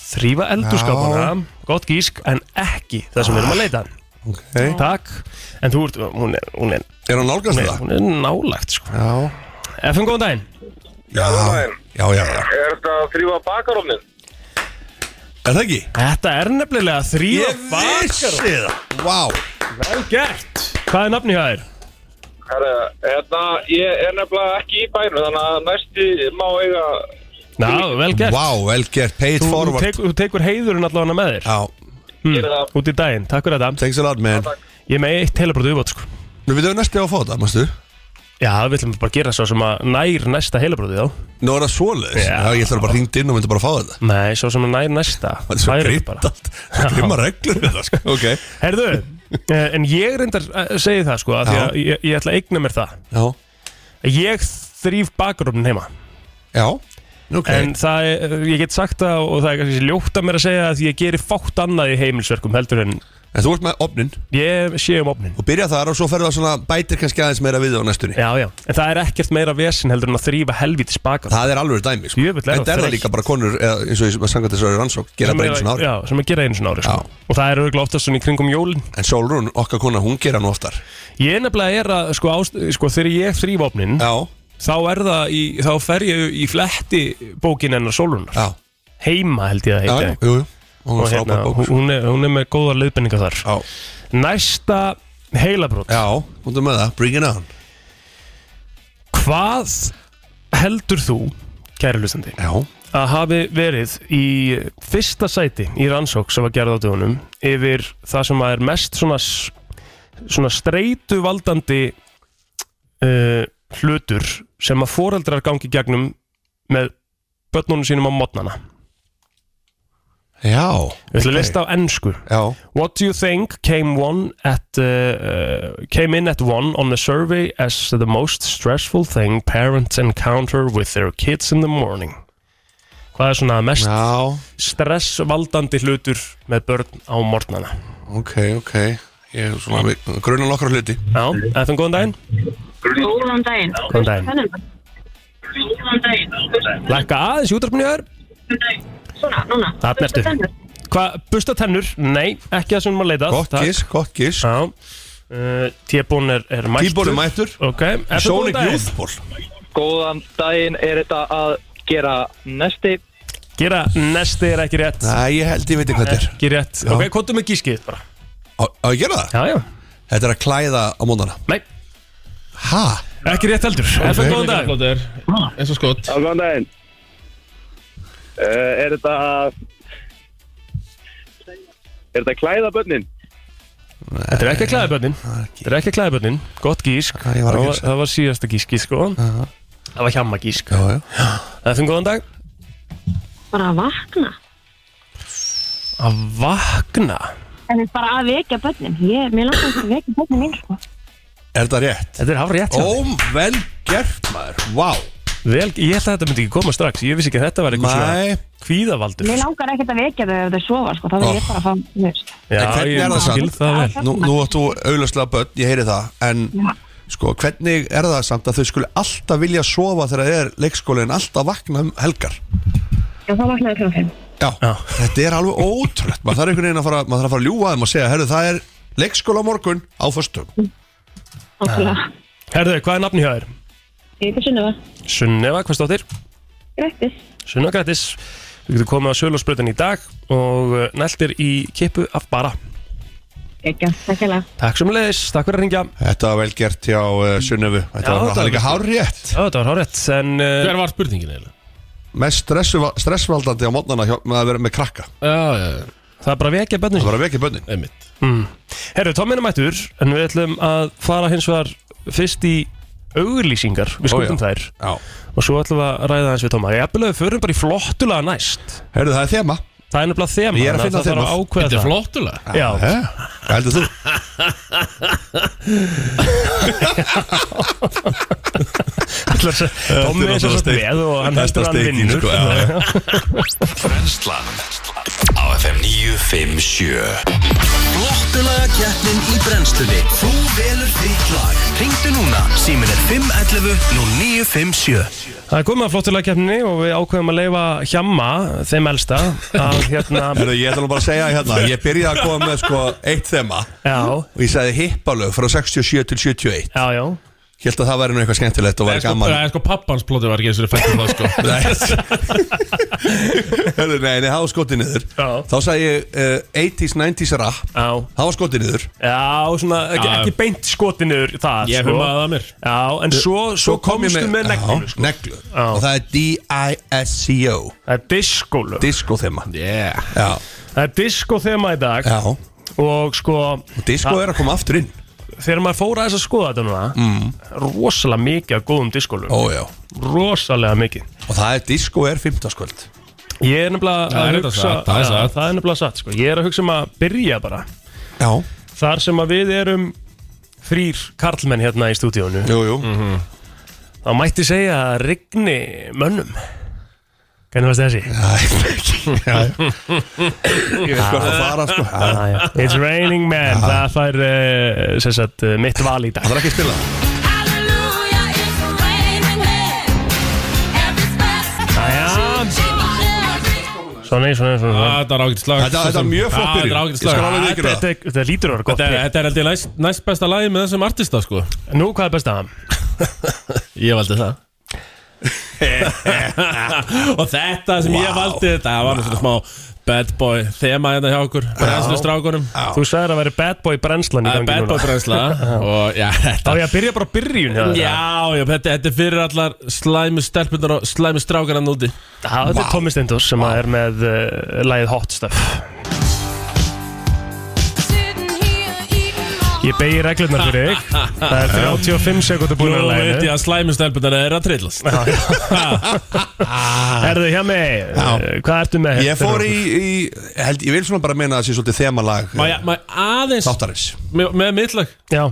[SPEAKER 2] Þrýfa eldurskapana, gott gísk en ekki það sem við erum að leita
[SPEAKER 3] Ok
[SPEAKER 2] Takk, en þú ert, hún er, hún er,
[SPEAKER 3] Er hann nálgast
[SPEAKER 2] hún er,
[SPEAKER 3] það?
[SPEAKER 2] hún er nálagt sko.
[SPEAKER 3] Já
[SPEAKER 2] FM, góðan daginn
[SPEAKER 3] Já, já, já, já
[SPEAKER 4] Er þetta að þrýfa bakarofnin?
[SPEAKER 3] Er það ekki?
[SPEAKER 2] Þetta er nefnilega þrýfa bakar
[SPEAKER 3] það Vá
[SPEAKER 2] Vel gert Hvað er nafni hjá þér?
[SPEAKER 4] Herra, hérna, ég er nefnilega ekki í bænum, þannig að næsti má eiga...
[SPEAKER 2] Ná, vel gert
[SPEAKER 3] Vá, vel gert Paid
[SPEAKER 2] Þú, þú,
[SPEAKER 3] forward
[SPEAKER 2] tek, þú tekur heiðurinn allavega með þér
[SPEAKER 3] Já,
[SPEAKER 4] Gerið það.
[SPEAKER 2] Út í daginn, takk fyrir þetta
[SPEAKER 3] thanks a lot man
[SPEAKER 2] Ég er með eitt heilabrótu yfirbót sko
[SPEAKER 3] Nú við höfum næstu á að fá þetta, mástu
[SPEAKER 2] Já, við ætlum bara að gera svo sem að nær næsta heilabrótu þá
[SPEAKER 3] Nú er það svoleiðis
[SPEAKER 2] Já.
[SPEAKER 3] Já, ég ætla bara að ringd inn og myndi bara að fá þetta
[SPEAKER 2] Nei, svo sem að nær næsta
[SPEAKER 3] *laughs* Það er svo
[SPEAKER 2] Færum
[SPEAKER 3] grimt
[SPEAKER 2] bara.
[SPEAKER 3] allt Svo grimma reglur við það, sko *laughs* Ok
[SPEAKER 2] Herðu, eh, en ég reyndar að segja það sko að því
[SPEAKER 3] Já.
[SPEAKER 2] að ég, ég ætla að eigna mér það
[SPEAKER 3] Já
[SPEAKER 2] Ég þrýf bakarofnin heima
[SPEAKER 3] Já Ok
[SPEAKER 2] En það er, ég get sagt það og það er kannski ljótt að mér að segja að ég geri fátt annað í heimilsverkum heldur en
[SPEAKER 3] En þú ert með opnin
[SPEAKER 2] ég sé um opnin
[SPEAKER 3] og byrja þar og svo ferðu að svona bætir kannski aðeins meira við á næstunni
[SPEAKER 2] Já, já, en það er ekkert meira vesen heldur en að þrýfa helvítis bakarofn
[SPEAKER 3] Það er alveg dæmi sko.
[SPEAKER 2] Jöfull er það
[SPEAKER 3] En það er það
[SPEAKER 2] þreytt.
[SPEAKER 3] líka bara konur eða, eins og ég sanga þessari rannsók gera bara eins og nári
[SPEAKER 2] Já, sem að gera einu svona ári sko. Og það er auðvitað oftast svona í kringum jólin
[SPEAKER 3] En Solrún, okkar kona, hún gera nú oftar
[SPEAKER 2] Ég nefnilega er að, sko, ást, sko þegar ég þrýf opnin
[SPEAKER 3] Já,
[SPEAKER 2] Þá er það, í, þá fer ég í fletti bókin hennar sólunar
[SPEAKER 3] já,
[SPEAKER 2] Heima held ég að
[SPEAKER 3] já,
[SPEAKER 2] heita
[SPEAKER 3] já, jú, jú Hún
[SPEAKER 2] og
[SPEAKER 3] var
[SPEAKER 2] hérna,
[SPEAKER 3] frábær bók sko.
[SPEAKER 2] hún, er, hún er með góðar leiðbenningar þar
[SPEAKER 3] Já,
[SPEAKER 2] Næsta heilabrót
[SPEAKER 3] já, hún er með það, bring it on
[SPEAKER 2] Hvað heldur þú, kæri hlustandi
[SPEAKER 3] Já,
[SPEAKER 2] að hafi verið í fyrsta sæti í rannsók sem var gerð á dögunum yfir það sem er mest svona, s- svona streitu valdandi uh, hlutur sem að foreldrar gangi gegnum með börnunum sínum á modnana
[SPEAKER 3] já,
[SPEAKER 2] Við ætlum að lista á ennsku
[SPEAKER 3] já
[SPEAKER 2] What do you think came one at uh, uh, came in at one on the survey as the most stressful thing parents encounter with their kids in the morning? Hvað er svona mest
[SPEAKER 3] Já,
[SPEAKER 2] stressvaldandi hlutur með börn á morgnana?
[SPEAKER 3] ok, ok Ég er svona grunan okkar hluti
[SPEAKER 2] Já, eftir góðan daginn?
[SPEAKER 6] Góðan daginn.
[SPEAKER 2] Góðan daginn.
[SPEAKER 6] Góðan daginn.
[SPEAKER 2] Lækka aðeins í útarpunni þér.
[SPEAKER 6] Svona, núna
[SPEAKER 2] Þarna ertu.
[SPEAKER 6] Bursta tennur.
[SPEAKER 2] Hvað, busta tennur? Nei, ekki það sem við erum að leita
[SPEAKER 3] Gott gís, gott gís
[SPEAKER 2] Já uh, T-bón er, er mættur
[SPEAKER 3] Tíbor er mættur
[SPEAKER 2] Ok Ertu góðan
[SPEAKER 3] Sonic
[SPEAKER 2] daginn?
[SPEAKER 3] Youthball
[SPEAKER 7] Góðan daginn er þetta að gera næsti
[SPEAKER 2] Gera nesti er ekki rétt
[SPEAKER 3] Næ, ég held ég veit ekki hvað þetta er
[SPEAKER 2] Ekki rétt
[SPEAKER 3] Já.
[SPEAKER 2] Ok, kontum með gískið bara
[SPEAKER 3] Á á ég að gera það?
[SPEAKER 2] Já, já
[SPEAKER 3] Þetta er að klæða á móndana
[SPEAKER 2] Nei,
[SPEAKER 3] Ha?
[SPEAKER 2] ekki rétt heldur Ertu góðan dag?
[SPEAKER 8] Plóter, eins og skott
[SPEAKER 4] Góðan daginn uh, Er þetta að Er þetta að klæða bönnin?
[SPEAKER 2] Þetta er ekki að klæða bönnin Þetta er ekki að klæða bönnin Gott gísk
[SPEAKER 3] Já, ég var að
[SPEAKER 2] Það
[SPEAKER 3] gíska.
[SPEAKER 2] Það var síðasta gískið sko Það var hjamma gísk
[SPEAKER 3] Já, já
[SPEAKER 2] Ertu góðan dag?
[SPEAKER 6] Bara að vakna
[SPEAKER 2] Að vakna
[SPEAKER 6] En þetta er bara að vekja börnin Ég, mér langar ekki að vekja börnin mín sko.
[SPEAKER 3] Er þetta rétt?
[SPEAKER 2] Þetta er hár rétt
[SPEAKER 3] Óm, vel gert maður Vá
[SPEAKER 2] Vel, ég held að þetta myndi ekki koma strax Ég vissi ekki að þetta var eitthvað
[SPEAKER 3] Nei.
[SPEAKER 2] svona kvíðavaldur
[SPEAKER 6] Mér langar ekki að vekja þau ef þau sofa sko. Það er ég bara að fá þú veist.
[SPEAKER 2] Já,
[SPEAKER 3] En hvernig
[SPEAKER 2] ég
[SPEAKER 3] er það samt?
[SPEAKER 2] skil það vel
[SPEAKER 3] Nú, nú átt þú auðvitað börn, ég heyri það En sko, hvernig er það samt að þau skulle alltaf vilja sofa þegar það er leikskólinn alltaf vakna um helgar
[SPEAKER 6] Já, þá vaknaði klokkan fimm.
[SPEAKER 3] Já,
[SPEAKER 2] Já.
[SPEAKER 3] þetta er alveg ótrúlegt Maður þarf einhvern veginn að fara, maður þarf að fara að ljúga þeim og segja Herru, það er leikskóla á morgun á föstum
[SPEAKER 6] Nákvæmlega.
[SPEAKER 2] Herðu, hvað er nafni hjá þér?
[SPEAKER 6] Ég heiti Sunniva.
[SPEAKER 2] Sunneva, hvað stóttir?
[SPEAKER 6] Grettis.
[SPEAKER 2] Sunneva grætis Við getum komið á Sölosbröðin í dag og uh, neltir í kippu af bara
[SPEAKER 6] Ekki, takk hella.
[SPEAKER 2] Takk sem leðis, takk fyrir að ringja
[SPEAKER 3] Þetta var vel gert hjá uh, Sunnöfu
[SPEAKER 2] Já,
[SPEAKER 3] Þetta var
[SPEAKER 2] þetta
[SPEAKER 3] það
[SPEAKER 2] var
[SPEAKER 3] líka hárrétt
[SPEAKER 2] Ó, þetta var hárétt en uh,
[SPEAKER 8] Hver var spurningin eiginlega?
[SPEAKER 3] Mest stressu, stressvaldandi á mótnana hjá, með að vera með krakka
[SPEAKER 8] Já, já,
[SPEAKER 2] það er bara að vekja bönnin
[SPEAKER 3] Það var að vekja bönnin
[SPEAKER 8] einmitt
[SPEAKER 2] Herru, Tommin er mættur en við ætlum að fara hins vegar fyrst í auglýsingar við
[SPEAKER 3] Ó,
[SPEAKER 2] skuldum
[SPEAKER 3] já.
[SPEAKER 2] þær
[SPEAKER 3] Já.
[SPEAKER 2] og svo ætlum við að ræða hans við Tomma Ég eppilegu, við förum bara í flottulega næst
[SPEAKER 3] Herru, það er þema
[SPEAKER 2] Það er nefnilega þema
[SPEAKER 3] Ég er að
[SPEAKER 2] þannig
[SPEAKER 3] finna
[SPEAKER 2] það þarf
[SPEAKER 3] þemað.
[SPEAKER 2] að ákveða
[SPEAKER 8] Þetta er
[SPEAKER 2] það
[SPEAKER 8] flottulega
[SPEAKER 2] Já,
[SPEAKER 3] Hæ? Hvað heldur þú?
[SPEAKER 2] Tommi er svo
[SPEAKER 3] náttúrulega
[SPEAKER 2] með og hann heldur að hann
[SPEAKER 3] Þetta steikin,
[SPEAKER 2] vinnur
[SPEAKER 3] sko, já, já.
[SPEAKER 2] *laughs*
[SPEAKER 1] Brenslan Á FM 957 Flottulega keppnin í brennslunni Þú velur þitt lag Ringdu núna, símin er 511 0957
[SPEAKER 2] Það er komið að flottulega keppninni og við ákveðum að leifa hjamma, þeim elsta að hérna,
[SPEAKER 3] Herru, ég ætla nú bara að segja hérna Ég byrjaði að koma með sko eitt þema
[SPEAKER 2] já,
[SPEAKER 3] Og ég sagði hippalög frá 67 til 71
[SPEAKER 2] já, já
[SPEAKER 3] Helt að það væri nú eitthvað skemmtilegt og
[SPEAKER 8] Það
[SPEAKER 3] væri
[SPEAKER 8] er sko,
[SPEAKER 3] gaman
[SPEAKER 8] það er sko pappans plóti var ekki eins og fættur það sko
[SPEAKER 3] Nei. Herru, nei, nei, það var skotið niður
[SPEAKER 2] Já.
[SPEAKER 3] Þá sagði ég uh, 80s, 90s rap
[SPEAKER 2] Já,
[SPEAKER 3] Það var skotið niður
[SPEAKER 2] já, svona ekki,
[SPEAKER 8] Já.
[SPEAKER 2] ekki beint skotinur það
[SPEAKER 8] Ég
[SPEAKER 2] sko.
[SPEAKER 8] humaði það mér.
[SPEAKER 2] Já, en svo, svo komstu með, með neglum
[SPEAKER 3] já,
[SPEAKER 2] sko.
[SPEAKER 3] neglu. Og það er D-I-S-C-O
[SPEAKER 2] Það er diskólu
[SPEAKER 3] Disco þema
[SPEAKER 8] Yeah
[SPEAKER 3] Já,
[SPEAKER 2] Það er diskó þema í dag
[SPEAKER 3] já Og
[SPEAKER 2] og sko,
[SPEAKER 3] disco er að koma aftur inn
[SPEAKER 2] þegar maður fór aðeins að skoða þetta núna mm. rosalega mikið af góðum diskólu
[SPEAKER 3] Ó, já
[SPEAKER 2] rosalega mikið
[SPEAKER 3] Og það er disco er 15 skvöld
[SPEAKER 2] Ég er nefnilega
[SPEAKER 8] Það er
[SPEAKER 2] að
[SPEAKER 8] þetta
[SPEAKER 2] hugsa
[SPEAKER 8] satt, það er
[SPEAKER 2] Já,
[SPEAKER 8] satt.
[SPEAKER 2] það er nefnilega satt sko. Ég er að hugsa um að byrja bara
[SPEAKER 3] Já,
[SPEAKER 2] Þar sem að við erum þrýr karlmenn hérna í stúdíónu
[SPEAKER 3] jú, jú
[SPEAKER 2] þá mætti segja að rigni mönnum Hvernig varst þessi?
[SPEAKER 3] Það er ekki Já, já. Ég veit hvað það fara, sko Já, já.
[SPEAKER 2] Ah, já. It's raining men, það fær uh, sem sagt, uh, mitt val í dag
[SPEAKER 3] Það er ekki að spila
[SPEAKER 2] Svona, svona, svona, svona.
[SPEAKER 8] Þetta er ágætt slag
[SPEAKER 3] Þetta- þetta er mjög flott
[SPEAKER 8] Já,
[SPEAKER 3] byrjun.
[SPEAKER 8] Þetta er
[SPEAKER 3] Ég
[SPEAKER 8] ágætt
[SPEAKER 3] skal
[SPEAKER 8] slag
[SPEAKER 3] alveg-
[SPEAKER 2] Þetta,
[SPEAKER 3] viðurkenna
[SPEAKER 2] þetta, þetta lítur að vera gott
[SPEAKER 8] Þetta er,
[SPEAKER 2] pick.
[SPEAKER 8] þetta er held ég næst, næst besta lagi með þessum artista sko
[SPEAKER 2] Nú, hvað er besta?
[SPEAKER 8] Ég valdi það Og þetta sem ég valdi Þetta var nú svona smá bad boy Þema hérna hjá okkur Brennslu strákunum
[SPEAKER 2] Þú sagðir að vera bad boy brennslan í
[SPEAKER 8] Það er
[SPEAKER 2] gangi
[SPEAKER 8] bad boy
[SPEAKER 2] núna
[SPEAKER 8] brennsla Og já,
[SPEAKER 2] Þá
[SPEAKER 8] þetta
[SPEAKER 2] ég að byrja bara á byrjun
[SPEAKER 8] Já, já, þetta, þetta er fyrir allar slæmu stelpunar og slæmu strákar hann úti
[SPEAKER 2] Það þetta er Tommy Stendos sem að er með uh, lagið Hot Stuff Ég begi reglurnar fyrir
[SPEAKER 3] *laughs*
[SPEAKER 2] þig Það er 35 sekundur
[SPEAKER 8] Nú
[SPEAKER 2] búin að
[SPEAKER 8] veit ég
[SPEAKER 2] læna
[SPEAKER 8] að slæmu stelpunar er að trillast
[SPEAKER 2] Erðu hjá mig, Eh,
[SPEAKER 3] Já.
[SPEAKER 2] hvað ertu með?
[SPEAKER 3] Ég fór í, í held, Ég vil svona bara meina að það sé svolítið þemalag eh,
[SPEAKER 8] Má ég má ég aðeins
[SPEAKER 3] Þáttarins
[SPEAKER 8] með, með mittlag
[SPEAKER 2] Já,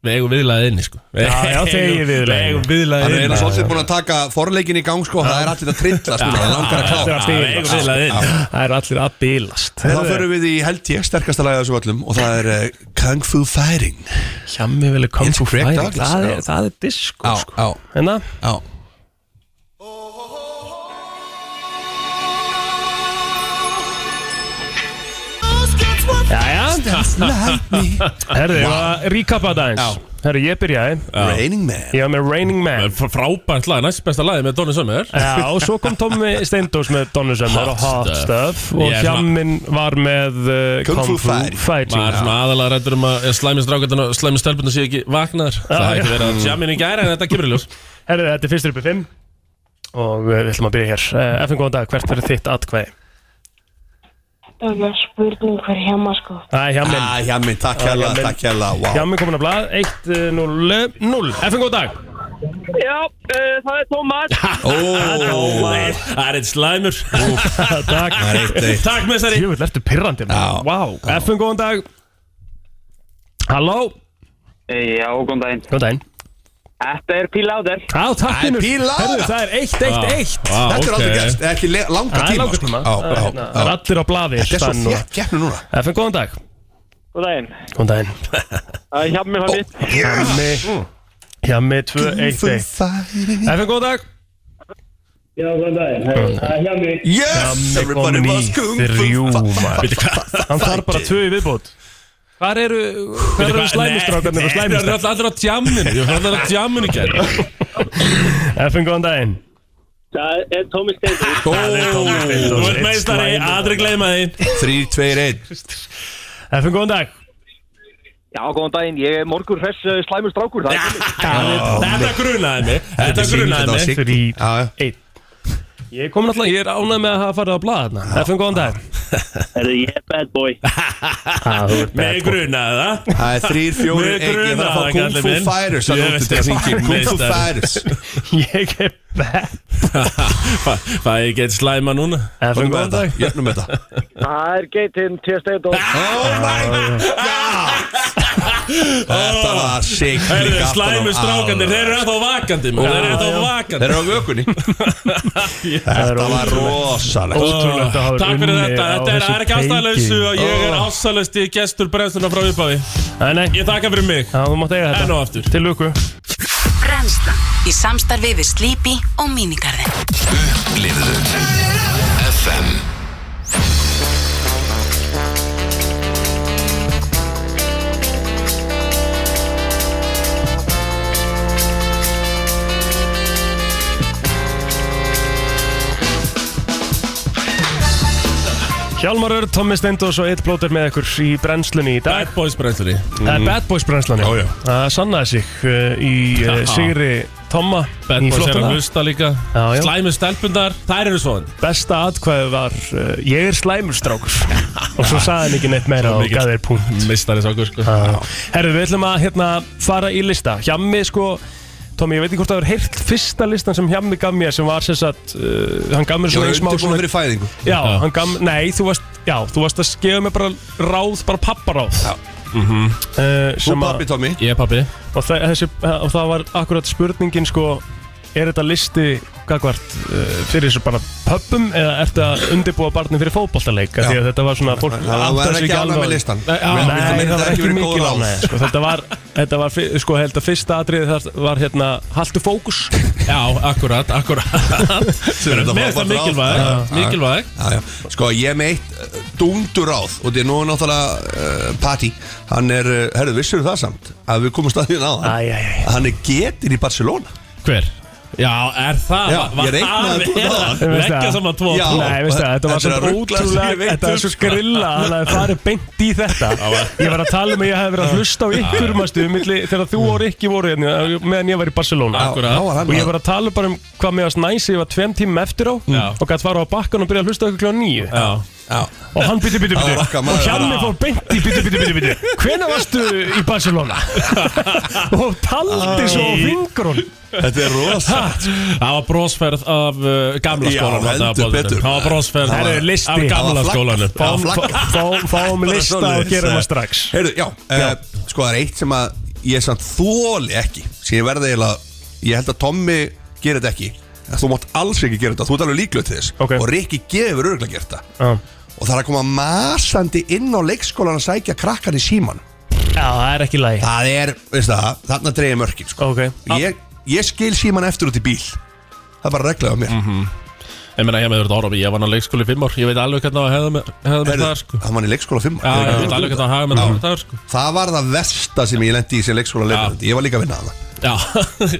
[SPEAKER 8] Við eigum viðlaðið inni sko Við
[SPEAKER 2] Já, já,
[SPEAKER 8] eigum-
[SPEAKER 2] þegið viðlagið.
[SPEAKER 8] Við eigum
[SPEAKER 3] Það
[SPEAKER 8] viðlaðið
[SPEAKER 3] er
[SPEAKER 8] inni
[SPEAKER 3] eina svolítið búin að taka forleikin í gang sko, það er allir að trillast núna, það langar að
[SPEAKER 2] þetta er
[SPEAKER 3] klára
[SPEAKER 2] allt
[SPEAKER 8] Við
[SPEAKER 2] í
[SPEAKER 8] eigum viðlaðið inni
[SPEAKER 2] Það er allir að bílast
[SPEAKER 3] En þá förum við í held ég sterkasta lagið af þessu öllum og það er uh, Kung Fu Fighting
[SPEAKER 2] Hjá mig vilja koma
[SPEAKER 3] It's
[SPEAKER 2] fú
[SPEAKER 3] correct,
[SPEAKER 2] færi
[SPEAKER 3] Douglas,
[SPEAKER 2] Það
[SPEAKER 3] já.
[SPEAKER 2] er- það er disko
[SPEAKER 3] Já, já.
[SPEAKER 2] sko Hérna,
[SPEAKER 3] Já dance like me
[SPEAKER 2] Herði, wow. að recapa þetta
[SPEAKER 8] Já.
[SPEAKER 2] eins Herði, ég byrjaði
[SPEAKER 3] Raining Man
[SPEAKER 2] Ég var með Raining Man
[SPEAKER 8] Fr- Frábært lag, næst besta lagi með Donny Summer
[SPEAKER 2] Já, og svo kom Tommy Steindós með Donnur Sömmar
[SPEAKER 8] Hot
[SPEAKER 2] og Hot
[SPEAKER 8] Stuff.
[SPEAKER 2] Stuff og
[SPEAKER 8] Ég er svona-
[SPEAKER 2] Hjamminn var með uh,
[SPEAKER 3] Kung Fu Fighting.
[SPEAKER 2] Fighting
[SPEAKER 8] Maður er svona aðalega rættur um að slæmi strákarnar og slæmi stelpunar séu ekki vaknaðar Það hefði ekki verið að jammin í gæra en þetta kemur í ljós
[SPEAKER 2] Herði, þetta er fyrstur uppi 5 og uh, við ætlum að byrja hér uh, FN góðan dag, hvert verður þitt atkvæði?
[SPEAKER 5] Það er spurning hver hjá maður sko.
[SPEAKER 2] Það er Hjamminn
[SPEAKER 3] Ah, Hjammin, takk hella,
[SPEAKER 2] Hjammin.
[SPEAKER 3] takk hella wow.
[SPEAKER 2] Hjamminn komin að blað uh, 1-0-0 FN góðan dag
[SPEAKER 7] Já, uh, það er Tómas
[SPEAKER 3] Ó,
[SPEAKER 8] Það er eitt slæmur *laughs*
[SPEAKER 2] Takk
[SPEAKER 3] er eitt, eitt.
[SPEAKER 8] Takk mestari
[SPEAKER 2] Jöfull, ertu pirrandi
[SPEAKER 3] Já.
[SPEAKER 2] maður. Vá, FN góðan dag Halló
[SPEAKER 7] Já, góðan daginn
[SPEAKER 2] Góðan daginn
[SPEAKER 7] Þetta er Píl Áder
[SPEAKER 2] Á, takk
[SPEAKER 3] Æ,
[SPEAKER 2] Unnur.
[SPEAKER 3] píla.
[SPEAKER 2] Herðu, það er
[SPEAKER 8] Ah.
[SPEAKER 2] 1-1-1
[SPEAKER 3] Þetta er aldrei gerst, ekki le- langa
[SPEAKER 2] Það er
[SPEAKER 3] tíma
[SPEAKER 2] langur
[SPEAKER 3] sko.
[SPEAKER 2] tíma
[SPEAKER 3] Á, á,
[SPEAKER 2] Ah, Hérna, Það er
[SPEAKER 3] á.
[SPEAKER 2] allir á blaði
[SPEAKER 3] Þetta er svo þétt keppni núna
[SPEAKER 2] FN, góðan dag
[SPEAKER 7] Góðan daginn
[SPEAKER 2] Góðan daginn
[SPEAKER 3] Hm.
[SPEAKER 7] Það er hjá mig hann mitt
[SPEAKER 2] Hjammi Hjammi
[SPEAKER 3] Hm.
[SPEAKER 2] 2-1-1
[SPEAKER 3] Fighting.
[SPEAKER 2] FN, góðan dag
[SPEAKER 7] Já, góðan daginn Það er hjá mig
[SPEAKER 3] Yes,
[SPEAKER 2] Hjammi
[SPEAKER 3] everybody
[SPEAKER 2] kom í
[SPEAKER 3] was kung fu
[SPEAKER 2] þrjú
[SPEAKER 3] fighting.
[SPEAKER 2] maður. Hann þarf bara tvö í viðbót Hvar eru, hvar eru slæmistrákarnir og
[SPEAKER 8] Það er
[SPEAKER 2] slæmistrákarnir?
[SPEAKER 8] alltaf allir á jamminu Ég var allir á jamminu í gæra
[SPEAKER 2] FN, góðan daginn
[SPEAKER 7] Það er Tómi Steindur
[SPEAKER 8] Þú ert meistari, aldrei gleyma því
[SPEAKER 3] 3, 2, 1
[SPEAKER 2] FN, góðan dag
[SPEAKER 7] Já, góðan daginn, ég er morgur hress uh, slæmur strákur Það er
[SPEAKER 8] Þetta grunaði mig Þetta
[SPEAKER 3] Þetta
[SPEAKER 8] grunaði
[SPEAKER 3] var
[SPEAKER 8] mig
[SPEAKER 3] sick.
[SPEAKER 2] Þrý,
[SPEAKER 3] Já, já.
[SPEAKER 2] einn Ég er komin alltaf, ég er ánægð með að hafa farið á blaðna FN, góðan dag
[SPEAKER 7] Herðu, ég er bad boy
[SPEAKER 2] Ah, þú ert
[SPEAKER 8] Mig
[SPEAKER 2] bad boy.
[SPEAKER 8] grunaði
[SPEAKER 2] *laughs*
[SPEAKER 8] það
[SPEAKER 3] Það er þrýr, fjórir,
[SPEAKER 8] Mig
[SPEAKER 3] einn Ég var að
[SPEAKER 8] grunaði,
[SPEAKER 3] fá Kung
[SPEAKER 8] kallinn
[SPEAKER 3] Fu
[SPEAKER 8] minn.
[SPEAKER 3] Fighters að
[SPEAKER 8] Ég
[SPEAKER 3] nóttu
[SPEAKER 8] veist
[SPEAKER 3] til að
[SPEAKER 8] það.
[SPEAKER 3] hringi Kung Fu
[SPEAKER 8] Meistari.
[SPEAKER 3] Fighters
[SPEAKER 2] Ég er bad
[SPEAKER 8] Það er ekki eitt slæma núna
[SPEAKER 2] FN, góðan dag
[SPEAKER 3] Jöfnum þetta
[SPEAKER 7] Það er geitinn T. Steindur
[SPEAKER 3] Oh my god Þetta var sick
[SPEAKER 8] Það eru
[SPEAKER 3] líka aftan á-
[SPEAKER 8] slæmu strákandir, þeir eru ennþá vakandi maður, Þeir eru ennþá
[SPEAKER 3] Þeir
[SPEAKER 8] vakandi
[SPEAKER 3] eru á vökunni Þetta var rosalegt
[SPEAKER 2] Ótrúlegt að hafa
[SPEAKER 8] Takk fyrir
[SPEAKER 2] unnið
[SPEAKER 8] þetta,
[SPEAKER 2] á
[SPEAKER 8] þetta er,
[SPEAKER 2] þessu
[SPEAKER 8] það er ekki ástæðaleysu
[SPEAKER 2] teki.
[SPEAKER 8] og ég er
[SPEAKER 3] Ó.
[SPEAKER 8] ástæðaleysti gestur brennstuna frá upphafi
[SPEAKER 2] Nei, nei,
[SPEAKER 8] Ég þakka fyrir mig,
[SPEAKER 2] Já, þú mátt eiga þetta
[SPEAKER 8] enn og aftur
[SPEAKER 2] Til luku
[SPEAKER 9] Brennslan í samstarfi við Sleepy og Minigarðin
[SPEAKER 1] Lifðu FM
[SPEAKER 2] Hjalmar Örn, Tommi Steindos og Eitt Blóter með ykkur í brennslunni í dag
[SPEAKER 8] Bad Boys brennslunni
[SPEAKER 2] Það er Bad Boys brennslunni
[SPEAKER 3] Já, já.
[SPEAKER 2] Það sannaði sig uh, í uh,
[SPEAKER 8] Já.
[SPEAKER 2] Sigri Tomma
[SPEAKER 8] Bad
[SPEAKER 2] í
[SPEAKER 8] Boys er að
[SPEAKER 2] flottana
[SPEAKER 8] hlusta líka
[SPEAKER 2] Já, já.
[SPEAKER 8] Slæmu stelpundar, þær eru svona
[SPEAKER 2] Besta atkvæði var uh, Ég er slæmur *laughs* strákur Og svo sagði hann ekki neitt meira og
[SPEAKER 8] mikill.
[SPEAKER 2] gaf þér punkt
[SPEAKER 8] Mistari sákur sko
[SPEAKER 2] Herru, við ætlum að hérna fara í lista Hjammi sko Tommi, ég veit ekki hvort það er heyrt fyrsta listan sem Hjammi gaf mér sem var sem sagt, uh, hann gaf mér
[SPEAKER 3] Ég
[SPEAKER 2] svona
[SPEAKER 3] var
[SPEAKER 2] í smá
[SPEAKER 3] undirbúin
[SPEAKER 2] svona
[SPEAKER 3] fyrir fæðingu
[SPEAKER 2] Já, hann gaf, nei, þú varst, já, þú varst að gefa mér bara ráð, bara papparáð
[SPEAKER 3] Já.
[SPEAKER 2] Uh,
[SPEAKER 3] Þú
[SPEAKER 2] sem að,
[SPEAKER 3] pappi Tommy
[SPEAKER 8] Ég er pappi
[SPEAKER 2] og, þe þessi, og það var akkurat spurningin sko er þetta listi gagvart uh, fyrir þessu bara pöppum eða ertu að undirbúa barnið fyrir fótboltaleik Af
[SPEAKER 3] Já.
[SPEAKER 2] því að þetta var svona fólk
[SPEAKER 3] Það var
[SPEAKER 2] áttar sig
[SPEAKER 3] ekki ánægð
[SPEAKER 2] alveg
[SPEAKER 3] með
[SPEAKER 2] á-
[SPEAKER 3] listan.
[SPEAKER 2] Nei,
[SPEAKER 3] Við- við- við-
[SPEAKER 2] Nei, það
[SPEAKER 3] við-
[SPEAKER 2] var
[SPEAKER 3] þetta ekki
[SPEAKER 2] ekki
[SPEAKER 3] verið
[SPEAKER 2] mikil
[SPEAKER 3] góð ráð.
[SPEAKER 2] ánægð sko. þetta var, þetta var fi- sko, held að fyrsta atriði það var hérna haltu fókus
[SPEAKER 8] Já, akkurat, akkurat
[SPEAKER 3] Sem *laughs* þetta
[SPEAKER 8] Mér er
[SPEAKER 3] var-
[SPEAKER 8] það
[SPEAKER 3] var
[SPEAKER 8] mikilvæg,
[SPEAKER 3] ráð. Já, já.
[SPEAKER 8] mikilvæg
[SPEAKER 3] Já, já. Sko ég er með eitt dundur ráð og þetta er nú náttúrulega uh, Patti Hann er, uh, herru vissur það samt að við komum staðið á
[SPEAKER 2] Æ, æ, æ.
[SPEAKER 3] Hann er getin í Barcelona
[SPEAKER 8] Hver? Já, er það?
[SPEAKER 3] Já,
[SPEAKER 8] Var- var
[SPEAKER 3] ég reiknaði
[SPEAKER 8] það
[SPEAKER 3] þú
[SPEAKER 8] verið
[SPEAKER 3] það.
[SPEAKER 8] að Leggja
[SPEAKER 2] það?
[SPEAKER 8] saman tvo og
[SPEAKER 3] Já.
[SPEAKER 8] tvo?
[SPEAKER 2] Nei, veistu það, þetta var
[SPEAKER 3] Þetta er að
[SPEAKER 2] svona
[SPEAKER 3] rugla sem ég
[SPEAKER 2] ótrúlega
[SPEAKER 3] veit
[SPEAKER 2] Þetta var
[SPEAKER 3] um,
[SPEAKER 2] svo
[SPEAKER 3] sko.
[SPEAKER 2] grilla að hann hafi farið beint í þetta Ég var að tala um að ég hef verið að hlusta á ykkur mastu, milli, þegar þú og Rikki voru hérna, meðan ég var í Barcelona
[SPEAKER 8] Já. Akkurat.
[SPEAKER 3] Þá var hann
[SPEAKER 2] Og ég var að tala bara um hvað mér varst næs ég var tveim tímum eftir á
[SPEAKER 8] Já.
[SPEAKER 2] og gætt fara á bakkan og byrja að hlusta á ykkur kljóðan nýju
[SPEAKER 8] Já
[SPEAKER 3] Já,
[SPEAKER 2] og hann bytti, bytti,
[SPEAKER 3] Það var
[SPEAKER 2] bytti
[SPEAKER 3] okkar maður.
[SPEAKER 2] og Hjalmi
[SPEAKER 8] Já.
[SPEAKER 2] fór beint í bytti, bytti, bytti, bytti Hvenær varstu í
[SPEAKER 3] *laughs*
[SPEAKER 2] Barcelona? og taldi svo á fingrun
[SPEAKER 3] þetta er rosa
[SPEAKER 8] Það var brósferð af uh, gamla
[SPEAKER 3] Já,
[SPEAKER 8] skólanum
[SPEAKER 3] heldur
[SPEAKER 8] þarna á Bolunum.
[SPEAKER 3] betur.
[SPEAKER 8] Það var brósferð
[SPEAKER 3] Það var
[SPEAKER 2] listi.
[SPEAKER 8] af
[SPEAKER 3] Það
[SPEAKER 8] gamla
[SPEAKER 3] var flagg.
[SPEAKER 8] skólanum
[SPEAKER 3] Já, flagga.
[SPEAKER 2] Fá- Fáum
[SPEAKER 3] Bara
[SPEAKER 2] lista
[SPEAKER 3] svoleiðis. Eh,
[SPEAKER 2] og gerum það strax
[SPEAKER 3] Heyrðu, já, Uh, sko það er eitt sem að ég samt þóli ekki sem ég verði eiginlega, ég held að Tommy gerir þetta ekki, en þú mátt alls ekki gera þetta þú ert alveg líklega til þess
[SPEAKER 2] Ok.
[SPEAKER 3] og Rikki gefur örgulega gert það
[SPEAKER 2] Já.
[SPEAKER 3] og það er að koma masandi inn á leikskólan að sækja krakkan í síman
[SPEAKER 2] Já, það er ekki læg
[SPEAKER 3] það er, veist það, þarna dreigir mörkin sko.
[SPEAKER 2] Ok.
[SPEAKER 3] ég, ég skil síman eftir út í bíl það er bara reglaðið á mér
[SPEAKER 8] Já, Ég meina, hérna ég með verið orðum, ég var náttúrulega leikskóli í fimm ár Ég veit alveg hvernig á að hefða með, hefða með það, sko
[SPEAKER 3] Það var í leikskóla 5
[SPEAKER 8] Já, ég veit alveg hvernig á að hefða með það, það, sko
[SPEAKER 3] Það var það versta sem ég lendi í sem leikskóla leikandi Ég var líka að vinna það
[SPEAKER 8] Já,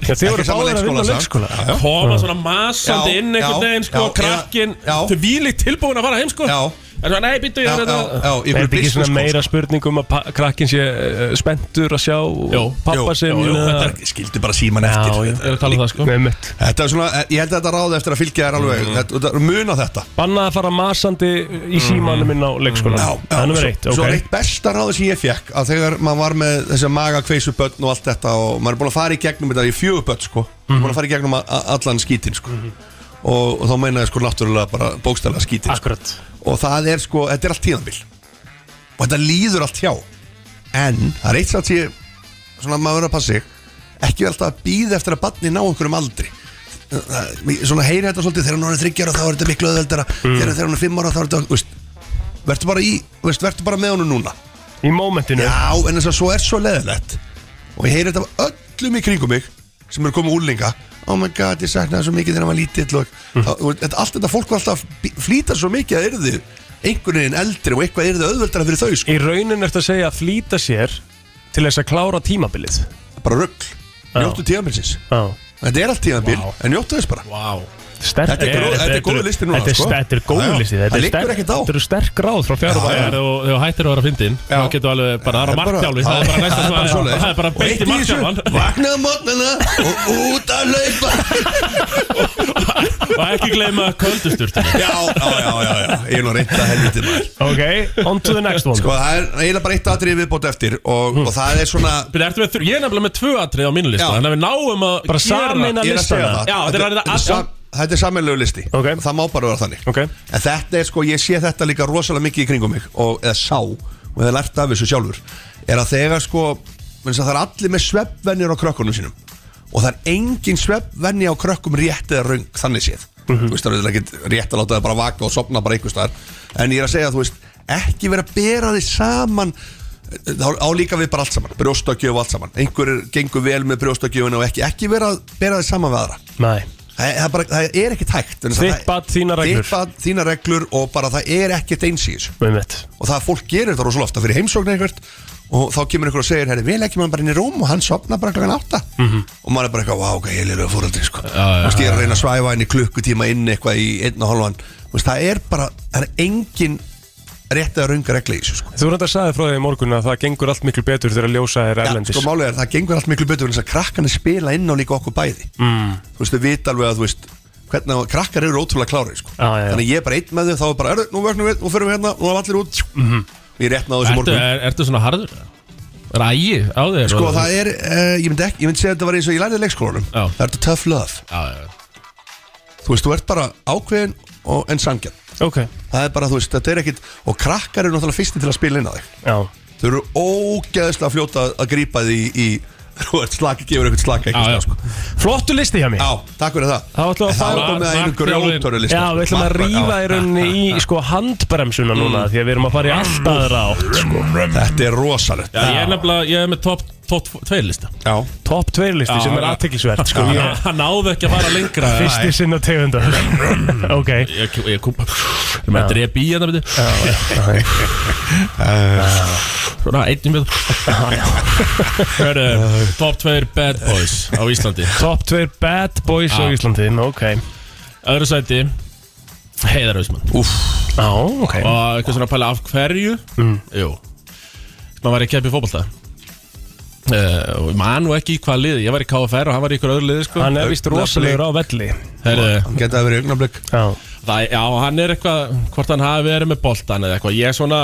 [SPEAKER 2] Þið voru báðir að vinna á leikskóla
[SPEAKER 3] Já,
[SPEAKER 8] koma svona masandi
[SPEAKER 3] Já,
[SPEAKER 8] inn einhvern
[SPEAKER 3] já,
[SPEAKER 8] veginn, sko
[SPEAKER 3] já,
[SPEAKER 8] Krakkin,
[SPEAKER 3] já, já.
[SPEAKER 8] þau výlíkt tilbúin að fara heim, sko
[SPEAKER 3] Já.
[SPEAKER 8] En svo, nei, býttu, ég
[SPEAKER 3] já,
[SPEAKER 8] er hérna."
[SPEAKER 3] já,
[SPEAKER 8] þetta
[SPEAKER 3] já, í
[SPEAKER 2] Er
[SPEAKER 3] einhverju
[SPEAKER 2] þetta ekki svona
[SPEAKER 3] business
[SPEAKER 2] meira spurning um að pa- krakkinn sé uh, spenntur að sjá
[SPEAKER 8] Jó,
[SPEAKER 2] pappa
[SPEAKER 3] jú,
[SPEAKER 2] sem
[SPEAKER 3] jú, jú,
[SPEAKER 2] uh,
[SPEAKER 3] þetta er- skildi bara síman eftir
[SPEAKER 2] Já, já.
[SPEAKER 8] Ég er að tala um það, sko
[SPEAKER 2] Nei, mitt.
[SPEAKER 3] Þetta er svona, ég held að þetta ráði eftir að fylgja þér alveg
[SPEAKER 2] Mm.
[SPEAKER 3] þetta, þetta, Muna þetta
[SPEAKER 2] Bannað að fara masandi í símanum inn á leikskóla Þannig verið eitt,
[SPEAKER 3] Mhm. svo, svo er
[SPEAKER 2] ok
[SPEAKER 3] eitt besta ráði sem ég fekk að þegar maður var með þessi maga kveisubötn og allt þetta og maður er búin að fara í gegnum þetta í fjögubötn sko, maður
[SPEAKER 2] Mhm.
[SPEAKER 3] er búin að fara í gegnum a- a- allan skítinn sko og, og þá meina ég sko náttúrulega bara bókstæðlega skítinn sko.
[SPEAKER 2] Akkurat
[SPEAKER 3] og það er sko, þetta er allt tíðanbíl og þetta líður allt hjá en það er eitt satt sem ég svona maður verður að passa sig ekki vera alltaf að býða eftir að batni ná einhverjum aldri Það- það- svona heyri þetta svolítið þegar hann er þryggjara þá er þetta miklu öðveldara
[SPEAKER 2] Mm.
[SPEAKER 3] þegar, þegar hann er fimm ára þá er þetta veist, verður bara í, veist, verður bara með honum núna
[SPEAKER 2] Í mómentinu
[SPEAKER 3] já, en þess að svo er svo leðilegt og ég heyri þetta af öllum í kringum mig sem eru komið úrlinga oh my god, ég saknaði svo mikið þegar hann var lítill og, mm. og, þetta- allt þetta fólk var alltaf að bí- flýta svo mikið að yrðu einhvern veginn eldri og eitthvað yrðu öðveldara fyrir þau sko.
[SPEAKER 2] Í raunin eftir að segja að flýta sér til þess að klára tímabilið
[SPEAKER 3] bara rugg,
[SPEAKER 2] Já.
[SPEAKER 3] njóttu tíðanbilsins
[SPEAKER 2] Já
[SPEAKER 3] þetta er allt tíðanbil, en njóttu þess bara
[SPEAKER 8] Vá
[SPEAKER 2] Sterk Eh,
[SPEAKER 3] Þetta er góð- þetta er góður listi núna,
[SPEAKER 2] Þetta er,
[SPEAKER 3] sko.
[SPEAKER 2] þetta er góður
[SPEAKER 3] Já, já.
[SPEAKER 2] listi
[SPEAKER 3] Það
[SPEAKER 2] Þetta er
[SPEAKER 3] liggur
[SPEAKER 2] sterk-
[SPEAKER 3] ekkert á.
[SPEAKER 2] Þetta eru sterk ráð frá fjara
[SPEAKER 3] Já, já.
[SPEAKER 8] Þegar þú- þegar þú hættir að vera að fyndi inn þá
[SPEAKER 3] Já.
[SPEAKER 8] getur alveg bara
[SPEAKER 3] Það
[SPEAKER 8] að
[SPEAKER 3] er bara-
[SPEAKER 8] marktjálfi það er
[SPEAKER 3] *laughs*
[SPEAKER 8] bara næsta
[SPEAKER 3] Það er bara
[SPEAKER 8] svona
[SPEAKER 3] svoleiðis.
[SPEAKER 8] það er bara
[SPEAKER 3] Og
[SPEAKER 8] beint í
[SPEAKER 3] eitt í þessu, *laughs*
[SPEAKER 8] marktjálfan
[SPEAKER 3] Vaknaði mótnana og út að laupa
[SPEAKER 8] og ekki gleyma
[SPEAKER 3] já,
[SPEAKER 8] köldusturtinu
[SPEAKER 3] já, já, já, já, ég er nú reynd að helviti maður
[SPEAKER 2] Ok, on to the next one
[SPEAKER 3] Sko það er eiginlega bara eitt atrið viðbót eftir og, og það er svona
[SPEAKER 8] Byrja, ertu með þrjú- Ég er nefnilega með tvö atrið á mínu lista
[SPEAKER 3] Já.
[SPEAKER 8] Þannig að við náum að
[SPEAKER 2] Bara sameina
[SPEAKER 3] Ég er að segja
[SPEAKER 2] listana
[SPEAKER 3] það
[SPEAKER 8] Já, þetta er orðið
[SPEAKER 3] þetta
[SPEAKER 8] að-
[SPEAKER 3] sam- Þetta er sammeilegu listi
[SPEAKER 2] Ok.
[SPEAKER 3] Það má bara vera þannig
[SPEAKER 2] Ok.
[SPEAKER 3] En þetta er sko, ég sé þetta líka rosalega mikið í kringum mig og, eða sá, og eða lært af þessu sjálfur er að þegar sko menns að það er allir með sveppvennir á krökkunum sínum og það er engin sveppvenni á krökkum rétt eða röng, þannig séð þú veist, það er ekki rétt að láta það bara vaka og sopna bara einhvers staðar, en ég er að segja, þú veist ekki vera að bera þið saman þá á líka við bara allt saman brjóstakjöf og allt saman, einhverjir gengur vel með brjóstakjöfuna og ekki, ekki vera að bera þið saman við aðra
[SPEAKER 2] Nei
[SPEAKER 3] Það, það, er bara, það er ekki tækt vegna þess að
[SPEAKER 2] Þitt
[SPEAKER 3] það-
[SPEAKER 2] barn, þínar reglur.
[SPEAKER 3] Þitt bad, þína reglur og bara það er ekkert eins í þessu
[SPEAKER 2] Með mitt
[SPEAKER 3] Og það fólk gerir þetta rosalega ofta fyrir heimsókn eitthvað Og þá kemur einhver og segir, herri, við leggjum hann bara inn í rúm og hann sopnar bara klokkan átta
[SPEAKER 2] Mhm.
[SPEAKER 3] -hmm. Og maður er bara eitthvað, vá, ok, ég lirðu að fóröldri, sko Þú veist, ég er að reyna að svæfa hann í klukkutíma inn eitthvað í einn og hálfan Þú veist, það er bara, það er engin rétt eða rönga regla í þessu, sko
[SPEAKER 2] Þú reyndar að sagði frá því í morgun að það gengur allt miklu betur þegar að ljósa er
[SPEAKER 3] Já,
[SPEAKER 2] erlendis
[SPEAKER 3] sko málið er, það gengur allt miklu betur en þess að krakkarnir spila inn á líka okkur bæði mm. þú veist, þau vita alveg að þú veist hvernig að krakkar eru ótrúlega klári sko.
[SPEAKER 2] Já, já, já.
[SPEAKER 3] þannig að ég er bara einn með þau þá er bara, erðu, nú vögnum við, nú förum við hérna nú erum allir út, mm -hmm. ég rétt náðu þessu
[SPEAKER 8] Ertu,
[SPEAKER 3] morgun
[SPEAKER 8] er, ertu svona harður? Er ægi á þér?
[SPEAKER 3] sko það er, uh, ég myndi ekki, ég myndi segja að þetta var eins og ég lærði í leikskólanum,
[SPEAKER 8] Já.
[SPEAKER 3] það er þetta tough love
[SPEAKER 8] Já, já, já.
[SPEAKER 3] þú veist, þú ert bara ákveðin og, en sangjarn
[SPEAKER 2] Ok,
[SPEAKER 3] það er bara, þú veist, þetta er ekkit og krakkar eru náttúrulega fyrsti til að spila inn á þig
[SPEAKER 2] já
[SPEAKER 3] þau eru ógeðslega fljóta að grípa því í, *laughs* þú ert slaka, gefur eitthvað slaka
[SPEAKER 8] Já, já.
[SPEAKER 3] eitthvað, sko.
[SPEAKER 2] Flottu listi hjá mér
[SPEAKER 3] Já, takk fyrir það
[SPEAKER 2] Það var alltaf að
[SPEAKER 3] En
[SPEAKER 2] fara-
[SPEAKER 3] var komið að einu sko.
[SPEAKER 8] Markþjálfurinn.
[SPEAKER 3] grjóttöru lista
[SPEAKER 2] Já, við ætlum að rífa í rauninni í sko handbremsuna núna Því að við erum að fara í alltaf aðra átt sko.
[SPEAKER 3] Þetta er rosalegt
[SPEAKER 8] Ég er nefnilega, ég er með top, top 2 lista
[SPEAKER 3] Já,
[SPEAKER 2] Top 2 listi
[SPEAKER 8] Já,
[SPEAKER 2] sem er
[SPEAKER 8] já. *laughs*
[SPEAKER 2] aðtiklisvert sko.
[SPEAKER 8] Hann
[SPEAKER 2] Ég-
[SPEAKER 8] hann náði ekki að fara lengra
[SPEAKER 2] Fyrsti sinn á tegunda Ok
[SPEAKER 8] Ég, ég, ég kom Ég með að drepa í hérna byrju. *laughs* Svona einnum við Hörru, top 2 bad boys á Íslandi
[SPEAKER 2] Top 2 bad boys á
[SPEAKER 8] Já.
[SPEAKER 2] Íslandi Ok
[SPEAKER 8] Öðru sæti Heiðar Hausmann
[SPEAKER 2] Já, ok
[SPEAKER 8] Og eitthvað svona að pæla af hverju Jú Man var í keppi fótbolta uh, Og man nú ekki í hvaða liði Ég var í KFR og hann var í ykkur öðru liði sko.
[SPEAKER 2] Hann er vist rosalegur á velli
[SPEAKER 8] Heyrðu,
[SPEAKER 3] hann geta að vera í augnablik
[SPEAKER 2] Já,
[SPEAKER 8] það, Já, hann er eitthvað Hvort hann hafi verið með boltan eða eitthvað Ég er svona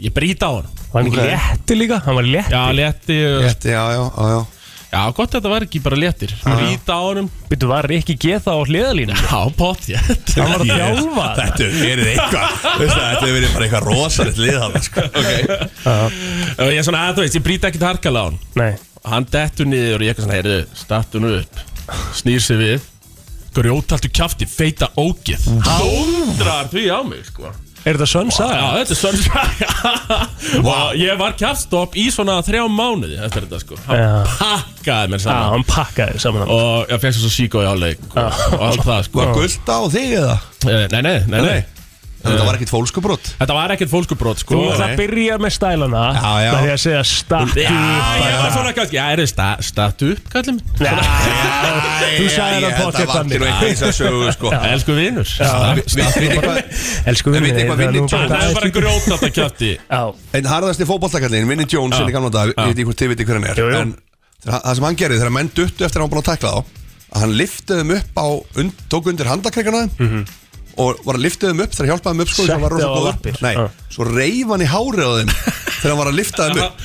[SPEAKER 8] Ég brýt á hann
[SPEAKER 2] hann
[SPEAKER 3] Ok.
[SPEAKER 2] létti líka Hann var létt
[SPEAKER 8] Já, létti Já,
[SPEAKER 3] Þetta, já, já, já, já
[SPEAKER 8] gott þetta var ekki bara léttir Brýt á hann
[SPEAKER 2] Býttu var Rikki G þá á hliðalínu
[SPEAKER 8] Já, pott ég
[SPEAKER 2] Hann var að þjálfa
[SPEAKER 3] Þetta er eitthvað veistu það, Þetta er verið bara eitthvað rosalegt liðhald sko. okay.
[SPEAKER 8] Ég er svona að þú veist Ég brýt ekkert harkalega á hann
[SPEAKER 2] Nei
[SPEAKER 8] hann dettur niður og ég eitthvað svona, heyrðu, stattu nú upp snýr sig við grjótaltu kjafti, feita ógið dóndrar því á mig, sko
[SPEAKER 2] Er þetta sönn
[SPEAKER 8] Já,
[SPEAKER 2] Mm. saga?
[SPEAKER 8] þetta er sönn wow. Ég var kjafstopp í svona þrjá mánuði eftir þetta sko Hann
[SPEAKER 2] Já.
[SPEAKER 8] pakkaði mér
[SPEAKER 2] Já,
[SPEAKER 8] saman
[SPEAKER 2] hann pakkaði saman hann.
[SPEAKER 8] Og ég fekk svo síkó í áleik og, og allt það sko
[SPEAKER 3] Var gullt á þig eða?
[SPEAKER 8] Eh, Nei, nei, nei, nei
[SPEAKER 3] Þetta var ekkit fólskubrót
[SPEAKER 8] Þetta var ekkert fólkubrót sko
[SPEAKER 2] Þú ætla að byrja með stælana
[SPEAKER 3] Já, já.
[SPEAKER 2] með því að segja stattu
[SPEAKER 8] Já, ég var svona kannski Já, er þið statu upp, kallið minn
[SPEAKER 2] Þú sagði það
[SPEAKER 3] Þetta
[SPEAKER 2] potið
[SPEAKER 3] var ekki nú
[SPEAKER 2] þannig
[SPEAKER 3] eitthvað sem sögu sko
[SPEAKER 8] Elsku vinur
[SPEAKER 3] Vi-
[SPEAKER 8] Það
[SPEAKER 3] við- við- hvað-
[SPEAKER 2] Elsku
[SPEAKER 3] En
[SPEAKER 2] vinni
[SPEAKER 3] vitið hvað vinir Jones-
[SPEAKER 8] er bara grjót alltaf kjafti
[SPEAKER 2] Já,
[SPEAKER 3] Einn harðasti fótballtakallin, Vinnie Jones
[SPEAKER 8] Já.
[SPEAKER 3] sinni gamla dag, við veitum hvort þið veitir hver hann er
[SPEAKER 2] Jú, jú.
[SPEAKER 3] En það það sem hann gerði þegar menn duttu eftir að hann var búin að tækla þá að hann liftiði þeim upp á, und, tók undir handakreikana þeim og var að liftiði þeim upp þegar hjálpaði þeim upp sko,
[SPEAKER 2] Setti
[SPEAKER 3] það var rosa
[SPEAKER 2] á
[SPEAKER 3] góður.
[SPEAKER 2] lappir.
[SPEAKER 3] Nei,
[SPEAKER 2] Já.
[SPEAKER 3] svo reif hann í hárið á þeim þegar hann var að lifta þeim upp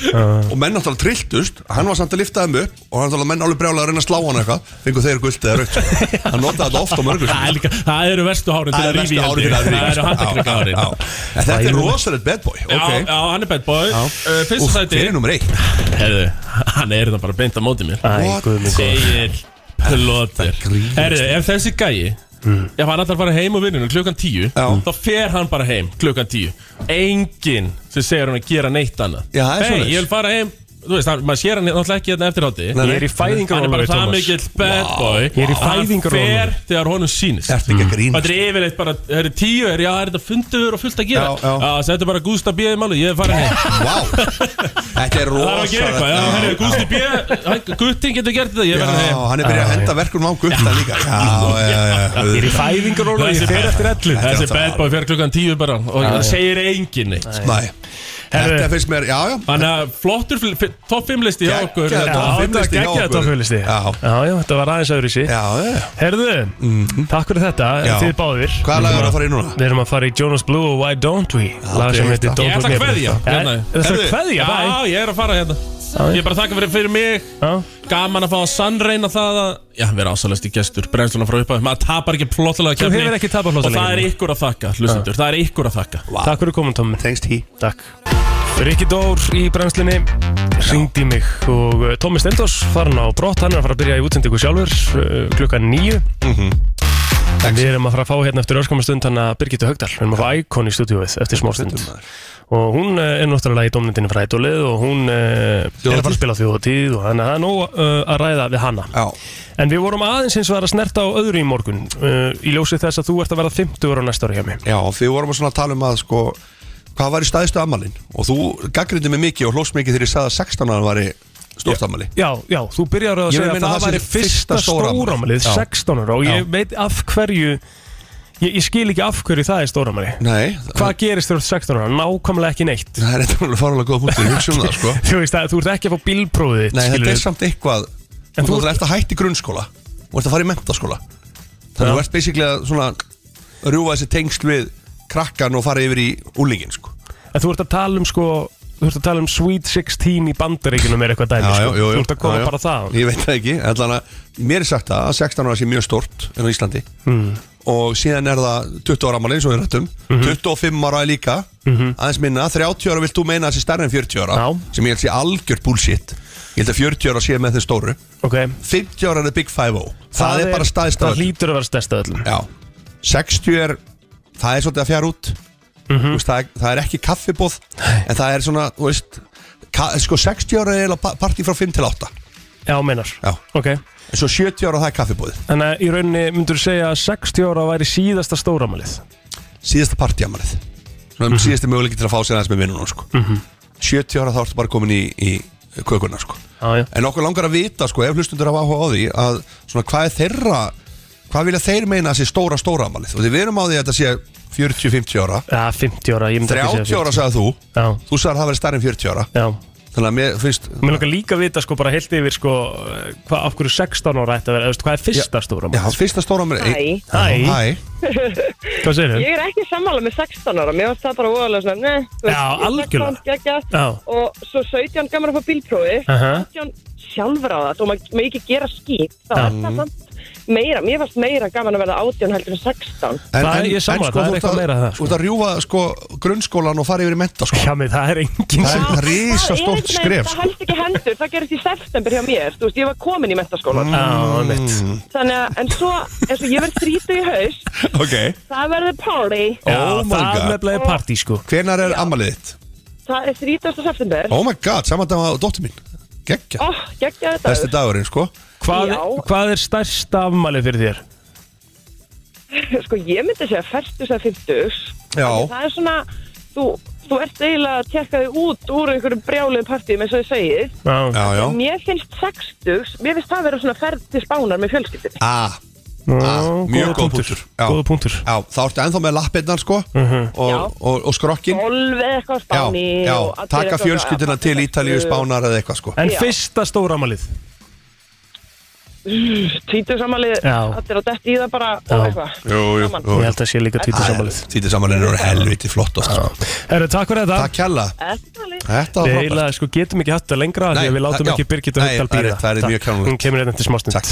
[SPEAKER 3] og menn náttúrulega trilltust, hann var samt að lifta þeim upp og hann náttúrulega menn alveg brjálega að reyna að slá hann eitthvað fengu þeir gult eða raukt sko. hann notaði þetta ofta á mörgum
[SPEAKER 8] Það er líka- það eru verstu hárin til
[SPEAKER 3] Það
[SPEAKER 8] að
[SPEAKER 3] er
[SPEAKER 8] rífi
[SPEAKER 3] versta
[SPEAKER 8] held
[SPEAKER 3] árið fyrir
[SPEAKER 8] ég.
[SPEAKER 3] að
[SPEAKER 8] Það eru handakrika hárin
[SPEAKER 3] rífa Þetta er rosalegt bad boy
[SPEAKER 8] Já,
[SPEAKER 3] ok.
[SPEAKER 8] já, hann er bad boy
[SPEAKER 3] Já.
[SPEAKER 8] uh, Fyrsta
[SPEAKER 3] Úff,
[SPEAKER 8] þætti
[SPEAKER 3] Hver er nummer eitt?
[SPEAKER 8] Herðu, hann er þetta bara beint á móti mér
[SPEAKER 2] æ,
[SPEAKER 3] What?
[SPEAKER 2] guð minn góður.
[SPEAKER 8] Egil Plóter
[SPEAKER 3] grínast.
[SPEAKER 8] Herðu, ef þessi gæi Ef hann ætlar að fara heim á vinnunum klukkan tíu
[SPEAKER 3] Já.
[SPEAKER 8] Þá fer hann bara heim klukkan tíu Enginn sem segir hann að gera neitt annað
[SPEAKER 3] Já, það er
[SPEAKER 8] Hey,
[SPEAKER 3] svoleiðis.
[SPEAKER 8] ég vil fara heim Þú veist, hann, maður sér hann náttúrulega ekki þetta eftir hátti
[SPEAKER 3] Nei,
[SPEAKER 2] Ég er í
[SPEAKER 8] Hann er
[SPEAKER 2] fæðingarólu
[SPEAKER 8] bara það mikill bad
[SPEAKER 2] Ég
[SPEAKER 8] boy
[SPEAKER 2] er í
[SPEAKER 8] að hann
[SPEAKER 2] fæðingarorlofi.
[SPEAKER 8] fer þegar honum sýnist
[SPEAKER 3] Þetta er ekki að
[SPEAKER 8] Þetta
[SPEAKER 3] grínast
[SPEAKER 8] er yfirleitt bara, það eru tíu, er, já, er þetta fundur og fullt að gera
[SPEAKER 3] Já, já.
[SPEAKER 8] Þetta er bara Gústa B. í máli, ég er
[SPEAKER 2] *laughs*
[SPEAKER 8] farin heim
[SPEAKER 3] Vá Þetta er
[SPEAKER 8] Það er að
[SPEAKER 3] rosalegt
[SPEAKER 8] gera eitthvað, já, herri, Gústi B. hann- Guttin getur gert þetta, ég verði
[SPEAKER 3] Já,
[SPEAKER 8] heim
[SPEAKER 3] hann er byrjað að henda verkunum á gutta líka Já, já, já
[SPEAKER 2] Ég er í
[SPEAKER 3] auðvitað.
[SPEAKER 2] fæðingaróla, ég
[SPEAKER 8] Þessi
[SPEAKER 2] fer eftir ellu
[SPEAKER 3] Þetta er
[SPEAKER 8] Þessi
[SPEAKER 3] alltaf-
[SPEAKER 8] bad boy fer klukkan tíu bara og það segir enginn neitt
[SPEAKER 3] Nei Þetta finnst mér, já, já
[SPEAKER 8] Þannig að flottur fl- fi- topp 5 listi hjá okkur hérna.
[SPEAKER 3] Geggjaður
[SPEAKER 8] Já,
[SPEAKER 3] topp fimm
[SPEAKER 8] þetta-
[SPEAKER 3] listi hjá
[SPEAKER 2] Gekkið
[SPEAKER 3] okkur.
[SPEAKER 2] að topphulisti
[SPEAKER 3] Já.
[SPEAKER 2] já, þetta var aðeins öðru sí
[SPEAKER 3] Já, já
[SPEAKER 2] Herðu,
[SPEAKER 8] Mhm.
[SPEAKER 2] takk fyrir þetta,
[SPEAKER 3] Já.
[SPEAKER 2] þið báðir
[SPEAKER 3] Hvaða lag er að fara í núna?
[SPEAKER 2] Við erum að fara í Jonas Blue og Why Don't We Lag
[SPEAKER 3] aldrei
[SPEAKER 2] sem
[SPEAKER 3] heyrt
[SPEAKER 2] heitir
[SPEAKER 3] það.
[SPEAKER 2] Don't
[SPEAKER 8] Ég ætla að
[SPEAKER 2] Forget Me.
[SPEAKER 8] kveðja, hérna.
[SPEAKER 2] Eh, Þetta er
[SPEAKER 3] Herðu,
[SPEAKER 2] kveðja, bæ
[SPEAKER 8] Já, ég er að fara hérna Ég er bara að þakka fyrir, fyrir mig
[SPEAKER 2] Já.
[SPEAKER 8] Gaman að fá að sannreina það að Já, vera ásalasti gestur, brennsluna frá upphæð Maður tapar ekki plottulega
[SPEAKER 2] Þú hefur ekki tapað
[SPEAKER 8] Og
[SPEAKER 2] flottulega
[SPEAKER 8] það er
[SPEAKER 2] keppni.
[SPEAKER 8] ykkur að þakka, hlustendur Það er ykkur að þakka
[SPEAKER 2] Takk fyrir komin, Tommi
[SPEAKER 3] Tengst hí
[SPEAKER 2] Takk Rikki Dór í brennslinni ringdi í mig og uh, Tómi Stendors farin á brott, hann er að fara að byrja í útsendingu sjálfur uh, klukkan nýju en við erum að fara að fá hérna eftir örskamastund hann að Birgitta Högdal, við erum að fá Icon í stúdíóið eftir smástund og hún uh, er náttúrulega í domnendinu frætólið og hún uh, er að fara að spila á þjóðatíð og þannig að það er nóg uh, að ræða við hanna
[SPEAKER 3] Já,
[SPEAKER 2] en við vorum aðeins eins og að snerta á öðru í morgun uh, í ljósi þess að þú ert að verða 50 ára næsta ári hjá mig
[SPEAKER 3] já, því vorum að svona að tala um að sko Hvað var í staðistu ammalin? Og þú gaggrindi mig mikið og hlóst mikið þegar ég sagði að 16 ára var í stórt ammali
[SPEAKER 2] Já, já, þú byrjar að
[SPEAKER 3] Ég
[SPEAKER 2] segja
[SPEAKER 3] vil
[SPEAKER 2] að
[SPEAKER 3] meina
[SPEAKER 2] það
[SPEAKER 3] það sé
[SPEAKER 2] væri fyrsta
[SPEAKER 3] fyrsta stórafmælið.
[SPEAKER 2] stóramalið
[SPEAKER 3] Já.
[SPEAKER 2] 16 ára og ég veit af hverju ég, ég skil ekki af hverju það er stóramalið
[SPEAKER 3] Nei,
[SPEAKER 2] Hvað gerist þegar þú ert 16 ára? Nákvæmlega ekki neitt *laughs*
[SPEAKER 3] það er þetta alveg farulega góða punktur, hugsa um það sko
[SPEAKER 2] Þú veist að þú ert ekki að fá bílprófið þitt,
[SPEAKER 3] Nei, þetta
[SPEAKER 2] skilurðu.
[SPEAKER 3] er samt eitthvað
[SPEAKER 2] En
[SPEAKER 3] Þú
[SPEAKER 2] þú-
[SPEAKER 3] þú ert að hætti grunnskóla og ert að fara í mentaskóla Þannig
[SPEAKER 2] Já.
[SPEAKER 3] að þú ert basically að svona rjúfa þessi tengsl við krakkan og fara yfir í úlingin sko.
[SPEAKER 2] En þú ert að tala um sko Þú ert að tala um Sweet 16 í bandaríkinum er eitthvað dæmi sko. Þú ert að koma
[SPEAKER 3] Já, já.
[SPEAKER 2] bara það
[SPEAKER 3] Ég veit það ekki, allan að mér er sagt það að 16 ára sé mjög stort en á Íslandi
[SPEAKER 2] Hmm.
[SPEAKER 3] mm. og síðan er það 20 ára ámali eins og við rættum
[SPEAKER 2] Mhm.
[SPEAKER 3] 25 ára er líka, aðeins minna 30 ára vilt þú meina að sé stærri en 40 ára
[SPEAKER 2] Já.
[SPEAKER 3] sem ég held sé algjört bullshit Ég held að 40 ára sé með þeir stóru
[SPEAKER 2] Ok
[SPEAKER 3] 50 ára er Big 5-0 það, er bara staðist
[SPEAKER 2] Það hlýtur að vera stæðst af öllum
[SPEAKER 3] Já, 60 er það er svolítið að fjara út þú veist, það, er, það er ekki kaffibóð en það er svona, þú veist ka, sko 60 ára er eiginlega pa- partí frá 5 til 8
[SPEAKER 2] Já, meinar
[SPEAKER 3] Já.
[SPEAKER 2] Ok
[SPEAKER 3] en svo 70 ára það er kaffibóð
[SPEAKER 2] Þannig að í rauninni myndur segja að 60 ára væri síðasta stóramalið
[SPEAKER 3] síðasta partíamalið svona mm -hmm. síðasti möguleiki til að fá sér aðeins með vinnunum sko. 70 ára þá ertu bara komin í, í kökunna sko.
[SPEAKER 2] Já, já
[SPEAKER 3] en okkur langar að vita sko, ef hlustundur hafa áhuga á því að svona hvað er þeirra hvað vilja þeir meina að sé stóra stóra amalið og því við erum á því að þetta sé 40-50 ára
[SPEAKER 2] Já, 50 ára, ég myndi ekki
[SPEAKER 3] 30
[SPEAKER 2] segja
[SPEAKER 3] ára sagði þú
[SPEAKER 2] Já,
[SPEAKER 3] þú sagði að það verið starri en 40 ára
[SPEAKER 2] já
[SPEAKER 3] þannig að mér finnst
[SPEAKER 2] Mér langar líka að vita sko bara heilt yfir sko eh, hvað, af hverju 16 ára ætti að vera, eða veist, hvað er fyrsta stóra
[SPEAKER 3] Já,
[SPEAKER 2] mál?
[SPEAKER 3] fyrsta stóra mér
[SPEAKER 10] Æ.
[SPEAKER 2] Hæ.
[SPEAKER 3] Hæ
[SPEAKER 2] Hvað segir þau?
[SPEAKER 10] Ég er ekki sammála með 16 ára, mér varst það bara óalega svona, ne, þú
[SPEAKER 2] Já, algjörlega.
[SPEAKER 10] geggjast,
[SPEAKER 2] Já.
[SPEAKER 10] og svo 17 gamar upp á bílprófi,
[SPEAKER 2] Aha.
[SPEAKER 10] 17 sjálfráðat og maður megi ekki gera skýt, þá
[SPEAKER 2] Já.
[SPEAKER 10] er það samt meira, mér fannst meira gaman að verða 18 heldur en 16
[SPEAKER 2] Það er- ég er sammála, það er
[SPEAKER 3] þú ert
[SPEAKER 2] eitthvað
[SPEAKER 3] að-
[SPEAKER 2] meira að það, sko.
[SPEAKER 3] Þú ert að rjúfa sko, grunnskólan og fara yfir í menta sko.
[SPEAKER 2] Já, mér, það er enginn
[SPEAKER 3] Það
[SPEAKER 2] sem
[SPEAKER 3] er risa
[SPEAKER 10] Það er
[SPEAKER 3] stórt
[SPEAKER 10] ekki
[SPEAKER 3] skref
[SPEAKER 10] neitt,
[SPEAKER 3] sko.
[SPEAKER 10] Það helst ekki hendur, það gerist í september hjá mér Þú veist, ég var komin í
[SPEAKER 3] Mm.
[SPEAKER 10] mentaskólan
[SPEAKER 2] Já, mitt
[SPEAKER 10] Þannig að, en svo, eins og ég verð þrítu í haust
[SPEAKER 3] Ok
[SPEAKER 10] Það verður party
[SPEAKER 2] Já,
[SPEAKER 3] Oh my
[SPEAKER 2] það
[SPEAKER 3] God.
[SPEAKER 2] nefnilega er partí, sko
[SPEAKER 3] Hvenær er ammalið þitt?
[SPEAKER 10] Það er 30. september Ó,
[SPEAKER 3] Oh my god, saman dag á dóttir mín Gekkja,
[SPEAKER 10] geggja þetta
[SPEAKER 3] besti dagurinn sko
[SPEAKER 2] Hvað,
[SPEAKER 10] Já.
[SPEAKER 2] hvað er stærsta afmælið fyrir þér?
[SPEAKER 10] *laughs* Sko, ég myndi segja 40 eða 50
[SPEAKER 3] Já,
[SPEAKER 10] Það er svona, þú, þú ert eiginlega að tekka þig út úr einhverju brjálið partíum eins og þið segið
[SPEAKER 2] Já,
[SPEAKER 3] já, já
[SPEAKER 10] Mér finnst 60, mér finnst það vera svona ferð til spánar með fjölskyldinni
[SPEAKER 3] ah,
[SPEAKER 2] Já,
[SPEAKER 3] mjög
[SPEAKER 2] góður
[SPEAKER 3] góð punktur. Já.
[SPEAKER 2] Góða punktur Mhm.
[SPEAKER 3] Já, þá ertu ennþá með lappirnar sko
[SPEAKER 10] Já.
[SPEAKER 3] og, og, og skrokkin
[SPEAKER 10] Golfið eitthvað á
[SPEAKER 3] Já,
[SPEAKER 10] spáni
[SPEAKER 3] já,
[SPEAKER 10] og allir
[SPEAKER 3] taka
[SPEAKER 10] eitthvað-
[SPEAKER 3] fjölskylduna til Ítalíu, Spánar eða eitthvað sko
[SPEAKER 2] En
[SPEAKER 10] Já.
[SPEAKER 2] fyrsta stóra afmælið?
[SPEAKER 10] Tvítusamalið,
[SPEAKER 2] Já.
[SPEAKER 10] allir á detti í það bara
[SPEAKER 2] Já.
[SPEAKER 10] og eitthvað
[SPEAKER 3] Jú, jú,
[SPEAKER 10] Gaman.
[SPEAKER 2] Ég held að sé líka tvítur samálið
[SPEAKER 3] Títið samanlega eru helviti flott oft, sko.
[SPEAKER 2] Herru, takk fyrir þetta
[SPEAKER 3] Takk hella
[SPEAKER 10] Eftirmáli.
[SPEAKER 3] Þetta var
[SPEAKER 2] Við
[SPEAKER 3] frábært
[SPEAKER 2] eiginlega sko getum ekki hatt það lengra af Því
[SPEAKER 3] Nei,
[SPEAKER 2] að við látum
[SPEAKER 3] það-
[SPEAKER 2] ekki
[SPEAKER 3] já.
[SPEAKER 2] Birgitta
[SPEAKER 3] Nei,
[SPEAKER 2] Haugdal
[SPEAKER 3] það er-
[SPEAKER 2] býða
[SPEAKER 3] það er mjög kjánalegt.
[SPEAKER 2] Hún kemur hérna til smástund
[SPEAKER 3] Takk.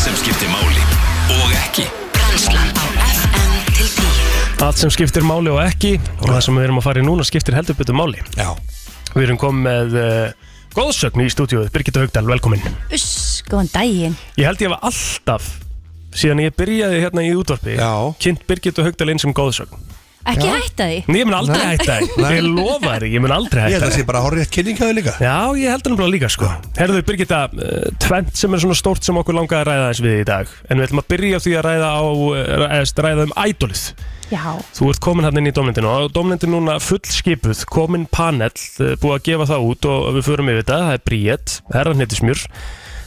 [SPEAKER 1] Allt sem skiptir máli og ekki
[SPEAKER 9] Brennslan á FM til 10
[SPEAKER 2] Allt sem skiptir máli og ekki Og það sem við erum að fara í núna skiptir heldur betur máli
[SPEAKER 3] Já,
[SPEAKER 2] Við erum komið með uh, góðsögn í stúdíóið Birgitta Haugdal, velkomin
[SPEAKER 11] Uss, góðan daginn
[SPEAKER 2] Ég held ég hafa alltaf Síðan ég byrjaði hérna í útvarpi
[SPEAKER 3] Já.
[SPEAKER 2] Kynnt Birgitta Haugdal inn sem góðsögn
[SPEAKER 11] Ekki hætta því
[SPEAKER 2] Nei, ég mun aldrei hætta það Ég lofa þér, ég mun aldrei
[SPEAKER 3] ég held
[SPEAKER 2] hætta
[SPEAKER 3] að
[SPEAKER 2] það
[SPEAKER 3] sé bara horrið eitt kynningaðu líka
[SPEAKER 2] Já, ég heldur náttúrulega líka sko Herðu Birgitta, uh, tvent sem er svona stórt sem okkur langaði að ræða eins við í dag En við ætlum að byrja á því að ræða, á, uh, eða ræða um ædolið
[SPEAKER 11] Já,
[SPEAKER 2] Þú ert komin hann inn í domnendinu og domnendin núna fullskipuð, komin panel uh, Búið að gefa það út og við förum yfir þetta Það er Bríett, Herran Hittismjör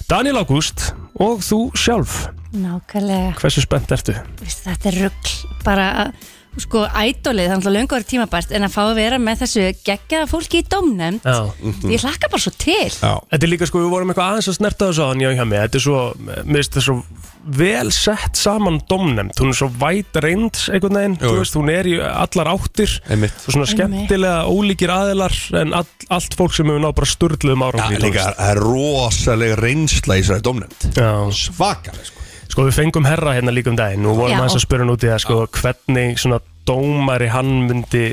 [SPEAKER 2] Daniel Ágúst og þú sjálf
[SPEAKER 11] nákvæmlega
[SPEAKER 2] Hversu spennt ertu?
[SPEAKER 11] Vist, Þetta er rugg bara að sko ædolið, það er náttúrulega löngu orðið tímabært en að fá að vera með þessu geggjaða fólki í domnefnd
[SPEAKER 2] Já
[SPEAKER 11] ég hlakka bara svo til
[SPEAKER 3] Já,
[SPEAKER 2] Þetta er líka sko, við vorum eitthvað aðeins að snerta þessu á hann hjá hjá mig Þetta er svo, mér finnst þetta svo vel sett saman domnemnd Hún er svo væt reynd einhvern veginn
[SPEAKER 3] Jú,
[SPEAKER 2] Þú
[SPEAKER 3] jú.
[SPEAKER 2] veist, hún er í allar áttir
[SPEAKER 3] einmitt
[SPEAKER 2] Svo svona
[SPEAKER 11] Einmitt.
[SPEAKER 2] skemmtilega ólíkir aðilar En all, allt fólk sem hefur náð bara sturluðum
[SPEAKER 3] Já,
[SPEAKER 2] árangri í
[SPEAKER 3] líka,
[SPEAKER 2] tónlist.
[SPEAKER 3] það er rosalega reynsla í þessari domnend
[SPEAKER 2] Já,
[SPEAKER 3] Svakalega sko
[SPEAKER 2] sko við fengum herra hérna líka um daginn Og vorum
[SPEAKER 11] Já.
[SPEAKER 2] aðeins að spyrja hann út í það sko Hvernig svona dómari hann myndi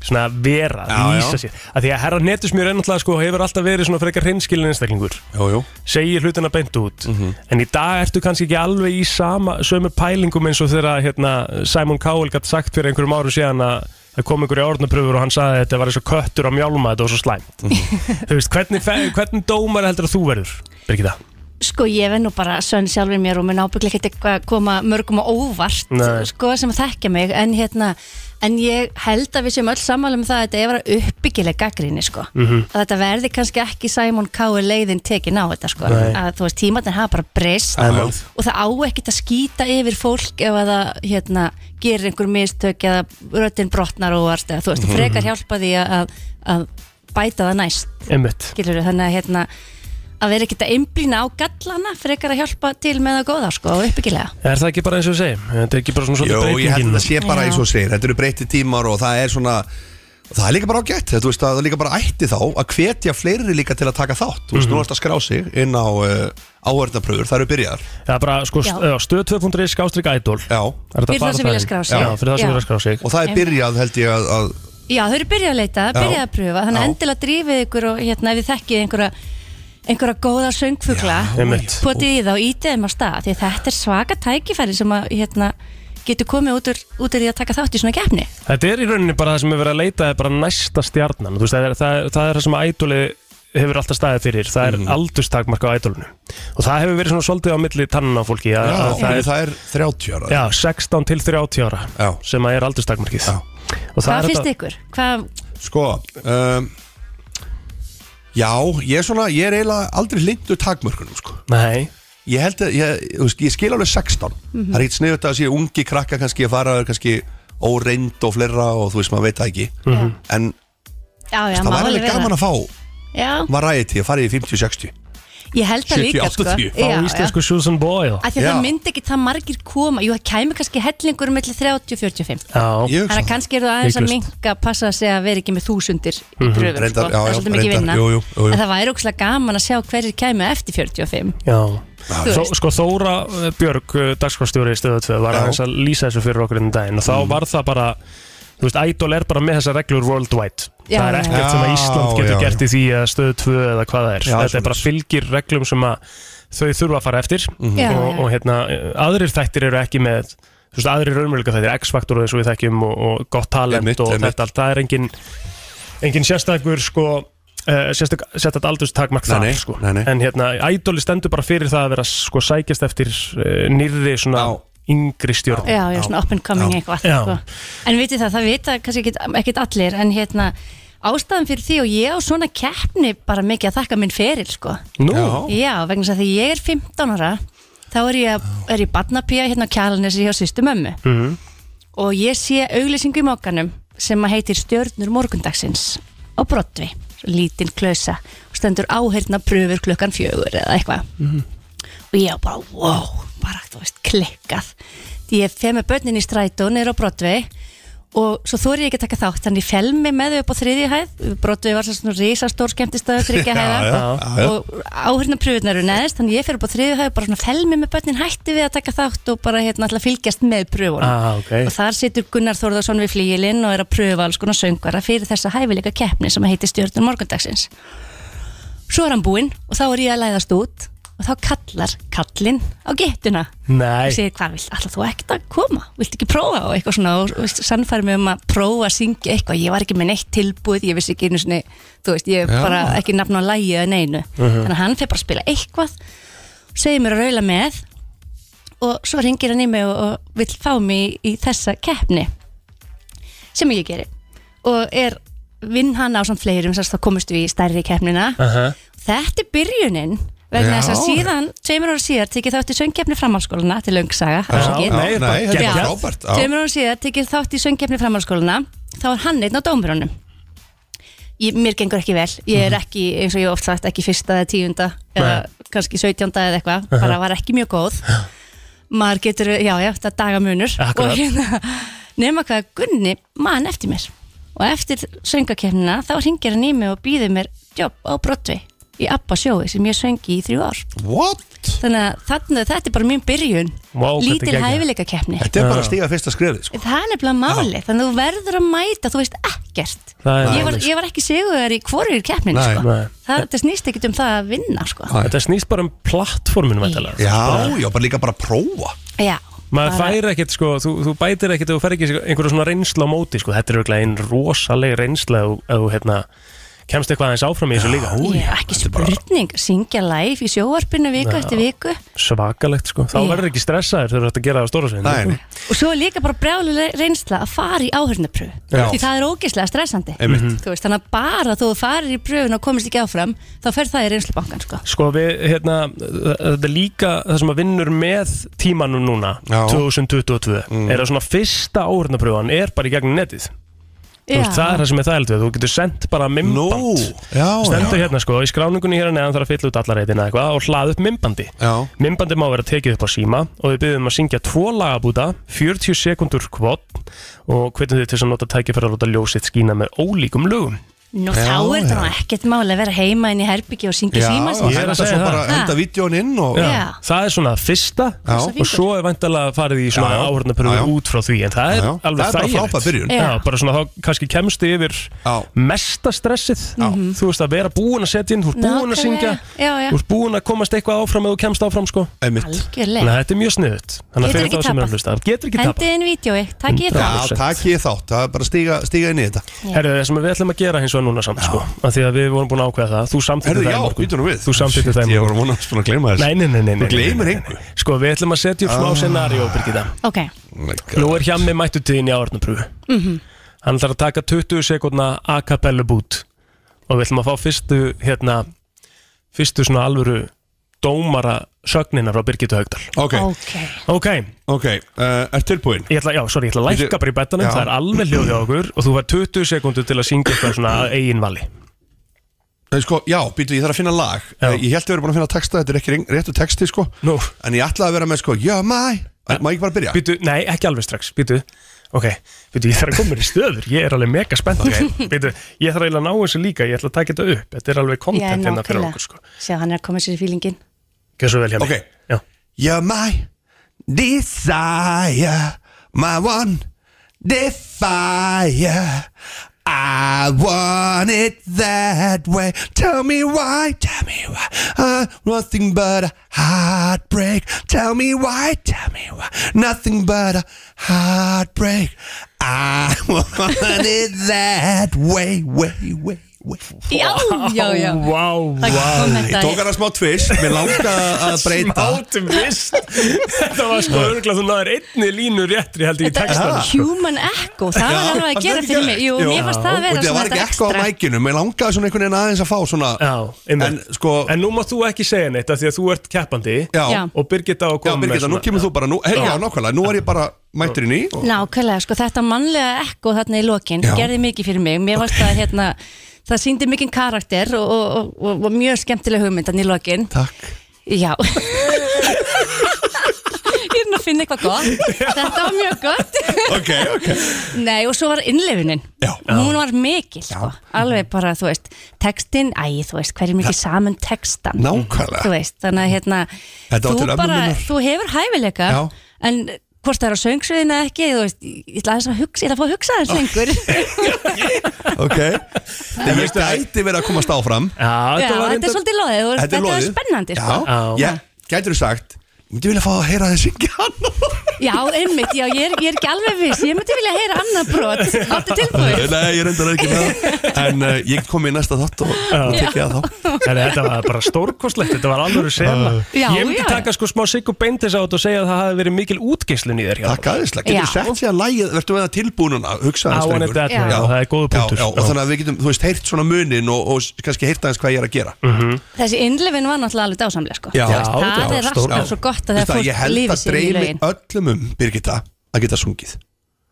[SPEAKER 2] svona vera,
[SPEAKER 3] Já, já.
[SPEAKER 2] lýsa sér að því að herra netusmjör ennáttúrulega sko hefur alltaf verið svona frekar hreinskilin einstaklingur
[SPEAKER 3] Jú, Mhm. jú
[SPEAKER 2] segir hlutina beint út en í dag ertu kannski ekki alveg í sama, sömu pælingum eins og þegar hérna, Simon Cowell gætt sagt fyrir einhverjum áru síðan að það kom einhverju árnapröfur og hann sagði að þetta var eins og köttur á mjálma þetta var svo slæmt
[SPEAKER 3] Mhm.
[SPEAKER 2] þú veist, hvernig, fe- hvernig dómar heldur að þú verður Birgitta?
[SPEAKER 11] sko ég verð nú bara sönn sjálfur mér og mér nábygglega ekkert eitthvað að koma mörgum á óvart
[SPEAKER 2] Nei.
[SPEAKER 11] sko sem að þekkja mig en hérna En ég held að við séum öll sammála um það að þetta er að vera uppbyggileg gaggrinni sko. Að þetta verði kannski ekki Simon Cowell leiðin tekin á þetta sko.
[SPEAKER 2] Nei.
[SPEAKER 11] Að þú veist, tímatin hafa bara breyst
[SPEAKER 2] Það er málið.
[SPEAKER 11] og það á ekkert að skýta yfir fólk ef að það hérna, gerir einhver mistök eða röddinn brotnar og vart eða þú veist, frekar hjálpa því að, að bæta það næst
[SPEAKER 2] Einmitt.
[SPEAKER 11] skilur þannig að hérna að vera ekkert að einblýna á gallana frekar að hjálpa til með það góða sko og uppbyggilega
[SPEAKER 2] Er það ekki bara eins og við segjum? Er Þetta er ekki bara svona svona
[SPEAKER 3] Jú, ég held að það
[SPEAKER 2] breytingin
[SPEAKER 3] sé bara
[SPEAKER 11] Já.
[SPEAKER 3] eins og þú segir Þetta eru breytti tímar og það er svona og Það er líka bara ágætt, þú veist að það er líka bara ætti þá að hvetja fleiri líka til að taka þátt Þú veist,
[SPEAKER 2] Mhm.
[SPEAKER 3] nú ertu að skrá sig inn á uh, áhörðnapröfur, það eru byrjar
[SPEAKER 2] Það er bara sko,
[SPEAKER 11] Já.
[SPEAKER 2] stöð2.ri skástrík ædol
[SPEAKER 3] Já,
[SPEAKER 11] Fyrir þá sem vilja skrá sig.
[SPEAKER 2] Já, fyrir það sem
[SPEAKER 11] Já.
[SPEAKER 2] vilja skrá sig
[SPEAKER 3] og það er byrjað held ég að, að
[SPEAKER 11] Já, þau eru byrjað að leita, byrjað að pröfa þannig
[SPEAKER 3] Já.
[SPEAKER 11] að endilega drífið ykkur og hérna ef þið þekkið einhverja einhverja góða söngfugla
[SPEAKER 2] einmitt.
[SPEAKER 11] potið í þá, ítið þeim á stað því að þetta er svaka tækifæri sem að hérna, getur komið út úr, út úr því að taka þátt í svona gefni
[SPEAKER 2] Þetta er í rauninni bara það sem hefur verið að leita er bara næsta stjarnan Þú veist, það, er, það, er, það er það sem ædoli hefur alltaf staðið fyrir það er mm. aldurstakmark á ædolinu og það hefur verið svona svolítið á milli tannan á fólki að,
[SPEAKER 3] já,
[SPEAKER 2] að það er
[SPEAKER 3] það er 30 ára
[SPEAKER 2] já, 16 til 30 ára
[SPEAKER 3] Já.
[SPEAKER 2] sem að er aldurstakmarkið
[SPEAKER 3] Já.
[SPEAKER 2] og það
[SPEAKER 11] Hvað
[SPEAKER 2] er
[SPEAKER 11] finnst
[SPEAKER 2] þetta
[SPEAKER 11] ykkur? Hvað,
[SPEAKER 3] Sko um, Já, ég er svona Ég er eiginlega aldrei lindu takmörkunum sko.
[SPEAKER 2] Nei,
[SPEAKER 3] Ég held að, ég, þú veist, ég skil alveg 16 Það er ekkert sniðut að sé ungi krakka kannski að fara kannski óreind og fleira og þú veist, maður veit það ekki En
[SPEAKER 11] já, já,
[SPEAKER 3] það væri
[SPEAKER 11] má Mhm. alveg
[SPEAKER 3] alveg
[SPEAKER 11] vera
[SPEAKER 3] gaman að fá
[SPEAKER 11] Já,
[SPEAKER 3] variety að fara í 50-60
[SPEAKER 11] Ég held það líka, sko.
[SPEAKER 2] 70-80.
[SPEAKER 11] Já,
[SPEAKER 2] Á íslensku Susan Boyle
[SPEAKER 11] Af því að það myndi ekki það margir koma Jú, það kæmi kannski hellingur mellir 30 og 45
[SPEAKER 2] Já
[SPEAKER 11] Þannig að kannski eru það aðeins að
[SPEAKER 2] Líklaust.
[SPEAKER 11] minka passa að segja að vera ekki með þúsundir í
[SPEAKER 2] Mhm.
[SPEAKER 11] pröfum
[SPEAKER 2] Reyndar,
[SPEAKER 11] sko.
[SPEAKER 2] já,
[SPEAKER 11] það
[SPEAKER 2] já,
[SPEAKER 11] er svolítið mikið
[SPEAKER 2] reyndar,
[SPEAKER 11] vinna
[SPEAKER 2] jú, jú, jú, jú.
[SPEAKER 11] en það væri ógslag gaman að sjá hverjir kæmi eftir 45
[SPEAKER 2] Já,
[SPEAKER 11] Þú
[SPEAKER 2] Þó,
[SPEAKER 11] veist.
[SPEAKER 2] sko Þóra eh, Björg, dagskvarstjóri í stöðu 2 var aðeins að lýsa þessu fyrir okkur enn daginn og
[SPEAKER 3] Mm.
[SPEAKER 2] þá var það bara, þú veist, Idol er bara með þessar reglur worldwide
[SPEAKER 11] Já,
[SPEAKER 2] það er
[SPEAKER 11] já,
[SPEAKER 2] ekkert
[SPEAKER 11] já.
[SPEAKER 2] sem að
[SPEAKER 3] Já,
[SPEAKER 2] Ísland getur
[SPEAKER 3] já, já.
[SPEAKER 2] gert í því að stöðu 2 eða hvað það er,
[SPEAKER 3] Já,
[SPEAKER 2] þetta er bara fylgir reglum sem að þau þurfa að fara eftir
[SPEAKER 3] Mhm. Já,
[SPEAKER 2] og,
[SPEAKER 3] já.
[SPEAKER 2] og hérna, eh, aðrir þættir eru ekki með þú veist, aðrir raunmjölga þættir, X-faktor og þessu við þekkjum og, og gott talent
[SPEAKER 3] Einmitt,
[SPEAKER 2] og
[SPEAKER 3] einmitt.
[SPEAKER 2] þetta allt, það er engin engin sérstakur sko Uh, sérstök, sérstök aldurstakmark
[SPEAKER 3] Nei,
[SPEAKER 2] þar
[SPEAKER 3] nei,
[SPEAKER 2] sko.
[SPEAKER 3] nei, nei.
[SPEAKER 2] en hérna, ædoli stendur bara fyrir það að vera sko sækjast eftir uh, nýrri svona yngri stjórn
[SPEAKER 11] já, já, svona up and coming eitthvað
[SPEAKER 2] Já.
[SPEAKER 11] sko. en vitið það, það vita kannski ekkit, ekkit allir en hérna, ástæðan fyrir því og ég á svona keppni bara mikið að þakka minn feril sko.
[SPEAKER 2] Nú?
[SPEAKER 11] já, vegna þess að því ég er 15 ára þá er ég, er ég barnapía hérna á kjælanessi hjá sýstu mömmu
[SPEAKER 2] Mhm.
[SPEAKER 11] og ég sé auglýsingu í mókanum sem að heitir Stjörnur morgundagsins á Brotvi, lítinn klösa og stendur áherna pröfur klukkan fjögur eða eitthvað og ég á bara, wow, bara, þú veist, klikkað því ég fer með börnin í strætó niður á Brotvi og svo þóri ég ekki að taka þátt þannig ég fel mig með þau upp á þriðju hæð Brotvi var svona risastór skemmtistöð þriggja
[SPEAKER 12] Já,
[SPEAKER 11] hæða
[SPEAKER 12] já, já, já.
[SPEAKER 11] og áhrifna pröfunar eru neðst þannig ég fer upp á þriðu hæðu bara svona felmi með börnin hætti við að taka þátt og bara hérna alltaf fylgjast með pröfunum
[SPEAKER 2] Ah, ok.
[SPEAKER 11] og þar situr Gunnar Þórðarsson við flíilinn og er að pröfa alls konar söngvara fyrir þessa hæfileika keppni sem heitir stjórnum morgundagsins svo er hann búinn og þá er ég að læðast út og þá kallar kallinn á getuna
[SPEAKER 2] Nei.
[SPEAKER 11] og segir hvað vilt, alltaf þú ekkert að koma vilt ekki prófa og eitthvað svona og, og sannfæri mig um að prófa að syngja eitthvað ég var ekki með neitt tilbúið, ég vissi ekki einu sinni þú veist, ég er
[SPEAKER 12] Já.
[SPEAKER 11] bara ekki nafn á lægi eða neinu,
[SPEAKER 12] Mhm.
[SPEAKER 11] þannig að hann fer bara að spila eitthvað segir mér að raula með og svo ringir hann í mig og, og vill fá mig í, í þessa keppni sem ég geri og er vinn hann á samt fleirum sem sagt, þá komist við í stærri keppnina
[SPEAKER 2] Aha.
[SPEAKER 11] þetta er byrjunin vegna
[SPEAKER 2] Já.
[SPEAKER 11] þess að síðan, tveimur ára síðar tekið þátt í söngjefni framhalskólana til löngsaga
[SPEAKER 2] Já, nei, bara
[SPEAKER 11] Já.
[SPEAKER 2] geggjað.
[SPEAKER 11] Já.
[SPEAKER 2] Frábært, já.
[SPEAKER 11] tveimur ára síðar tekið þátt í söngjefni framhalskólana þá er hann einn á dómurunum ég, mér gengur ekki vel ég er ekki, eins og ég hef oft sagt, ekki fyrsta eða tíunda eða kannski sautjánda eða eitthvað
[SPEAKER 12] Aha.
[SPEAKER 11] bara var ekki mjög góð maður getur, já, já, þetta er dagamunur
[SPEAKER 12] Akkurat.
[SPEAKER 11] og hérna, nema hvað Gunni mann eftir mér og eftir söngakefnina þá ringir hann í mig og býður mér jobb á Broadway í Abba sjói sem ég söngi í þrjú ár
[SPEAKER 3] What?
[SPEAKER 11] þannig að þarna, þetta er bara mín byrjun
[SPEAKER 3] Vá, þetta er
[SPEAKER 11] lítil
[SPEAKER 3] geggjað.
[SPEAKER 11] hæfileika kefni
[SPEAKER 3] Þetta er bara að stíga fyrsta skriði sko.
[SPEAKER 11] það er nefnilega máli, þannig að þú verður að mæta þú veist ekkert
[SPEAKER 2] Það er
[SPEAKER 11] ég var,
[SPEAKER 2] málið, sko.
[SPEAKER 11] ég var ekki siguðar í hvorur keppnin
[SPEAKER 2] Nei.
[SPEAKER 11] sko.
[SPEAKER 2] Nei.
[SPEAKER 11] það, það snýst ekkert um það að vinna sko.
[SPEAKER 2] þetta snýst bara um plattforminu já,
[SPEAKER 3] Já, já, bara líka bara að prófa
[SPEAKER 11] já,
[SPEAKER 2] maður fær ekkert sko, þú, þú bætir ekkert og þú fær ekki einhverja svona reynsla á móti sko. þetta er auðvitað einn rosaleg reynsla ef þú- ef þú hérna, kemst eitthvað aðeins áfram í þessu líka
[SPEAKER 11] já, ekki spurning syngja live í sjóvarpinu viku
[SPEAKER 2] Já.
[SPEAKER 11] eftir viku
[SPEAKER 2] svakalegt sko, þá
[SPEAKER 11] Já.
[SPEAKER 2] verður ekki stressaður þegar þú ert að gera það á stóra sveinu
[SPEAKER 3] Nei, nei.
[SPEAKER 11] og svo er líka bara brjáluleg reynsla að fara í áhörnapröfu
[SPEAKER 2] Já.
[SPEAKER 11] því það er ógeðslega stressandi
[SPEAKER 2] Einmitt.
[SPEAKER 11] Þú veist, þannig að bara þú farir í pröfun og komist ekki áfram þá fer það í reynslubankan sko.
[SPEAKER 2] Sko við, hérna, þetta er líka það sem að vinnur með tímanum núna 2022
[SPEAKER 3] Mm.
[SPEAKER 2] er að svona fyrsta áhörnapröfan er bara í gegnum netið Þú veist,
[SPEAKER 11] Já.
[SPEAKER 2] það er það sem er þægild við, þú getur sendt bara mimband
[SPEAKER 3] já,
[SPEAKER 2] Stendur hérna sko, í skráningunni hér að neðan þarf að fylla út alla reytina eitthvað og hlaða upp mimbandi
[SPEAKER 3] já.
[SPEAKER 2] Mimbandi má vera tekið upp á síma og við byrjum að syngja tvo lagabúta 40 sekundur kvot og hvernig þið til þess að nota tækifæra að láta ljósið skína með ólíkum lögum
[SPEAKER 11] Nú þá er það nú ekkert máli að vera heima inn í herbyggi og syngja síma
[SPEAKER 2] ég er að segja það
[SPEAKER 11] Ha,
[SPEAKER 3] vídjón inn og
[SPEAKER 2] já.
[SPEAKER 11] Já.
[SPEAKER 2] það er svona fyrsta
[SPEAKER 3] Já.
[SPEAKER 2] og svo er vantalega farið í
[SPEAKER 3] Já,
[SPEAKER 2] svona
[SPEAKER 3] já. Já, já.
[SPEAKER 2] áhörnapörðu út frá því en það er
[SPEAKER 3] Já, já.
[SPEAKER 2] alveg
[SPEAKER 3] Það er bara
[SPEAKER 2] þægilegt.
[SPEAKER 3] frábær byrjun.
[SPEAKER 2] já,
[SPEAKER 3] Já.
[SPEAKER 2] bara svona þá kannski kemstu yfir mesta stressið þú veist að vera búin að setja inn þú ert búin að
[SPEAKER 11] Mhm. Nákvæmlega.
[SPEAKER 2] syngja
[SPEAKER 11] Já, já.
[SPEAKER 2] þú ert búin að komast eitthvað áfram eða þú kemst áfram sko
[SPEAKER 11] Algjörlega.
[SPEAKER 2] Þannig að þetta er mjög sniðut þannig að
[SPEAKER 11] Getur
[SPEAKER 2] fyrir
[SPEAKER 11] ekki
[SPEAKER 2] þá sem er
[SPEAKER 11] tapað.
[SPEAKER 2] að hlusta getur ekki
[SPEAKER 11] hendið inn vídjói, takk ég það
[SPEAKER 2] Já,
[SPEAKER 3] takk ég þátt, það er bara að stíga, stíga inn í þetta
[SPEAKER 2] Herðu, það sem við ætlum að gera hins vegar núna samt sko, af því að við vorum búin að ákveða það þú samþýttir
[SPEAKER 3] Herðu,
[SPEAKER 2] það í
[SPEAKER 3] já,
[SPEAKER 2] morgun.
[SPEAKER 3] býtum við
[SPEAKER 2] Þú samþykktir það í
[SPEAKER 3] Ég var að vona að spila að gleyma þess
[SPEAKER 2] Nei, nei, nei, nei, nei,
[SPEAKER 3] Þú gleymir
[SPEAKER 2] nei, nei, nei. Sko, við ætlum að setja upp smá
[SPEAKER 3] Ah.
[SPEAKER 2] scenario, Birgitta
[SPEAKER 11] ok,
[SPEAKER 3] Oh
[SPEAKER 2] Nú er hjá mig mættu tíðin í áhörnapröfu
[SPEAKER 11] mhm
[SPEAKER 2] Hann ætlar að taka 20 sekundna a cappella bút og við ætlum að fá fyrstu hérna, fyrstu svona alvöru dómara sögnina frá Birgitu Haugdal
[SPEAKER 3] Ok,
[SPEAKER 2] Ok,
[SPEAKER 3] okay. Uh, Er tilbúin?
[SPEAKER 2] Ég ætla, já, sorry, ég ætla að lækka bara í betanum
[SPEAKER 3] Já.
[SPEAKER 2] það er alveg hljóðið á okkur og þú fær 20 sekundur til að syngja eitthvað svona að eigin vali
[SPEAKER 3] Nei, Sko, já, býtu, ég þarf að finna lag Eh, Ég held að við erum búin að finna texta, þetta er ekki reng- réttu texti sko.
[SPEAKER 2] no.
[SPEAKER 3] En ég ætlaði að vera með sko, yeah, my Má ég ekki bara byrja?
[SPEAKER 2] Býtu, nei, ekki alveg strax, býtu Ok, býtu, ég þarf að koma mér í stöður Ég er alveg mega spennt
[SPEAKER 3] Ok.
[SPEAKER 2] *laughs* Býtu, ég þarf eiginlega að ná þessu líka Ég ætla að taka þetta upp, þetta er alveg
[SPEAKER 11] Já,
[SPEAKER 2] content hérna fyrir
[SPEAKER 11] nákvæmlega.
[SPEAKER 2] okkur sko.
[SPEAKER 11] Sjá, hann er að koma sér í fílingin
[SPEAKER 2] Gjör svo vel hjá mig okay.
[SPEAKER 3] You're my desire, my one desire. I want it that way. Tell me why, tell me why. Uh, nothing but a heartbreak. Tell me why, tell me why. Nothing but a heartbreak. I *laughs* want it that way, way, way.
[SPEAKER 11] Já, já, já
[SPEAKER 2] Vá,
[SPEAKER 11] Það kom
[SPEAKER 3] Ég
[SPEAKER 11] þetta
[SPEAKER 3] tók hana smá tvist, mér langa
[SPEAKER 11] *laughs*
[SPEAKER 3] að breyta
[SPEAKER 2] Smá tvist Þetta var sko örgulega þú náður einni línu réttri heldur í
[SPEAKER 11] Þetta er
[SPEAKER 2] textan sko.
[SPEAKER 11] human echo, það var
[SPEAKER 3] Já.
[SPEAKER 11] alveg að
[SPEAKER 3] Fannst
[SPEAKER 11] gera
[SPEAKER 3] það
[SPEAKER 11] fyrir
[SPEAKER 3] ekki
[SPEAKER 11] mig Jú,
[SPEAKER 3] gætt?
[SPEAKER 11] mér
[SPEAKER 3] Já.
[SPEAKER 11] fannst það að
[SPEAKER 3] Og
[SPEAKER 11] vera
[SPEAKER 3] það var ekki ekko á mækinu, mér langaði svona einhvern veginn aðeins að fá svona
[SPEAKER 2] Já, en,
[SPEAKER 3] sko,
[SPEAKER 2] en nú mátt þú ekki segja neitt af því að þú ert keppandi
[SPEAKER 3] Já.
[SPEAKER 2] og Birgitta á að
[SPEAKER 3] Já,
[SPEAKER 2] koma
[SPEAKER 3] Birgitta, nú kemur þú bara, nú, hey, já, nákvæmlega, nú er ég bara mættur inn í og-
[SPEAKER 11] Nákvæmlega, sko, þetta mannlega ekko þarna í lokin
[SPEAKER 3] Já.
[SPEAKER 11] gerði mikið fyrir mig, mér varst það hérna það síndi mikið karakter og, og, og, og, og mjög skemmtileg hugmynd hann í lokin
[SPEAKER 3] Takk
[SPEAKER 11] Já *laughs* Ég er nú að finna eitthvað gott Þetta var mjög gott
[SPEAKER 3] Ok, ok
[SPEAKER 11] Nei, og svo var innlefunin
[SPEAKER 3] Já.
[SPEAKER 11] Hún var mikil, sko Alveg bara, þú veist, textin Æ, þú veist, hver er mikið saman textan
[SPEAKER 3] Nákvæmlega.
[SPEAKER 11] Þú veist, þannig að hérna
[SPEAKER 3] Þetta var
[SPEAKER 11] Þú
[SPEAKER 3] til ömmu
[SPEAKER 11] bara,
[SPEAKER 3] minnar.
[SPEAKER 11] þú hefur hæfileika
[SPEAKER 3] Já.
[SPEAKER 11] En hvort það er á söngsviðinu eða ekki Þú veist, ég ætla aðeins að hugsa Ég ætla að fá að hugsa
[SPEAKER 3] Ah.
[SPEAKER 11] aðeins
[SPEAKER 3] *laughs*
[SPEAKER 11] lengur
[SPEAKER 3] ok Þegar ég gæti verið að komast áfram
[SPEAKER 2] Já,
[SPEAKER 11] Já, þetta er svolítið loðið þú
[SPEAKER 3] Þetta
[SPEAKER 11] veist,
[SPEAKER 3] er
[SPEAKER 11] Þetta er
[SPEAKER 3] loðið.
[SPEAKER 11] spennandi, sko
[SPEAKER 3] Já, já, gætur þú sagt Ég myndi vilja fá að heyra þið syngja
[SPEAKER 11] Já, einmitt, já, ég er, ég er ekki alveg viss Ég myndi vilja heyra annað brot Áttu tilbúið
[SPEAKER 3] Nei, ég reyndar ekki með það En uh, ég kom í næsta þátt og, og tekja það þá
[SPEAKER 2] Heri, þetta var bara stórkostlegt, þetta var
[SPEAKER 3] *laughs*
[SPEAKER 2] alveg sena
[SPEAKER 11] Já,
[SPEAKER 2] Ég myndi
[SPEAKER 11] já.
[SPEAKER 2] taka sko smá Siggu Beintis át og segja að það hafi verið mikil útgeislun í þér
[SPEAKER 3] Takk aðeinslega, getur
[SPEAKER 11] Já.
[SPEAKER 3] sett sér að lægið Vertu með það tilbúnuna, hugsa
[SPEAKER 2] I want it that way, já, það er góður punktur.
[SPEAKER 3] já, já,
[SPEAKER 2] Já.
[SPEAKER 3] Og þannig að við getum, þú veist, heyrt svona munin og, og kannski heyrt aðeins hvað ég er að gera mm -hmm.
[SPEAKER 11] Þessi innlefin var náttúrulega alveg dásamlega sko.
[SPEAKER 3] Já.
[SPEAKER 11] Þú veist,
[SPEAKER 3] Já,
[SPEAKER 11] Það er
[SPEAKER 3] stór-
[SPEAKER 11] alltaf
[SPEAKER 3] já.
[SPEAKER 11] svo gott að það er
[SPEAKER 3] Ég
[SPEAKER 11] fólk
[SPEAKER 3] held
[SPEAKER 11] lífið
[SPEAKER 3] að
[SPEAKER 11] sér í
[SPEAKER 3] dreymi
[SPEAKER 11] lögin
[SPEAKER 3] öllum um, Birgitta, að geta sungið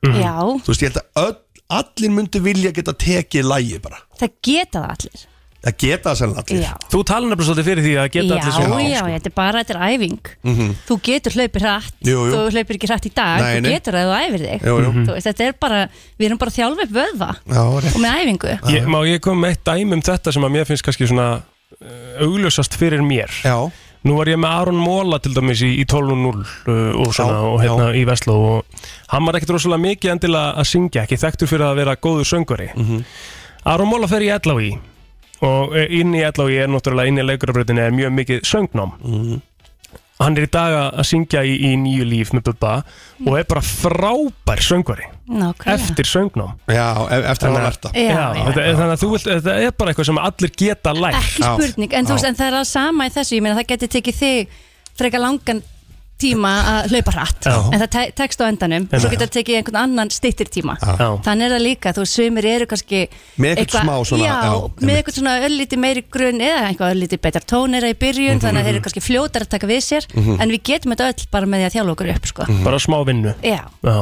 [SPEAKER 11] Já,
[SPEAKER 3] Þú veist, ég held að öll, allir myndu vilja geta tekið lægi bara
[SPEAKER 11] það geta það allir
[SPEAKER 3] Að geta það sennilega allir
[SPEAKER 11] Já,
[SPEAKER 2] Þú tala nefnilega svolítið fyrir því að
[SPEAKER 11] já,
[SPEAKER 2] geta allir sem
[SPEAKER 11] já, þetta er bara þetta er æfing
[SPEAKER 3] Mhm.
[SPEAKER 11] Þú getur hlaupir hratt
[SPEAKER 3] Jú, jú.
[SPEAKER 11] Þú hlaupir ekki hratt í dag
[SPEAKER 3] Nei, nei.
[SPEAKER 11] Þú getur það að þú æfir þig
[SPEAKER 3] Jú,
[SPEAKER 2] Mhm.
[SPEAKER 3] jú.
[SPEAKER 11] Þú Veist, Þetta er bara, við erum bara að þjálfa upp vöðva
[SPEAKER 3] Já,
[SPEAKER 11] og með æfingu
[SPEAKER 2] Ég, má ég kom með eitt dæmi um þetta sem að mér finnst kannski svona uh, augljósast fyrir mér
[SPEAKER 3] Já,
[SPEAKER 2] Nú var ég með Aron Móla til dæmis í, í 12.0 uh, og svona og hérna í Vestló og hann var ekkert rosalega mikið endilega að syngja, ekki þekktur fyrir að vera góður söngari Aron Móla fer í LHI og eh, inn í LHI er náttúrulega inn í leikurabröðinni er mjög mikið söngnám Hann er í dag að að syngja í, í nýju líf með Bubba og er bara frábær söngvari
[SPEAKER 11] Nákvæmlega
[SPEAKER 2] eftir söngnám
[SPEAKER 3] já e- eftir hann að verta
[SPEAKER 11] Já,
[SPEAKER 2] Já,
[SPEAKER 11] já.
[SPEAKER 2] þetta, þannig að þú vilt, þetta er bara eitthvað sem allir geta lært
[SPEAKER 11] Ekki
[SPEAKER 3] Já.
[SPEAKER 11] spurning, en, þú
[SPEAKER 3] Já.
[SPEAKER 11] veist, en það er alveg sama í þessu Ég meina það getur tekið þig frekar langan tíma að hlaupa hratt
[SPEAKER 2] Já.
[SPEAKER 11] en það te- tekst á endanum
[SPEAKER 2] Já.
[SPEAKER 11] svo getur það tekið einhvern annan styttir tíma
[SPEAKER 2] Já.
[SPEAKER 11] þannig er það líka, þú veist, sumir eru kannski
[SPEAKER 3] Með eitthvað smá svona,
[SPEAKER 11] já,
[SPEAKER 3] já,
[SPEAKER 11] með
[SPEAKER 3] einmitt.
[SPEAKER 11] eitthvað svona öllítið meiri grunn eða eitthvað öllítið betar tónera í byrjun
[SPEAKER 2] Mhm,
[SPEAKER 11] þannig að þeir eru kannski fljótar að taka við sér en við getum þetta öll bara með því að þjála okkur upp sko.
[SPEAKER 2] bara smá vinnu
[SPEAKER 11] já,
[SPEAKER 2] Já.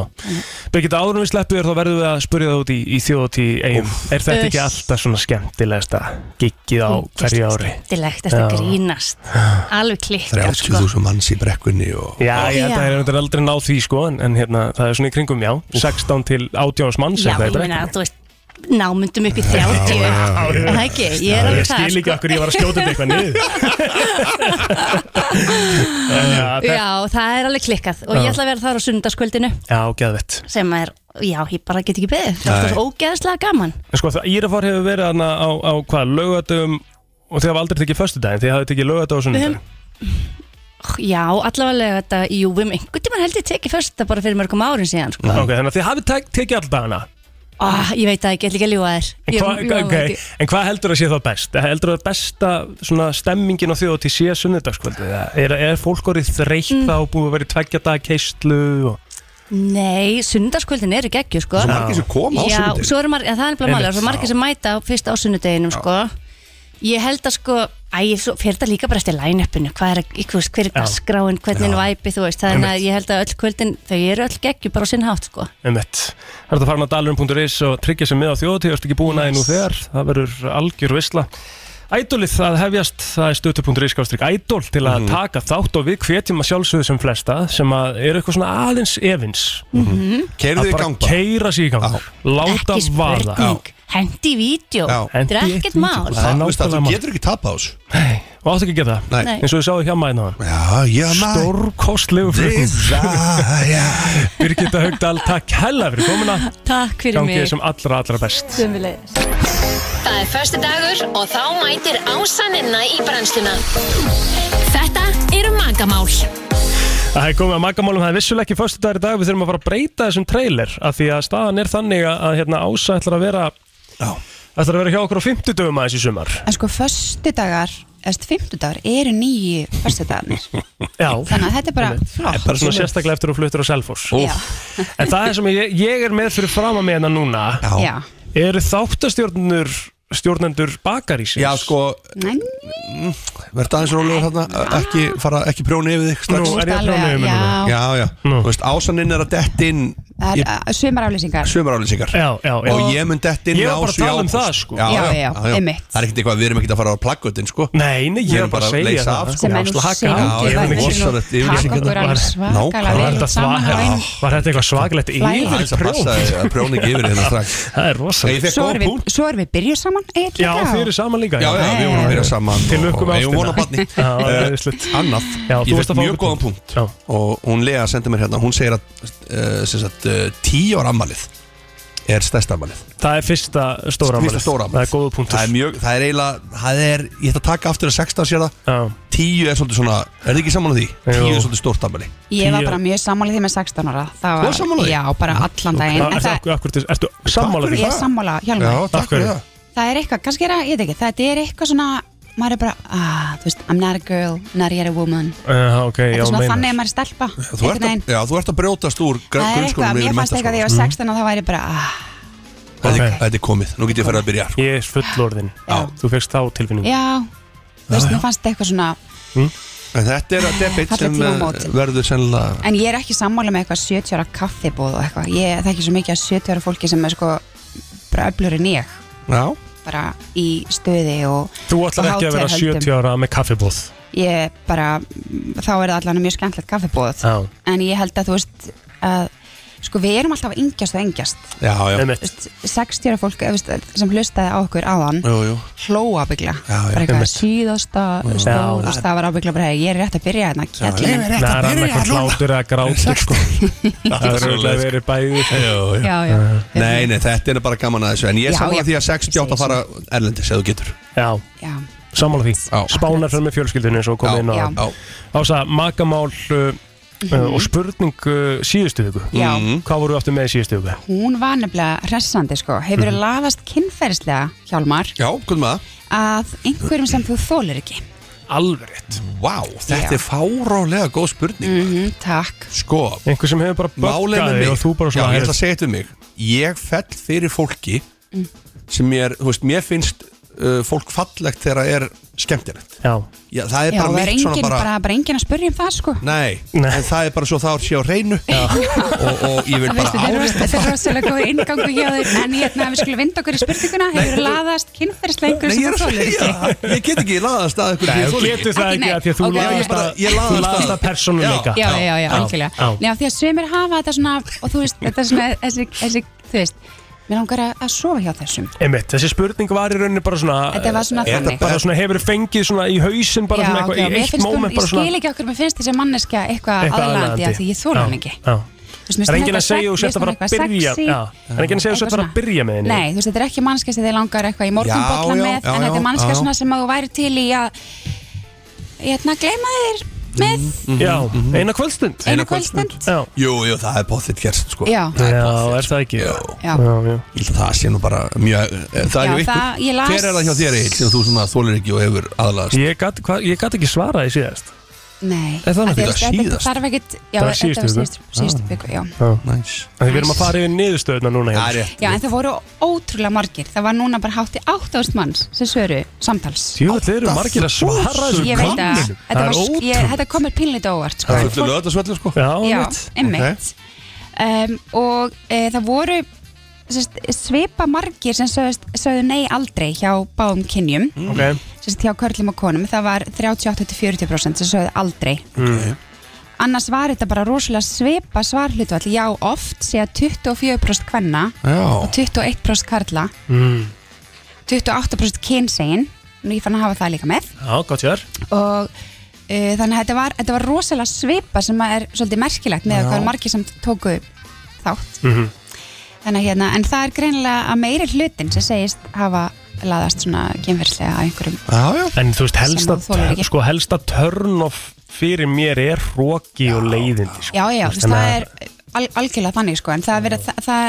[SPEAKER 2] Birgitta, áður en við sleppum þér þá verðum við að spurja það út í, í þjóðatí eigum Er þetta ekki
[SPEAKER 11] Uss.
[SPEAKER 2] alltaf svona skemmtilegasta giggið á hverju ári?
[SPEAKER 11] dilegt, þetta
[SPEAKER 2] Já.
[SPEAKER 11] grínast alveg klikkar sko.
[SPEAKER 3] 30.000 manns í brekkunni og
[SPEAKER 2] Já, ég held að það
[SPEAKER 11] Já.
[SPEAKER 2] er reyndar aldrei náð því sko en, en hérna, það er svona í kringum, já 16 til 18 manns
[SPEAKER 11] já,
[SPEAKER 2] er það í
[SPEAKER 11] ég meina,
[SPEAKER 2] brekkunni.
[SPEAKER 11] þú veist námundum upp í 30 Er það ekki, ég er sko-
[SPEAKER 2] Ég
[SPEAKER 11] alveg það
[SPEAKER 2] skil ekki okkur ég var að skjóta þetta eitthvað niður En já, þetta-
[SPEAKER 11] Já, *laughs* það er alveg klikkað og ég
[SPEAKER 2] Já.
[SPEAKER 11] ætla að vera þar á sundarskvöldinu
[SPEAKER 2] Já, geðvett
[SPEAKER 11] sem er, já, ég bara get ekki beðið það er alltaf
[SPEAKER 3] Nei.
[SPEAKER 11] svo ógeðslega gaman
[SPEAKER 2] En sko, það- Írafár hefur verið þarna á, á hvað, lögatum og þið hafa aldrei tekið föstudaginn, þið hafa tekið lögatum og sunnudaginn
[SPEAKER 11] Já, allavega þetta, jú, við með einhvern tímann held ég tekið fyrst bara fyrir mörgum árum síðan sko.
[SPEAKER 2] Ok, þannig að þið hafið tek, tekið alltaf hana
[SPEAKER 11] ah, Ég veit það ekki, ég ætla ekki að ljúga þér
[SPEAKER 2] En
[SPEAKER 11] Ég-
[SPEAKER 2] hvað
[SPEAKER 11] ég- ég-
[SPEAKER 2] okay. en hvað heldur að sé þá best? Heldur að besta svona stemmingin á þjóð til sé sunnudagskvöldi? Er, er fólk orðið þreytt
[SPEAKER 11] Mm.
[SPEAKER 2] þá búið að vera í tveggja dag keistlu? Og...
[SPEAKER 11] Nei, sundarskvöldin eru geggju sko.
[SPEAKER 3] Svo margir sem koma á
[SPEAKER 11] Já,
[SPEAKER 3] sunnudegi.
[SPEAKER 11] svo eru margir, ja, það er nefnilega máli,
[SPEAKER 2] Einmitt.
[SPEAKER 11] það eru svo margir sem mæta á- fyrst á sunnudeginum sko. Ég held að sko, æ, svo, fyrir þetta líka bara eftir line-upinu, hvað er, að- þú veist, hver er
[SPEAKER 2] Já.
[SPEAKER 11] gasskráin, hvernig er væpi, þú veist, þannig að
[SPEAKER 2] Einmitt.
[SPEAKER 11] ég held að öll kvöldin, þau eru öll geggju bara á sinn hátt sko.
[SPEAKER 2] Einmitt. Það er að fara á dalurinn.is og tryggja sem með á þjóðtíð, ertu ekki búin aðeins nú þegar, það verður algjör visla. ædólið að hefjast það er stötu.ri ædól til að taka þátt og við hvetjum að sjálfsögðu sem flesta sem að eru eitthvað svona aðeins efins
[SPEAKER 11] Mhm.
[SPEAKER 2] Keyrðu
[SPEAKER 3] þig í gang bara.
[SPEAKER 2] bara keira sig í gang láta
[SPEAKER 11] Ekki
[SPEAKER 2] vaða
[SPEAKER 11] spurning, hendi í vídeo Þetta er
[SPEAKER 2] Hendi í
[SPEAKER 11] ekkert
[SPEAKER 2] eitt vídeó.
[SPEAKER 11] mál
[SPEAKER 2] Það er nákvæmlega mál.
[SPEAKER 3] ekki tapa ás
[SPEAKER 2] Nei, og áttu ekki að geta það
[SPEAKER 11] Nei.
[SPEAKER 2] eins og þið sáðu hjá maður
[SPEAKER 3] náðan
[SPEAKER 2] Stórkostlegu flutning Birgitta Haugdal, takk hella fyrir komuna
[SPEAKER 12] Takk
[SPEAKER 2] Gangið þessum allra allra best
[SPEAKER 12] Það er förstu dagur og þá mætir ásaninna í brennsluna. Þetta eru magamál.
[SPEAKER 2] Það er komið að magamálum, það er vissulega ekki förstu dagur í dag Við þurfum að fara að breyta þessum trailer Af því að staðan er þannig að- að hérna, Ása ætlar að vera ætlar að vera hjá okkur á 50 dögum aðeins í sumar
[SPEAKER 13] En sko, föstudagar, eða fymtudagar, eru nýju föstudagarnir.
[SPEAKER 2] *laughs* Já
[SPEAKER 13] Þannig að þetta er bara flott.
[SPEAKER 2] Bara svona sérstaklega eftir að fluttur á Selfoss En það er sem ég, ég er með fyrir fram að meina núna
[SPEAKER 13] Já.
[SPEAKER 2] Eru þáttastjórnendur stjórnendur bakarísins?
[SPEAKER 3] Já, sko,
[SPEAKER 13] Nei,
[SPEAKER 3] Verða aðeins rólegur hérna, ekki, fara, ekki prjóni yfir þig strax.
[SPEAKER 13] Nú, er ég að prjóna yfir mig núna? Já.
[SPEAKER 3] Já, já, þú veist, ásaninn er að dett inn
[SPEAKER 13] það er að- sumar aflýsingar.
[SPEAKER 3] sömurálýsingar
[SPEAKER 2] já, já.
[SPEAKER 3] Og ég mun dett inn
[SPEAKER 2] Ég var
[SPEAKER 3] með
[SPEAKER 2] bara
[SPEAKER 3] Ásu í
[SPEAKER 2] að tala um
[SPEAKER 3] ágúst.
[SPEAKER 2] það, sko.
[SPEAKER 13] Já, já, einmitt.
[SPEAKER 3] Það er ekkert eitthvað, við erum ekkert að fara á plaggötin, sko
[SPEAKER 2] Nei, nei, ég er bara að segja
[SPEAKER 3] leysa
[SPEAKER 2] það.
[SPEAKER 3] af, sko.
[SPEAKER 2] Sem er nú
[SPEAKER 3] Slaka
[SPEAKER 2] synd,
[SPEAKER 3] á.
[SPEAKER 2] ég
[SPEAKER 3] Já,
[SPEAKER 2] verð
[SPEAKER 3] já,
[SPEAKER 2] ekki-
[SPEAKER 3] rosalegt
[SPEAKER 2] Taka
[SPEAKER 3] yfirlýsingar.
[SPEAKER 2] okkur alveg
[SPEAKER 13] svakalega
[SPEAKER 3] Nákvæmlega.
[SPEAKER 2] Var þetta, svaga, var þetta eitthvað svaglegt yfir
[SPEAKER 13] Flæði. Það er
[SPEAKER 3] að passa að prjóna ekki yfir hérna strax.
[SPEAKER 2] Það er rosalegt
[SPEAKER 13] Svo erum við, svo erum við byrjuð saman
[SPEAKER 2] Já,
[SPEAKER 13] eiginlega.
[SPEAKER 2] þið eru saman líka
[SPEAKER 3] Já, já, við vorum að byrja saman
[SPEAKER 2] Til lukku með
[SPEAKER 3] ástina Ég vona barni
[SPEAKER 2] *laughs* Já,
[SPEAKER 3] Eh, Annað,
[SPEAKER 2] Já, þú
[SPEAKER 3] ég
[SPEAKER 2] varst að
[SPEAKER 3] fekk
[SPEAKER 2] fá
[SPEAKER 3] mjög
[SPEAKER 2] okkur
[SPEAKER 3] góðan punkt Og hún Lea sendi mér hérna Hún segir að eh, sem sagt, eh, tíu ára ammalið er stærsta ammalið
[SPEAKER 2] Það er fyrsta stóra
[SPEAKER 3] Fyrsta
[SPEAKER 2] afmælið.
[SPEAKER 3] stóra
[SPEAKER 2] Það er góða punktur
[SPEAKER 3] Það er mjög, það er eiginlega Það er, ég ætla að taka aftur að 16 sér
[SPEAKER 2] það
[SPEAKER 3] Tíu er svolítið svona, er þið ekki saman á því? Tíu er svolítið stórt ammali
[SPEAKER 13] Ég var bara mjög sammálið því með 16 ára. Það
[SPEAKER 3] Þú varst sammála því?
[SPEAKER 13] Já, bara allan daginn. En það-
[SPEAKER 2] Ertu sammála því?
[SPEAKER 13] Ég er sammála, Hjálmar.
[SPEAKER 2] Já, takk fyrir það
[SPEAKER 13] Það er eitthvað, kannski er að, ég veit ekki, þetta er eitthvað svona, maður er bara, ah, þú veist, I'm not a girl, not yet a woman.
[SPEAKER 2] Uh, ok,
[SPEAKER 13] Þetta
[SPEAKER 2] já,
[SPEAKER 13] er svona
[SPEAKER 2] meinar.
[SPEAKER 13] þannig að maður er stelpa.
[SPEAKER 3] Þú ert, að, já, þú ert að brjótast úr
[SPEAKER 2] sko,
[SPEAKER 3] gr-
[SPEAKER 13] Það er
[SPEAKER 3] grunnskólanum yfir
[SPEAKER 13] eitthvað, mér
[SPEAKER 3] í
[SPEAKER 13] fannst eitthvað þegar ég var 16 og það væri bara, ah,
[SPEAKER 3] menntaskólann. Þetta er- Þetta er komið, nú get ég að fara að byrja sko.
[SPEAKER 2] Ég er fullorðin Þú fegst þá tilfinningu
[SPEAKER 13] já, þú veist, mér fannst eitthvað svona,
[SPEAKER 3] En þetta er að debit
[SPEAKER 13] Þetta er
[SPEAKER 3] sem eh,
[SPEAKER 13] tímamótin.
[SPEAKER 3] verður sennilega
[SPEAKER 13] en ég er ekki sammála með eitthvað 70 ára kaffibóð og eitthvað. Ég þekki svo mikið að 70 ára fólki sem er sko bara öflur en ég,
[SPEAKER 3] Já
[SPEAKER 13] bara í stöði og
[SPEAKER 2] Þú ætlar
[SPEAKER 13] og
[SPEAKER 2] ekki að vera
[SPEAKER 13] hátíðarhöldum.
[SPEAKER 2] 70 ára með kaffibóð
[SPEAKER 13] Ég bara, þá er það allan mjög skemmtilegt kaffibóð.
[SPEAKER 2] Já,
[SPEAKER 13] en ég held að þú veist að sko við erum alltaf að yngjast og engjast
[SPEAKER 3] já, já.
[SPEAKER 2] Einmitt.
[SPEAKER 13] 60 ára fólk eh, veist, sem hlustaði á okkur áðan
[SPEAKER 3] Jú, jú.
[SPEAKER 13] hlóa byggla
[SPEAKER 3] Já, já.
[SPEAKER 13] bara eitthvað
[SPEAKER 3] Einmitt.
[SPEAKER 13] síðasta
[SPEAKER 2] Já.
[SPEAKER 13] stór, þú veist, það var ábyggla bara hey, ég er rétt að byrja hérna kjallinn minn."
[SPEAKER 2] Það er
[SPEAKER 3] hérna.
[SPEAKER 2] annarkvæmt hlátur eða grátur sko. Það er
[SPEAKER 3] Svoleiðis,
[SPEAKER 2] auðvitað að vera bæði
[SPEAKER 13] Já, já.
[SPEAKER 3] Uh-huh. Nei, nei, þetta er bara gaman að þessu En ég er
[SPEAKER 13] Já,
[SPEAKER 3] saman
[SPEAKER 13] já.
[SPEAKER 3] að því að 60 átt að fara erlendis eða þú getur
[SPEAKER 2] Já,
[SPEAKER 13] Já.
[SPEAKER 2] sammála því Spánar fyrir með fjölskyldinu eins og
[SPEAKER 3] Já.
[SPEAKER 2] komið inn
[SPEAKER 3] Já.
[SPEAKER 2] á Ása, magamál uh, uh, og spurning uh, síðustu viku
[SPEAKER 13] Mhm. Já.
[SPEAKER 3] Mhm.
[SPEAKER 2] Hvað voru aftur með í síðustu viku?
[SPEAKER 13] hún var nefnilega hressandi sko hefur
[SPEAKER 3] Mhm.
[SPEAKER 13] mm. laðast kynferðislega hjálmar
[SPEAKER 3] Já, hvað með það?
[SPEAKER 13] að einhverjum sem þú þólir ekki
[SPEAKER 2] Alveg rétt
[SPEAKER 3] Vá, þetta er fárálega góð spurning
[SPEAKER 13] mm takk
[SPEAKER 3] Sko
[SPEAKER 2] Einhver sem hefur bara
[SPEAKER 3] Málið
[SPEAKER 2] böggað
[SPEAKER 3] með
[SPEAKER 2] þig og
[SPEAKER 3] mig
[SPEAKER 2] þú bara svona
[SPEAKER 3] Já, ég ætla
[SPEAKER 2] heyrðu,
[SPEAKER 3] að segja þetta um mig Ég fell fyrir fólki
[SPEAKER 13] Mm.
[SPEAKER 3] sem mér, þú veist, mér finnst uh, fólk fallegt þegar það er skemmtilegt
[SPEAKER 2] Já,
[SPEAKER 3] Já það er
[SPEAKER 13] já,
[SPEAKER 3] bara
[SPEAKER 13] það er
[SPEAKER 3] mitt svona
[SPEAKER 13] enginn
[SPEAKER 3] bara,
[SPEAKER 13] bara, bara enginn að spurja um það sko
[SPEAKER 3] Nei, en það er bara svo það er sé á hreinu og, og ég vil bara
[SPEAKER 13] Veistu, þetta er ros-
[SPEAKER 3] árétta
[SPEAKER 13] þetta er rosalega góð inngangu hjá þér en hérna við skulum vinda okkur í spurninguna hefur laðast kynferðisleikur
[SPEAKER 3] Nei, ég er að segja það Ég get ekki laðast að ykkur
[SPEAKER 2] Nei,
[SPEAKER 3] því
[SPEAKER 2] þú
[SPEAKER 3] þoli
[SPEAKER 2] getur það ekki
[SPEAKER 13] nei,
[SPEAKER 2] að því að þú
[SPEAKER 13] ok,
[SPEAKER 2] laðast
[SPEAKER 13] ég bara-
[SPEAKER 2] að
[SPEAKER 3] ég
[SPEAKER 2] þú
[SPEAKER 3] laðast
[SPEAKER 2] laðast
[SPEAKER 3] að-
[SPEAKER 2] að persónuleika
[SPEAKER 13] já, já, já, algjörlega
[SPEAKER 2] Já.
[SPEAKER 13] Já, því að sömur hafa þetta svona og þú veist, þetta er svona þessi, þessi þú veist, mér langar að, að sofa hjá þessum
[SPEAKER 2] Einmitt, þessi spurning var í rauninni bara svona
[SPEAKER 13] Þetta var svona
[SPEAKER 2] Er þetta
[SPEAKER 13] þannig.
[SPEAKER 2] bara svona hefur fengið svona í hausinn bara
[SPEAKER 13] Já,
[SPEAKER 2] svona
[SPEAKER 13] ok,
[SPEAKER 2] eitthvað í
[SPEAKER 13] mér
[SPEAKER 2] eitt
[SPEAKER 13] finnst um hún,
[SPEAKER 2] moment
[SPEAKER 13] ég
[SPEAKER 2] bara svona
[SPEAKER 13] skil ekki okkur mér finnst þessi manneska eitthvað aðlandi að því ég þóla hann ekki
[SPEAKER 2] Já,
[SPEAKER 13] Þú veist,
[SPEAKER 2] já Það er
[SPEAKER 13] mér finnst
[SPEAKER 2] enginn að
[SPEAKER 13] eitthvað
[SPEAKER 2] segja þú
[SPEAKER 13] sex-
[SPEAKER 2] sért að fara
[SPEAKER 13] mér
[SPEAKER 2] að
[SPEAKER 13] finnst hún
[SPEAKER 2] byrja
[SPEAKER 13] eitthvað
[SPEAKER 2] Já, það er enginn að segja þú sért að
[SPEAKER 13] eitthvað
[SPEAKER 2] fara
[SPEAKER 13] svona.
[SPEAKER 2] að byrja með henni
[SPEAKER 13] Nei, þú veist, þetta er ekki mannska sem þið langar eitthvað í
[SPEAKER 2] Já,
[SPEAKER 13] morgunbollan
[SPEAKER 2] já, já,
[SPEAKER 13] með en þetta
[SPEAKER 2] já,
[SPEAKER 13] er mannska
[SPEAKER 2] já.
[SPEAKER 13] svona sem að þú væri til í að hérna, gleyma þér með
[SPEAKER 2] Já, eina kvöldstund
[SPEAKER 13] Mhm. Eina kvöldstund.
[SPEAKER 3] Jú, jú, það er bóðið gerst sko
[SPEAKER 13] Já.
[SPEAKER 3] Það er
[SPEAKER 2] Já,
[SPEAKER 3] pottþétt. sko.
[SPEAKER 2] er það ekki?
[SPEAKER 3] Já.
[SPEAKER 13] Já.
[SPEAKER 3] Ég held að það sé nú bara mjög eh, Það
[SPEAKER 13] Já,
[SPEAKER 3] er jú ykkur
[SPEAKER 13] það- ég las-
[SPEAKER 3] Hver er það hjá þér eitt sem þú svona þólir ekki og hefur aðlaðast
[SPEAKER 2] Ég gat, hva, ég gat ekki svarað í síðast
[SPEAKER 13] Nei,
[SPEAKER 2] Er það nokkuð?
[SPEAKER 13] af því að þetta- þetta
[SPEAKER 2] Síðast?
[SPEAKER 13] þarf ekkit
[SPEAKER 2] Það
[SPEAKER 13] Já,
[SPEAKER 2] er
[SPEAKER 13] þetta var
[SPEAKER 2] síðustu viku. Ah.
[SPEAKER 13] síðustu- síðustu byggu, já
[SPEAKER 2] Mm.
[SPEAKER 3] Nice
[SPEAKER 2] Því við erum að fara yfir niðurstöðuna núna hérna.
[SPEAKER 13] Já, en það voru ótrúlega margir Það var núna bara hátti 8000 manns sem svöru samtals
[SPEAKER 2] Jú, þeir eru margir að svara þessu
[SPEAKER 13] Ég veit að
[SPEAKER 2] könnunum.
[SPEAKER 13] þetta,
[SPEAKER 2] Það
[SPEAKER 13] var,
[SPEAKER 2] er
[SPEAKER 13] sk- ég,
[SPEAKER 2] ótrúlegt.
[SPEAKER 13] þetta komur pínlítið óvart sko.
[SPEAKER 3] Það er fullu löðarsvöldu sko
[SPEAKER 2] Já,
[SPEAKER 13] Já, einmitt um, Og e, það voru
[SPEAKER 2] Mm.
[SPEAKER 13] sest, svipa margir sem sögðust, sögðu nei aldrei hjá báðum kynjum
[SPEAKER 2] Ok.
[SPEAKER 13] sérst hjá körlum og konum það var 38-40% sem sögðu aldrei annars var þetta bara rosalega svipa svarhlutvall já oft segja 24% kvenna
[SPEAKER 3] Já.
[SPEAKER 13] og 21% karla
[SPEAKER 2] Mm.
[SPEAKER 13] 28% kynsegin nú ég fann að hafa það líka með
[SPEAKER 2] Já, gott hjá þér.
[SPEAKER 13] og uh, þannig að þetta var, þetta var rosalega svipa sem að er svolítið merkilegt með
[SPEAKER 2] Já.
[SPEAKER 13] að hvað margir sem tóku þátt
[SPEAKER 2] Mm -hmm.
[SPEAKER 13] þannig að hérna, en það er greinilega að meiri hlutin sem segist hafa laðast svona kynferðslega að einhverjum
[SPEAKER 2] En þú veist,
[SPEAKER 13] Sem
[SPEAKER 2] helsta,
[SPEAKER 13] þú þolir ekki.
[SPEAKER 2] sko, helsta turn off fyrir mér er roki og leiðindi sko.
[SPEAKER 13] já, já,
[SPEAKER 2] Þú veist,
[SPEAKER 13] þú veist, það
[SPEAKER 2] þannig
[SPEAKER 13] er al, algjörlega þannig sko, en það er verið að það, það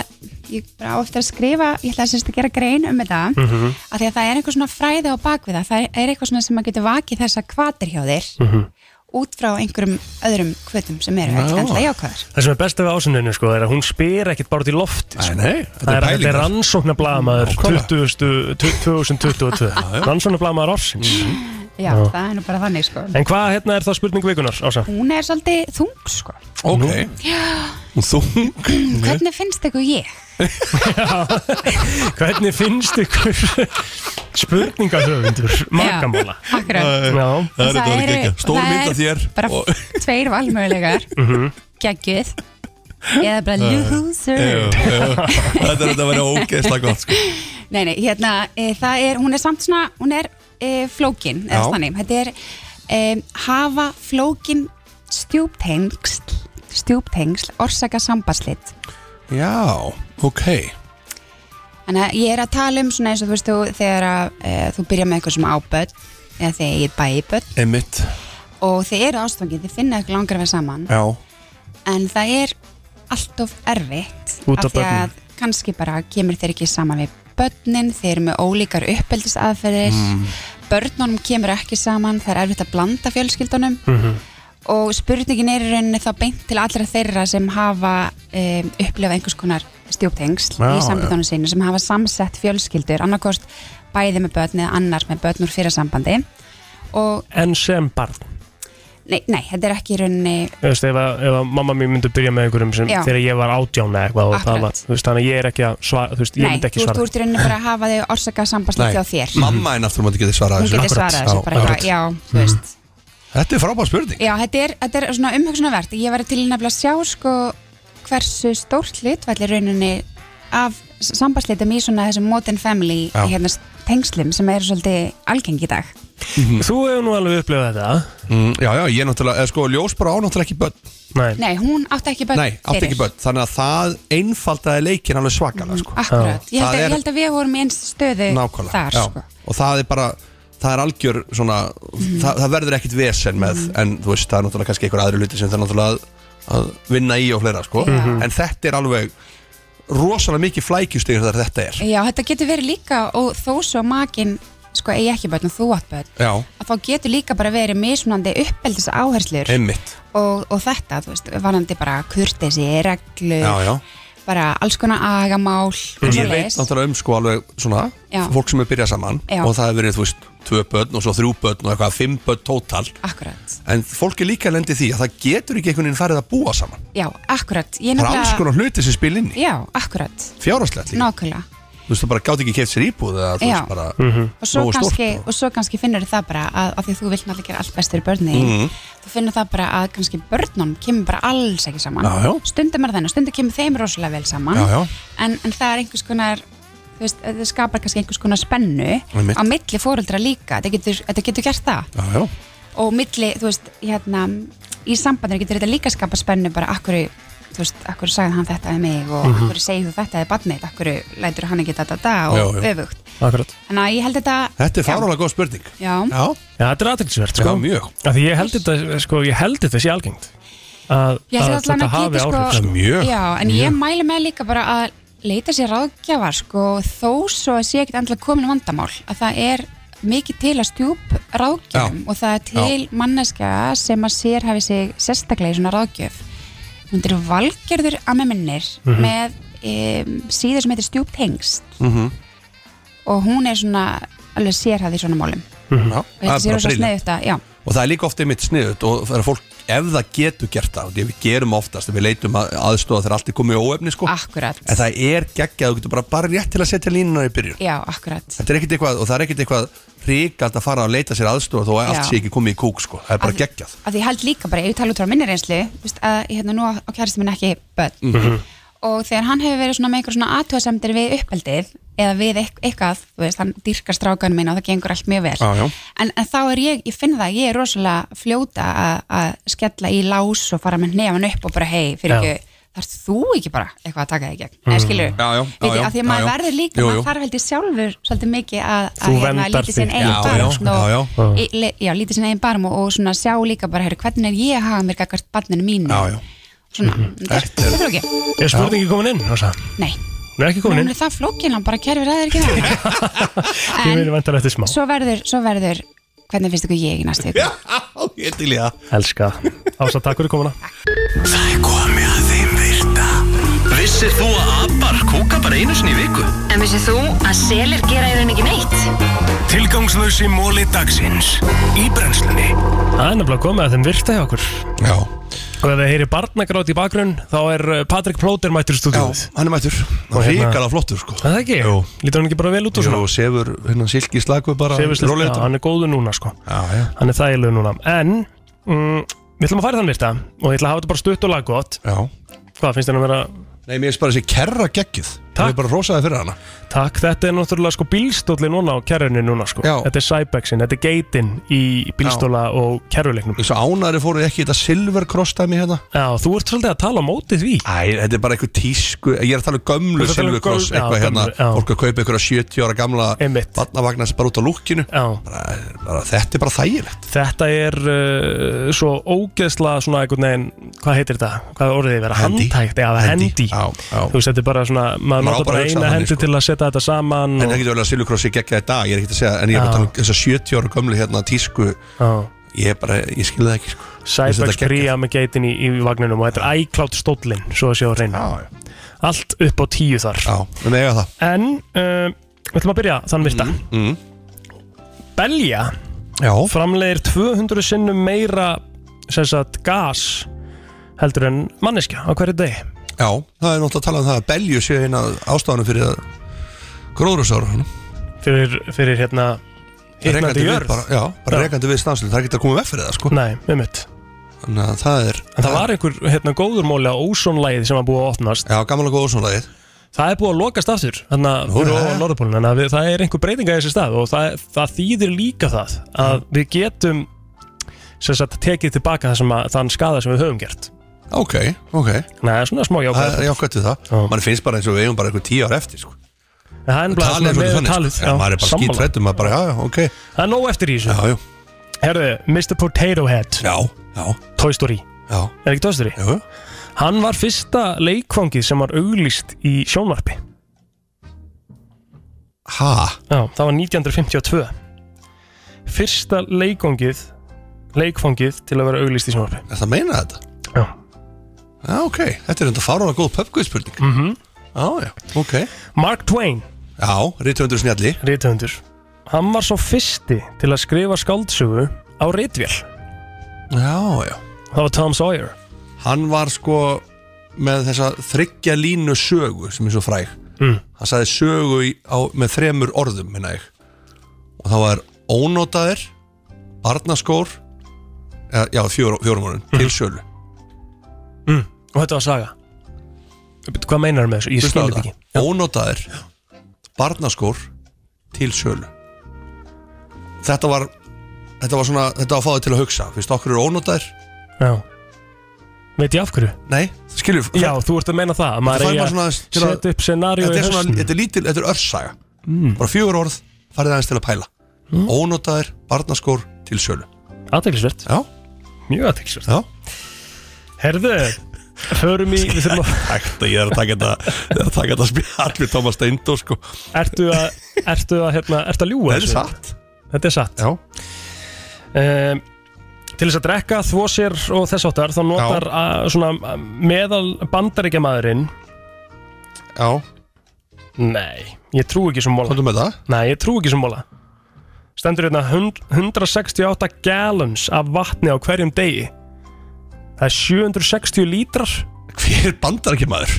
[SPEAKER 13] ég bara á eftir að skrifa, ég ætla að sérst að gera grein um þetta mm
[SPEAKER 2] Mhm.
[SPEAKER 13] að því að það er einhver svona fræði á bakviða það er- er eitthvað svona sem að getur vakið þessa kvatir hjá þér
[SPEAKER 2] Mhm.
[SPEAKER 13] út frá einhverjum öðrum kvötum sem eru
[SPEAKER 2] Já.
[SPEAKER 13] eitthvað jákvæðar
[SPEAKER 2] Það sem er besta við ásynninu sko, er að hún spyr ekkert bara út í lofti sko.
[SPEAKER 3] nei,
[SPEAKER 2] Það er, þetta er rannsóknablaðamaður 2022 Rannsóknablaðamaður ársins
[SPEAKER 13] Já,
[SPEAKER 2] Já.
[SPEAKER 13] það er nú bara þannig sko
[SPEAKER 2] En hvað hérna er það spurning vikunar, Ása?
[SPEAKER 13] Hún er svolítið þung sko
[SPEAKER 2] Ok
[SPEAKER 3] Þú?
[SPEAKER 13] Mm, Hvernig finnst ykkur ég?
[SPEAKER 2] *laughs* Hvernig finnst ykkur spurningahöfundur makamála?
[SPEAKER 13] Já, akkurat.
[SPEAKER 2] Já.
[SPEAKER 13] Það er þetta ekki Stór mynd af þér bara Tveir *laughs* valmögulegar
[SPEAKER 2] Mhm.
[SPEAKER 13] Gægjuð Eða bara
[SPEAKER 3] Jú,
[SPEAKER 13] loser
[SPEAKER 3] jú. Þetta er þetta að vera ógeðslega gott sko.
[SPEAKER 13] Nei, nei, hérna e, Það er, hún er samt svona Hún er e, flókin
[SPEAKER 3] Já.
[SPEAKER 13] eða þannig. Þetta er e, Hafa flókin stjúptengsl Stjúptengsl Orsaka sambandslit
[SPEAKER 3] Já, ok
[SPEAKER 13] Þannig að ég er að tala um svona eins og þú veist þú þegar að, e, þú byrja með eitthvað sem áböld eða þegar ég bæði böld
[SPEAKER 3] Emmitt
[SPEAKER 13] og þið eru ástfangið, þið finna eitthvað langar að vera saman
[SPEAKER 3] Já,
[SPEAKER 13] en það er allt of erfitt
[SPEAKER 3] Út af
[SPEAKER 13] af því að
[SPEAKER 3] börnum.
[SPEAKER 13] kannski bara kemur þeir ekki saman við börnin, þeir eru með ólíkar uppeldisaðferðir mm. börnunum kemur ekki saman, það er erfitt að blanda fjölskyldunum og spurningin er í rauninni þá beint til allra þeirra sem hafa um, upplifað einhvers konar stjúptengsl
[SPEAKER 14] Já,
[SPEAKER 13] í sambandunum sínu sem hafa samsett fjölskyldur annarkost bæði með börn eða annars með börn úr fyrir sambandi og
[SPEAKER 2] En sem barn
[SPEAKER 13] nei, nei, þetta er ekki í rauninni
[SPEAKER 2] Þú veist, ef, að, ef að mamma mín myndi byrja með einhverjum sem
[SPEAKER 13] Já.
[SPEAKER 2] þegar ég var átjána eitthvað og það
[SPEAKER 13] Akkurat.
[SPEAKER 2] var, þú veist, þannig að ég er ekki að svara, þú veist, ég
[SPEAKER 13] Nei,
[SPEAKER 2] myndi
[SPEAKER 13] þú
[SPEAKER 2] ekki
[SPEAKER 13] ert
[SPEAKER 2] svara
[SPEAKER 13] úr í rauninni bara að hafa þau orsaka sambandslið hjá þér
[SPEAKER 3] Mamma einn aftur mátti getið svarað
[SPEAKER 13] Hún getur svarað þessu bara eitthvað, já,
[SPEAKER 3] Mm.
[SPEAKER 13] þú veist
[SPEAKER 3] Þetta er frábæð spurning
[SPEAKER 13] Já, þetta er, þetta er svona umhugsunarvert Ég var til nefnilega að sjá sko hversu stórt hlutvalli rauninni af sambandslitum í svona þessum modern family
[SPEAKER 2] Já.
[SPEAKER 13] hérna tengslum sem eru svolítið algeng í dag
[SPEAKER 2] Þú hefur nú alveg upplifað þetta
[SPEAKER 3] mm, Já, já, ég náttúrulega, eða sko, ljós bara á náttúrulega ekki börn
[SPEAKER 2] Nei,
[SPEAKER 13] Nei, hún átti ekki börn
[SPEAKER 3] Nei átti ekki
[SPEAKER 13] fyrir.
[SPEAKER 3] börn Þannig að það einfaldaði leikin alveg svakalega sko.
[SPEAKER 13] Akkurat, ég held,
[SPEAKER 3] Það
[SPEAKER 13] að,
[SPEAKER 3] er-
[SPEAKER 13] ég held að við vorum í eins stöðu
[SPEAKER 3] Nákvæmlega
[SPEAKER 13] þar
[SPEAKER 3] já.
[SPEAKER 13] sko. Mm.
[SPEAKER 3] Og það er bara Það er algjör svona það, það verður ekkit vesen með En þú veist, það er náttúrulega kannski einhver aðri luti sem það er náttúrulega að, að vinna í og fleira sko.
[SPEAKER 13] Já.
[SPEAKER 3] En þetta er alveg rosalega mikið flækjustegur þegar þetta er
[SPEAKER 13] Já, þetta getur verið líka og þó svo makin sko eigi ekki börn og þú átt börn
[SPEAKER 3] Já,
[SPEAKER 13] að þá getur líka bara verið mismunandi uppeldis áherslur
[SPEAKER 3] einmitt
[SPEAKER 13] og, og þetta, þú veist, varandi bara kurtesi, reglur,
[SPEAKER 3] Já, já
[SPEAKER 13] bara alls konar agamál
[SPEAKER 3] Ég
[SPEAKER 13] og
[SPEAKER 3] veit
[SPEAKER 13] svoleiðis.
[SPEAKER 3] náttúrulega um sko alveg svona
[SPEAKER 13] Já.
[SPEAKER 3] fólk sem er byrjað saman
[SPEAKER 13] Já.
[SPEAKER 3] og það hefur verið þú veist tvö börn og svo þrjú börn og eitthvað fimm börn tótal
[SPEAKER 13] Akkurat.
[SPEAKER 3] en fólk er líka lendið því að það getur ekki einhvern veginn farið að búa saman
[SPEAKER 13] Já, akkurat Ég
[SPEAKER 3] það er alls konar hluti sem spil inn í
[SPEAKER 13] Já, akkurat,
[SPEAKER 3] fjárhastlega líka
[SPEAKER 13] nákvæmlega
[SPEAKER 3] þú veist það bara gátt ekki keift sér íbúð eða þú
[SPEAKER 13] Já.
[SPEAKER 3] veist bara
[SPEAKER 2] Mhm.
[SPEAKER 13] og svo,
[SPEAKER 3] nógu stórt
[SPEAKER 13] kannski, og svo kannski finnur það bara að, að því að þú vilt náttúrulega gera allt bestur í börnin
[SPEAKER 3] Mhm.
[SPEAKER 13] þú finnur það bara að kannski börnunum kemur bara alls ekki saman
[SPEAKER 3] Já, já.
[SPEAKER 13] stundum er þannig, stundum kemur þeim rosalega vel saman
[SPEAKER 3] Já, já.
[SPEAKER 13] En, en það er einhvers konar þú veist, það skapar kannski einhvers konar spennu
[SPEAKER 3] Einmitt.
[SPEAKER 13] á milli fóreldra líka þetta getur, þetta getur gert það
[SPEAKER 3] já, já.
[SPEAKER 13] og milli, þú veist, hérna í sambandinu getur þetta líka skapa spennu bara akkur, þú veist, akkur sagði hann þetta við mig og mm
[SPEAKER 2] Mhm.
[SPEAKER 13] -hmm. akkur segir þú þetta við barnið, akkur lætur hann ekki þetta þetta og
[SPEAKER 3] Já, já.
[SPEAKER 13] öfugt
[SPEAKER 2] akkurat
[SPEAKER 13] þannig að ég held þetta
[SPEAKER 3] þetta er
[SPEAKER 13] Já.
[SPEAKER 3] fárálega góð spurning
[SPEAKER 13] Já,
[SPEAKER 3] já,
[SPEAKER 2] Já, þetta er aðtilsvert, sko
[SPEAKER 3] Já, mjög.
[SPEAKER 2] Af Því ég held þetta, sko, ég held þetta sé algengt að,
[SPEAKER 13] ég held þetta allan að geti sko Já, en ég
[SPEAKER 2] Mjög.
[SPEAKER 13] mæli með líka bara að leita sér ráðgjafar sko þó svo að sé ekkit endilega komin vandamál að það er mikið til að stjúp ráðgjafum og það er til
[SPEAKER 14] Já.
[SPEAKER 13] manneska sem að sér hafi sig sérstaklega í svona ráðgjöf hún er valgerður amma minnir
[SPEAKER 14] Mhm.
[SPEAKER 13] með um, síður sem heitir stjúp tengst og hún er svona alveg sérhæfð í svona málum
[SPEAKER 3] Já,
[SPEAKER 13] og
[SPEAKER 2] Mhm.
[SPEAKER 3] það
[SPEAKER 13] þetta sé
[SPEAKER 3] er bara
[SPEAKER 13] rosa
[SPEAKER 3] brilliant.
[SPEAKER 13] sneið þetta, já
[SPEAKER 3] og það er líka ofta einmitt sniðut og það er að fólk ef það getur gert það og því við gerum oftast, við leitum að aðstóða þegar allt er komið í óefni sko
[SPEAKER 13] Akkurat.
[SPEAKER 3] en það er geggjað, þú getur bara, bara rétt til að setja línuna í byrjun
[SPEAKER 13] Já, akkurat.
[SPEAKER 3] þetta er ekkit eitthvað, og það er ekkit eitthvað ríkald að fara að leita sér aðstóða þó að allt
[SPEAKER 13] Já.
[SPEAKER 3] sé ekki komið í kúk sko, það er bara
[SPEAKER 13] Að-
[SPEAKER 3] geggjað
[SPEAKER 13] Af því ég held líka bara, ef ég tala út frá minni reynslu, þú veist, að hérna nú á kærasti minn ekki börn
[SPEAKER 3] Mhm.
[SPEAKER 13] og þegar hann hefur verið svona með einhver svona aðtöðasemdir við uppeldið eða við eitth- eitthvað, þú veist, hann dýrkar strákan minn og það gengur allt mjög vel.
[SPEAKER 3] Já, já.
[SPEAKER 13] En, en þá er ég, ég finn það, ég er rosalega fljóta að- að skella í lás og fara með nefn upp og bara, hei,
[SPEAKER 3] Já.
[SPEAKER 13] fyrir
[SPEAKER 3] Mhm.
[SPEAKER 13] ekki, þar þú ekki bara eitthvað að taka þig í gegn, eða skilur
[SPEAKER 3] Já, já, já,
[SPEAKER 13] Viti,
[SPEAKER 3] já,
[SPEAKER 13] að því að
[SPEAKER 3] já,
[SPEAKER 13] maður
[SPEAKER 3] já.
[SPEAKER 13] verður
[SPEAKER 3] Jú,
[SPEAKER 13] líka,
[SPEAKER 3] jú.
[SPEAKER 13] maður þarf held ég sjálfur svolítið mikið að,
[SPEAKER 3] Þú
[SPEAKER 13] að
[SPEAKER 3] verndar
[SPEAKER 13] lítið sinn
[SPEAKER 3] þig.
[SPEAKER 13] eigin sko.
[SPEAKER 3] Já, já,
[SPEAKER 13] barm svona,
[SPEAKER 3] já, já.
[SPEAKER 13] og- í- le- já, lítið sinn eigin barm og, og svona sjá líka bara, heyrðu, hvernig er ég að hafa mér gagvart barninu mínu
[SPEAKER 2] Já,
[SPEAKER 13] *laughs*
[SPEAKER 2] Mhm. já.
[SPEAKER 13] Svona, þetta er flókið
[SPEAKER 2] Er spurningi komin inn, Ása?
[SPEAKER 13] Nei,
[SPEAKER 2] Hún er ekki komin
[SPEAKER 13] hún
[SPEAKER 2] inn,
[SPEAKER 13] er það flókið, hann bara kerfir að þér ekki
[SPEAKER 2] *laughs*
[SPEAKER 13] það
[SPEAKER 2] ég vil vantar eftir smá
[SPEAKER 13] Svo verður, svo verður, hvernig finnst ykkur ég í næstu ykkur?
[SPEAKER 3] Ég til í það
[SPEAKER 2] Elska, Ása, takk fyrir komuna
[SPEAKER 1] Það er komið að þeim virta Vissir þú að abar kúka bara einu sinni í viku?
[SPEAKER 12] En vissið þú að selir gera í raun ekki neitt?
[SPEAKER 1] Tilgangslösi móli dagsins Í brennslunni
[SPEAKER 2] Það er nefnilega komið að þeim virta hjá okkur
[SPEAKER 3] Já
[SPEAKER 2] Og ef þið heyri barnagrátt í bakgrunn Þá er uh, Patrik Plóter mættur í stúdíuð Já,
[SPEAKER 3] hann er mættur
[SPEAKER 2] Og hérna-
[SPEAKER 3] ríkala flottur sko
[SPEAKER 2] Það ekki? Jú. Lítur hann ekki bara vel út og svona?
[SPEAKER 3] og sefur hérna silki slaku bara
[SPEAKER 2] Sefur stillt-
[SPEAKER 3] rólega
[SPEAKER 2] já, hann er góður núna sko
[SPEAKER 3] já, já.
[SPEAKER 2] Hann er þægilegu núna En mm, Við ætlum að fara í þann virta Og ég ætla að hafa þetta bara stutt og laggótt
[SPEAKER 3] Já
[SPEAKER 2] Hvað finnst þér að vera
[SPEAKER 3] Nei, mér finnst bara þessi kerra geggið Takk Ég bara rosaði fyrir hana
[SPEAKER 2] Takk, þetta er náttúrulega sko bílstóli núna og kerrunni núna sko já. Þetta er Cybexin, þetta er geitin í bílstóla og kerruleiknum
[SPEAKER 3] Þessu ánæri fóruð ekki í þetta silver cross dæmi hérna
[SPEAKER 2] Já, þú ert svolítið að tala á móti því
[SPEAKER 3] Æ, þetta er bara eitthvað tísku Ég er að tala
[SPEAKER 2] Þú
[SPEAKER 3] um
[SPEAKER 2] ert
[SPEAKER 3] gömlu
[SPEAKER 2] að tala um
[SPEAKER 3] silver cross
[SPEAKER 2] gömlu- já,
[SPEAKER 3] Eitthvað hérna
[SPEAKER 2] gömlu, já.
[SPEAKER 3] Fólk að kaupa einhverja 70 ára gamla Vatnavagnar sem bara út á lúkkinu
[SPEAKER 2] bara,
[SPEAKER 3] bara, Þetta er bara þægilegt
[SPEAKER 2] Þetta er uh, svo ógeðsla svona einhvern veginn, hvað heitir þetta? Hvað er orðið vera?
[SPEAKER 3] Hendi.
[SPEAKER 2] Handtækt, já,
[SPEAKER 3] Hendi.
[SPEAKER 2] hendi já, já. Þú veist, þetta er bara svona, maður
[SPEAKER 3] Maður
[SPEAKER 2] notar
[SPEAKER 3] á bara
[SPEAKER 2] bara
[SPEAKER 3] að hugsa
[SPEAKER 2] eina
[SPEAKER 3] þannig,
[SPEAKER 2] hendi
[SPEAKER 3] sko.
[SPEAKER 2] til að setja þetta saman
[SPEAKER 3] En
[SPEAKER 2] og,
[SPEAKER 3] það getur vel að silver crossi geggja í dag Ég er ekki að segja En ég er bara að tala um þessa 70 ára gömlu hérna tísku
[SPEAKER 2] já,
[SPEAKER 3] Ég er bara, ég skilði það ekki sko Mér finnst þetta
[SPEAKER 2] Cybex Priya með geitin í, í vagninum og þetta er iCloud stólinn, svo að sjá reyna já, já. Allt upp á tíu þar
[SPEAKER 3] Já, við eiga það
[SPEAKER 2] En, uh, við ætlum að byrja þann virta
[SPEAKER 3] mm.
[SPEAKER 2] Belja
[SPEAKER 3] já.
[SPEAKER 2] framlegir 200 sinnum meira sem sagt gas heldur en manneskja á hverju degi
[SPEAKER 3] Já, það er náttúrulega að tala um það að belju séu hérna ástafanum fyrir að gróðrúsára
[SPEAKER 2] fyrir, fyrir hérna hitnandi jörð
[SPEAKER 3] bara, Já, bara
[SPEAKER 2] Já.
[SPEAKER 3] rekandi við stanslun, það er ekki að koma veg fyrir það sko
[SPEAKER 2] Nei, með mitt
[SPEAKER 3] Þannig að það er
[SPEAKER 2] En það var einhver hérna, góður móli á ósónlægið sem var búið að opnast
[SPEAKER 3] Já, gamla góð ósónlægið
[SPEAKER 2] Það er búið að lokast aftur Þannig að
[SPEAKER 3] Nú,
[SPEAKER 2] fyrir
[SPEAKER 3] jæja.
[SPEAKER 2] ofan Norðupólun Þannig að við- það er einhver breytinga í þessi stað Og það, það þýðir líka það Að við getum sem sagt tekið tilbaka það sem að, þann skada sem við höfum gert
[SPEAKER 3] Ok, ok
[SPEAKER 2] Nei, það er svona smá jákvæð
[SPEAKER 3] Það er jákvæmt við það Man finnst bara eins og við eigum bara eitthvað tíu ára eftir sko
[SPEAKER 2] En Það er nefnilega
[SPEAKER 3] Talið er
[SPEAKER 2] svona með talið
[SPEAKER 3] svolítið þannig sko. Já, maður er bara
[SPEAKER 2] sammála.
[SPEAKER 3] skítræddur, maður bara, já, já, ok.
[SPEAKER 2] Það er nóg eftir í þessu
[SPEAKER 3] Já, já
[SPEAKER 2] Herðu, Mr. Potato Head
[SPEAKER 3] Já, já
[SPEAKER 2] Toy Story
[SPEAKER 3] Já
[SPEAKER 2] Er ekki Toy Story?
[SPEAKER 3] Jú
[SPEAKER 2] Hann var fyrsta leikfangið sem var auglýst í sjónvarpi
[SPEAKER 3] Ha?
[SPEAKER 2] Já, það var 1952 Fyrsta leikfangið leikfangið til að vera auglýst í sjónvarpi
[SPEAKER 3] Er það meina þetta?
[SPEAKER 2] Já
[SPEAKER 3] Já, ok, þetta er enda fáránlega góð pubguðspurning
[SPEAKER 2] mm -hmm.
[SPEAKER 3] Já, já, ok
[SPEAKER 2] Mark Twain
[SPEAKER 3] Já, rítöndur snjalli
[SPEAKER 2] Rithöfundur Hann var svo fyrsti til að skrifa skáldsögu á ritvél
[SPEAKER 3] Já, já
[SPEAKER 2] Það var Tom Sawyer
[SPEAKER 3] Hann var sko með þessa þryggja línu sögu sem er svo fræg
[SPEAKER 2] Mm.
[SPEAKER 3] Hann sagði sögu í, á, með þremur orðum, minna ég Og það var ónótaðir, barnaskór eða, Já, fjórum fjóru orðum,
[SPEAKER 2] Mhm.
[SPEAKER 3] til sölu
[SPEAKER 2] mm. Og þetta var saga Bíddu, Hvað meinar með þessu? Ég
[SPEAKER 3] Hlustaðu
[SPEAKER 2] skil
[SPEAKER 3] á
[SPEAKER 2] þetta
[SPEAKER 3] það.
[SPEAKER 2] ekki
[SPEAKER 3] Ónotaðir Barnaskór Til sölu Þetta var Þetta var svona Þetta var fáið til að hugsa Fyrst okkur eru ónotaðir
[SPEAKER 2] Já Veit ég af hverju?
[SPEAKER 3] Nei, skilur
[SPEAKER 2] Já, þú ert að meina það að Maður
[SPEAKER 3] fær
[SPEAKER 2] eigi
[SPEAKER 3] maður
[SPEAKER 2] að
[SPEAKER 3] svona aðeins til að-
[SPEAKER 2] setja upp scenaríu
[SPEAKER 3] Þetta
[SPEAKER 2] í
[SPEAKER 3] er svona
[SPEAKER 2] hausnum.
[SPEAKER 3] Þetta er lítil Þetta er örsaga Bara fjögur orð Farið aðeins til að pæla mm. Ónotaðir Barnaskór Til sölu
[SPEAKER 2] Aðteglisvert
[SPEAKER 3] Já
[SPEAKER 2] Mjög aðteglisvert
[SPEAKER 3] *laughs* Já
[SPEAKER 2] Herðu, förum í Við þurfum að
[SPEAKER 3] Ægt að ég er að taka þetta Ég er að taka þetta spjall Við Thomas Steindor sko
[SPEAKER 2] Ertu að, ertu að, hérna, ertu að ljúga
[SPEAKER 3] Þetta er
[SPEAKER 2] þessu?
[SPEAKER 3] satt.
[SPEAKER 2] Þetta er satt
[SPEAKER 3] Já
[SPEAKER 2] Til þess að drekka, þvó sér og þess áttar Þá notar að, svona meðal bandaríkjamaðurinn
[SPEAKER 3] Já
[SPEAKER 2] Nei, ég trú ekki sem móla
[SPEAKER 3] Hvað er með það?
[SPEAKER 2] Nei, ég trú ekki sem móla Stendur hérna hund- 168 gallons af vatni á hverjum degi Það er 760 lítrar
[SPEAKER 3] Hver bandar ekki maður?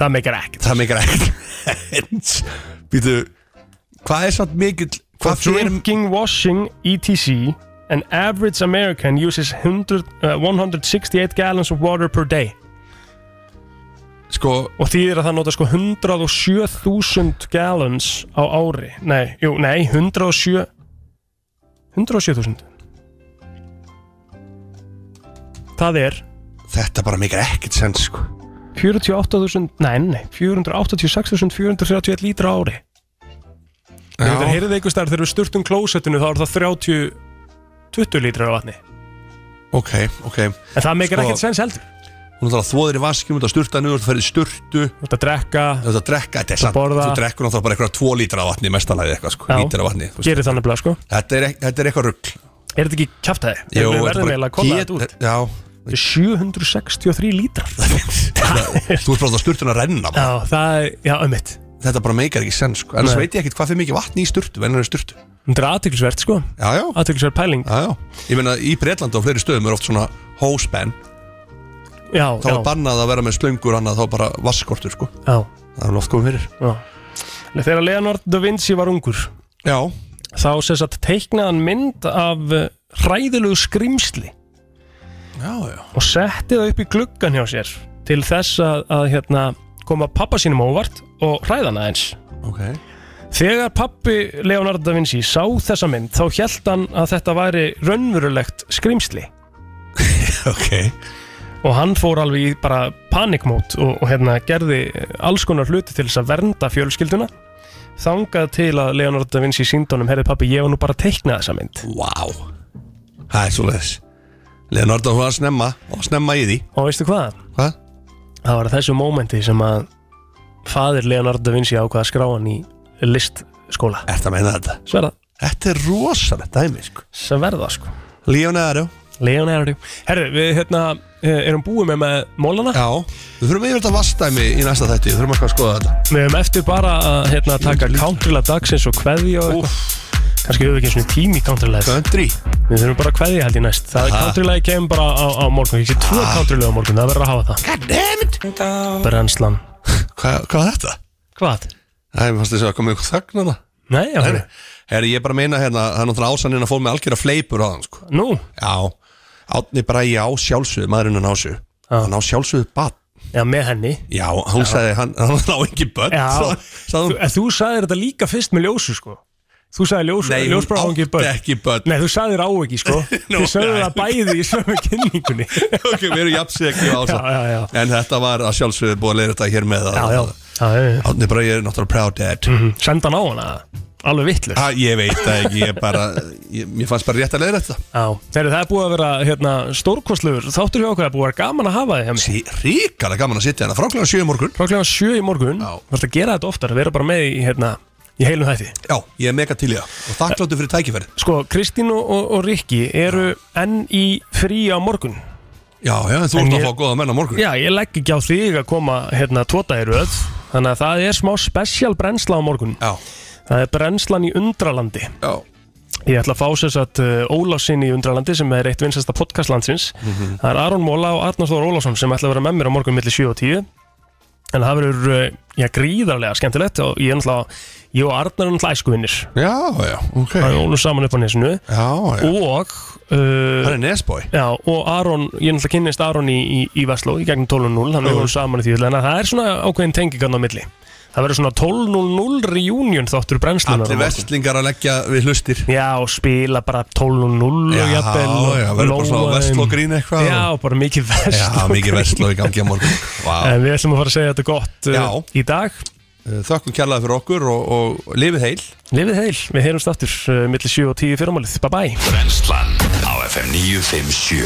[SPEAKER 2] Það meikar ekkert
[SPEAKER 3] Það meikar ekkert Býtu, hvað er samt mikill
[SPEAKER 2] For drinking, washing, E etc An average American uses 100, uh, 168 gallons of water per day
[SPEAKER 3] Sko
[SPEAKER 2] Og því er að það nota sko 107.000 gallons á ári Nei, jú, nei, 107 107.000 Það er
[SPEAKER 3] Þetta bara meikar ekkert sens sko
[SPEAKER 2] 48.000, nei, nei 486.431 lítra á ári Ég veit að heyrið einhvers þar þegar við sturtum klósettinu þá er það 30 20 lítrar af vatni
[SPEAKER 3] Ok, ok En
[SPEAKER 2] það meikar ekkert sens heldur
[SPEAKER 3] Hún þarf að þvoðir í vaskjum, þú ert að sturta niður, þú ferði sturtu Þú
[SPEAKER 2] ert að drekka
[SPEAKER 3] Þú ert að drekka, þetta er
[SPEAKER 2] Þú
[SPEAKER 3] samt
[SPEAKER 2] borða.
[SPEAKER 3] Þú drekkur náttúrulega bara eitthvað 2 lítra af vatni í mestalagi eitthvað sko, lítra af vatni þú veist.
[SPEAKER 2] Gerir þannig blað sko
[SPEAKER 3] Þetta er, ek- þetta er eitthvað rugg
[SPEAKER 2] Er þetta ekki kjaftaði?
[SPEAKER 3] Jú,
[SPEAKER 2] Við
[SPEAKER 3] þetta
[SPEAKER 2] verðum eiginlega
[SPEAKER 3] bara
[SPEAKER 2] að koma
[SPEAKER 3] get-
[SPEAKER 2] þetta út
[SPEAKER 3] Já,
[SPEAKER 2] Þetta er 763 lítrar *laughs*
[SPEAKER 3] þú ert bara að sturtun að renna bara.
[SPEAKER 2] Já, það er, já, um mitt
[SPEAKER 3] Þetta bara meikar ekki sens sko Annars
[SPEAKER 2] Nei.
[SPEAKER 3] veit ég ekkert hvað fyrir mikið vatni í sturtu, vennar er sturtu
[SPEAKER 2] Þetta er aðtýrlisvert sko
[SPEAKER 3] Já, já
[SPEAKER 2] Aðtýrlisvert pæling
[SPEAKER 3] Já, já Ég meina, í Breitlandi og fleiri stöðum er oft svona hóspenn
[SPEAKER 2] Já,
[SPEAKER 3] Þá
[SPEAKER 2] já,
[SPEAKER 3] er bannað að vera með slöngur annað, þá bara vaskortur sko
[SPEAKER 2] já
[SPEAKER 3] Það er loft komið
[SPEAKER 2] Já.
[SPEAKER 3] fyrir
[SPEAKER 2] Nei, Þegar Leonard da Vinci var ungur
[SPEAKER 3] Já.
[SPEAKER 2] þá sem sagt teiknaðan mynd af eh, hræðilegu skrimsli
[SPEAKER 3] Já, já
[SPEAKER 2] og setti það upp í gluggan hjá sér til þess að, að hérna, koma pappa sínum á óvart og hræðana eins
[SPEAKER 3] Ok
[SPEAKER 2] Þegar pappi Leonardo da Vinci sá þessa mynd þá held hann að þetta væri raunverulegt skrimsli
[SPEAKER 3] *laughs* Ok
[SPEAKER 2] og hann fór alveg í bara panikmót og, og hérna gerði alls konar hluti til þess að vernda fjölskylduna þangað til að Leonardo da Vinci síndónum herri pappi ég var nú bara að teikna þessa mynd
[SPEAKER 3] Vá Það er svoleiðis Leonardo hún var að snemma og snemma í því
[SPEAKER 2] Og veistu hvað?
[SPEAKER 3] Hvað?
[SPEAKER 2] Það var á þessu mómenti sem að fadir Leonardo da Vinci ákvað að skrá hann í listskóla
[SPEAKER 3] Er það meina þetta?
[SPEAKER 2] Sverða
[SPEAKER 3] Þetta er rosalegt dæmi sko
[SPEAKER 2] Sverða sko
[SPEAKER 3] Leonardo
[SPEAKER 2] Leonardo Herru, við hérna eh, erum búið með með mólana
[SPEAKER 3] Já Við þurfum yfir þetta vastdæmi í næsta þætti Við þurfum eitthvað að skoða þetta
[SPEAKER 2] Við höfum eftir bara að hérna, taka countrila dagsins og kveði og eitthvað Kanski höfum við ekki einu sinni tími í countrila
[SPEAKER 3] Country
[SPEAKER 2] Við þurfum bara að kveði held í næst Það er
[SPEAKER 1] Aha.
[SPEAKER 2] countrila í kemur bara á, á morgun Ég sé tvö countrila á morgun, það verður að hafa það
[SPEAKER 1] Goddammit
[SPEAKER 2] Brennslan
[SPEAKER 3] Hva, Hvað er þetta?
[SPEAKER 2] Hvað?
[SPEAKER 3] Æ, mér fannst þess að koma ykkur þögn hana
[SPEAKER 2] Nei, já
[SPEAKER 3] Herri, herri, ég bara meina hérna Það er náttúrulega ásaninn að fór með algjör að fleipur á þann sko
[SPEAKER 2] Nú?
[SPEAKER 3] Já Átni bara í á sjálfsögðu, maðurinn hann á sjálfsögðu Hann á sjálfsögðu bad
[SPEAKER 2] Já, með henni
[SPEAKER 3] Já, hún sagði, hann, hann á ekki börn
[SPEAKER 2] Já,
[SPEAKER 3] sagði-
[SPEAKER 2] þú, en þú sagðir þetta líka fyrst með ljósu sko Þú sagði ljósu,
[SPEAKER 3] Nei, hún
[SPEAKER 2] ljósbráðan ekki
[SPEAKER 3] átti
[SPEAKER 2] börn
[SPEAKER 3] ekki
[SPEAKER 2] *laughs*
[SPEAKER 3] börn
[SPEAKER 2] Nei, þú sagðir á ekki sko *laughs* Þið sögðu það bæði í sömu *laughs* kynningunni
[SPEAKER 3] Ok, við erum jafnsegi á
[SPEAKER 2] Já, já, já.
[SPEAKER 3] þessu En þetta var að sjálfsögðu búið að leiða þetta hér með
[SPEAKER 2] Já, já, já
[SPEAKER 3] Átni bara ég er náttúrulega proud dad
[SPEAKER 2] Mm. Senda hann á hana, alveg vitlu
[SPEAKER 3] ah, Ég veit það ekki, ég bara ég, Mér fannst bara rétt að leiða þetta
[SPEAKER 2] Já, þegar það er búið að vera hérna, stórkostlegur Þáttur hjá okkur, það er búið að vera gaman að hafa þig hjá mér
[SPEAKER 3] sí, Ríkala gaman að sitja hérna, frá klukkan 7 í morgun
[SPEAKER 2] Frá klukkan 7 í morgun, þú ert að gera þetta oftar Vera bara með í, hérna, í heilum þætti
[SPEAKER 3] Já, ég er mega til í það Og þakkláttu fyrir tækifæri
[SPEAKER 2] Sko, Kristín og, og, og Rikki eru enn í frí á morgun
[SPEAKER 3] Já, já, en þú
[SPEAKER 2] En
[SPEAKER 3] ert að
[SPEAKER 2] ég-
[SPEAKER 3] fá góða menn á morgun
[SPEAKER 2] Já, ég legg ekki á þig að koma hérna tóta í röð Þannig að það er smá spesial brennsla á morgun
[SPEAKER 3] Já
[SPEAKER 2] Það er brennslan í undralandi
[SPEAKER 3] Já
[SPEAKER 2] Ég ætla að fá sér satt uh, Ólafsinn í undralandi sem er eitt vinsasta podcast landsins Það er Aron Móla og Arnar Þór Ólafsson sem ætla að vera með mér á morgun milli 7 og 10 En það verður, uh, já, gríðarlega skemmtilegt og ég er náttúrulega, ég og Arnar er náttúrulega æskuvinnir
[SPEAKER 3] Já, já, ok
[SPEAKER 2] Það er ólum saman upp á nesinu
[SPEAKER 3] Já, já
[SPEAKER 2] Og uh,
[SPEAKER 3] Hann er nesbói
[SPEAKER 2] Já, og Aron, ég náttúrulega kynnist Aron í, í, í Vestló í gegnum 12.0, þannig að við vorum saman í því þannig að það er svona ákveðin tengingan á milli það verður svona 12.0 reunion þáttur brennslunar
[SPEAKER 3] Allir
[SPEAKER 2] á morgun.
[SPEAKER 3] vestlingar að leggja við hlustir
[SPEAKER 2] Já, og spila bara 12.0
[SPEAKER 3] Já,
[SPEAKER 2] og jafnvel og
[SPEAKER 3] já, verður bara svona
[SPEAKER 2] lóa þeim.
[SPEAKER 3] Vestló-grín eitthvað
[SPEAKER 2] Já, bara mikið
[SPEAKER 3] Já,
[SPEAKER 2] vestló
[SPEAKER 3] mikið vestló í gangi á morgun Vá
[SPEAKER 2] *laughs* En við ætlum að fara að segja þetta gott uh,
[SPEAKER 3] Já.
[SPEAKER 2] í dag
[SPEAKER 3] Uh, Þökkum kærlega fyrir okkur og, og lifið heil
[SPEAKER 2] Lifið heil, við heyrumst aftur uh, milli 7 og 10 í fyrramálið, bye bye
[SPEAKER 1] Brennslan á FM 957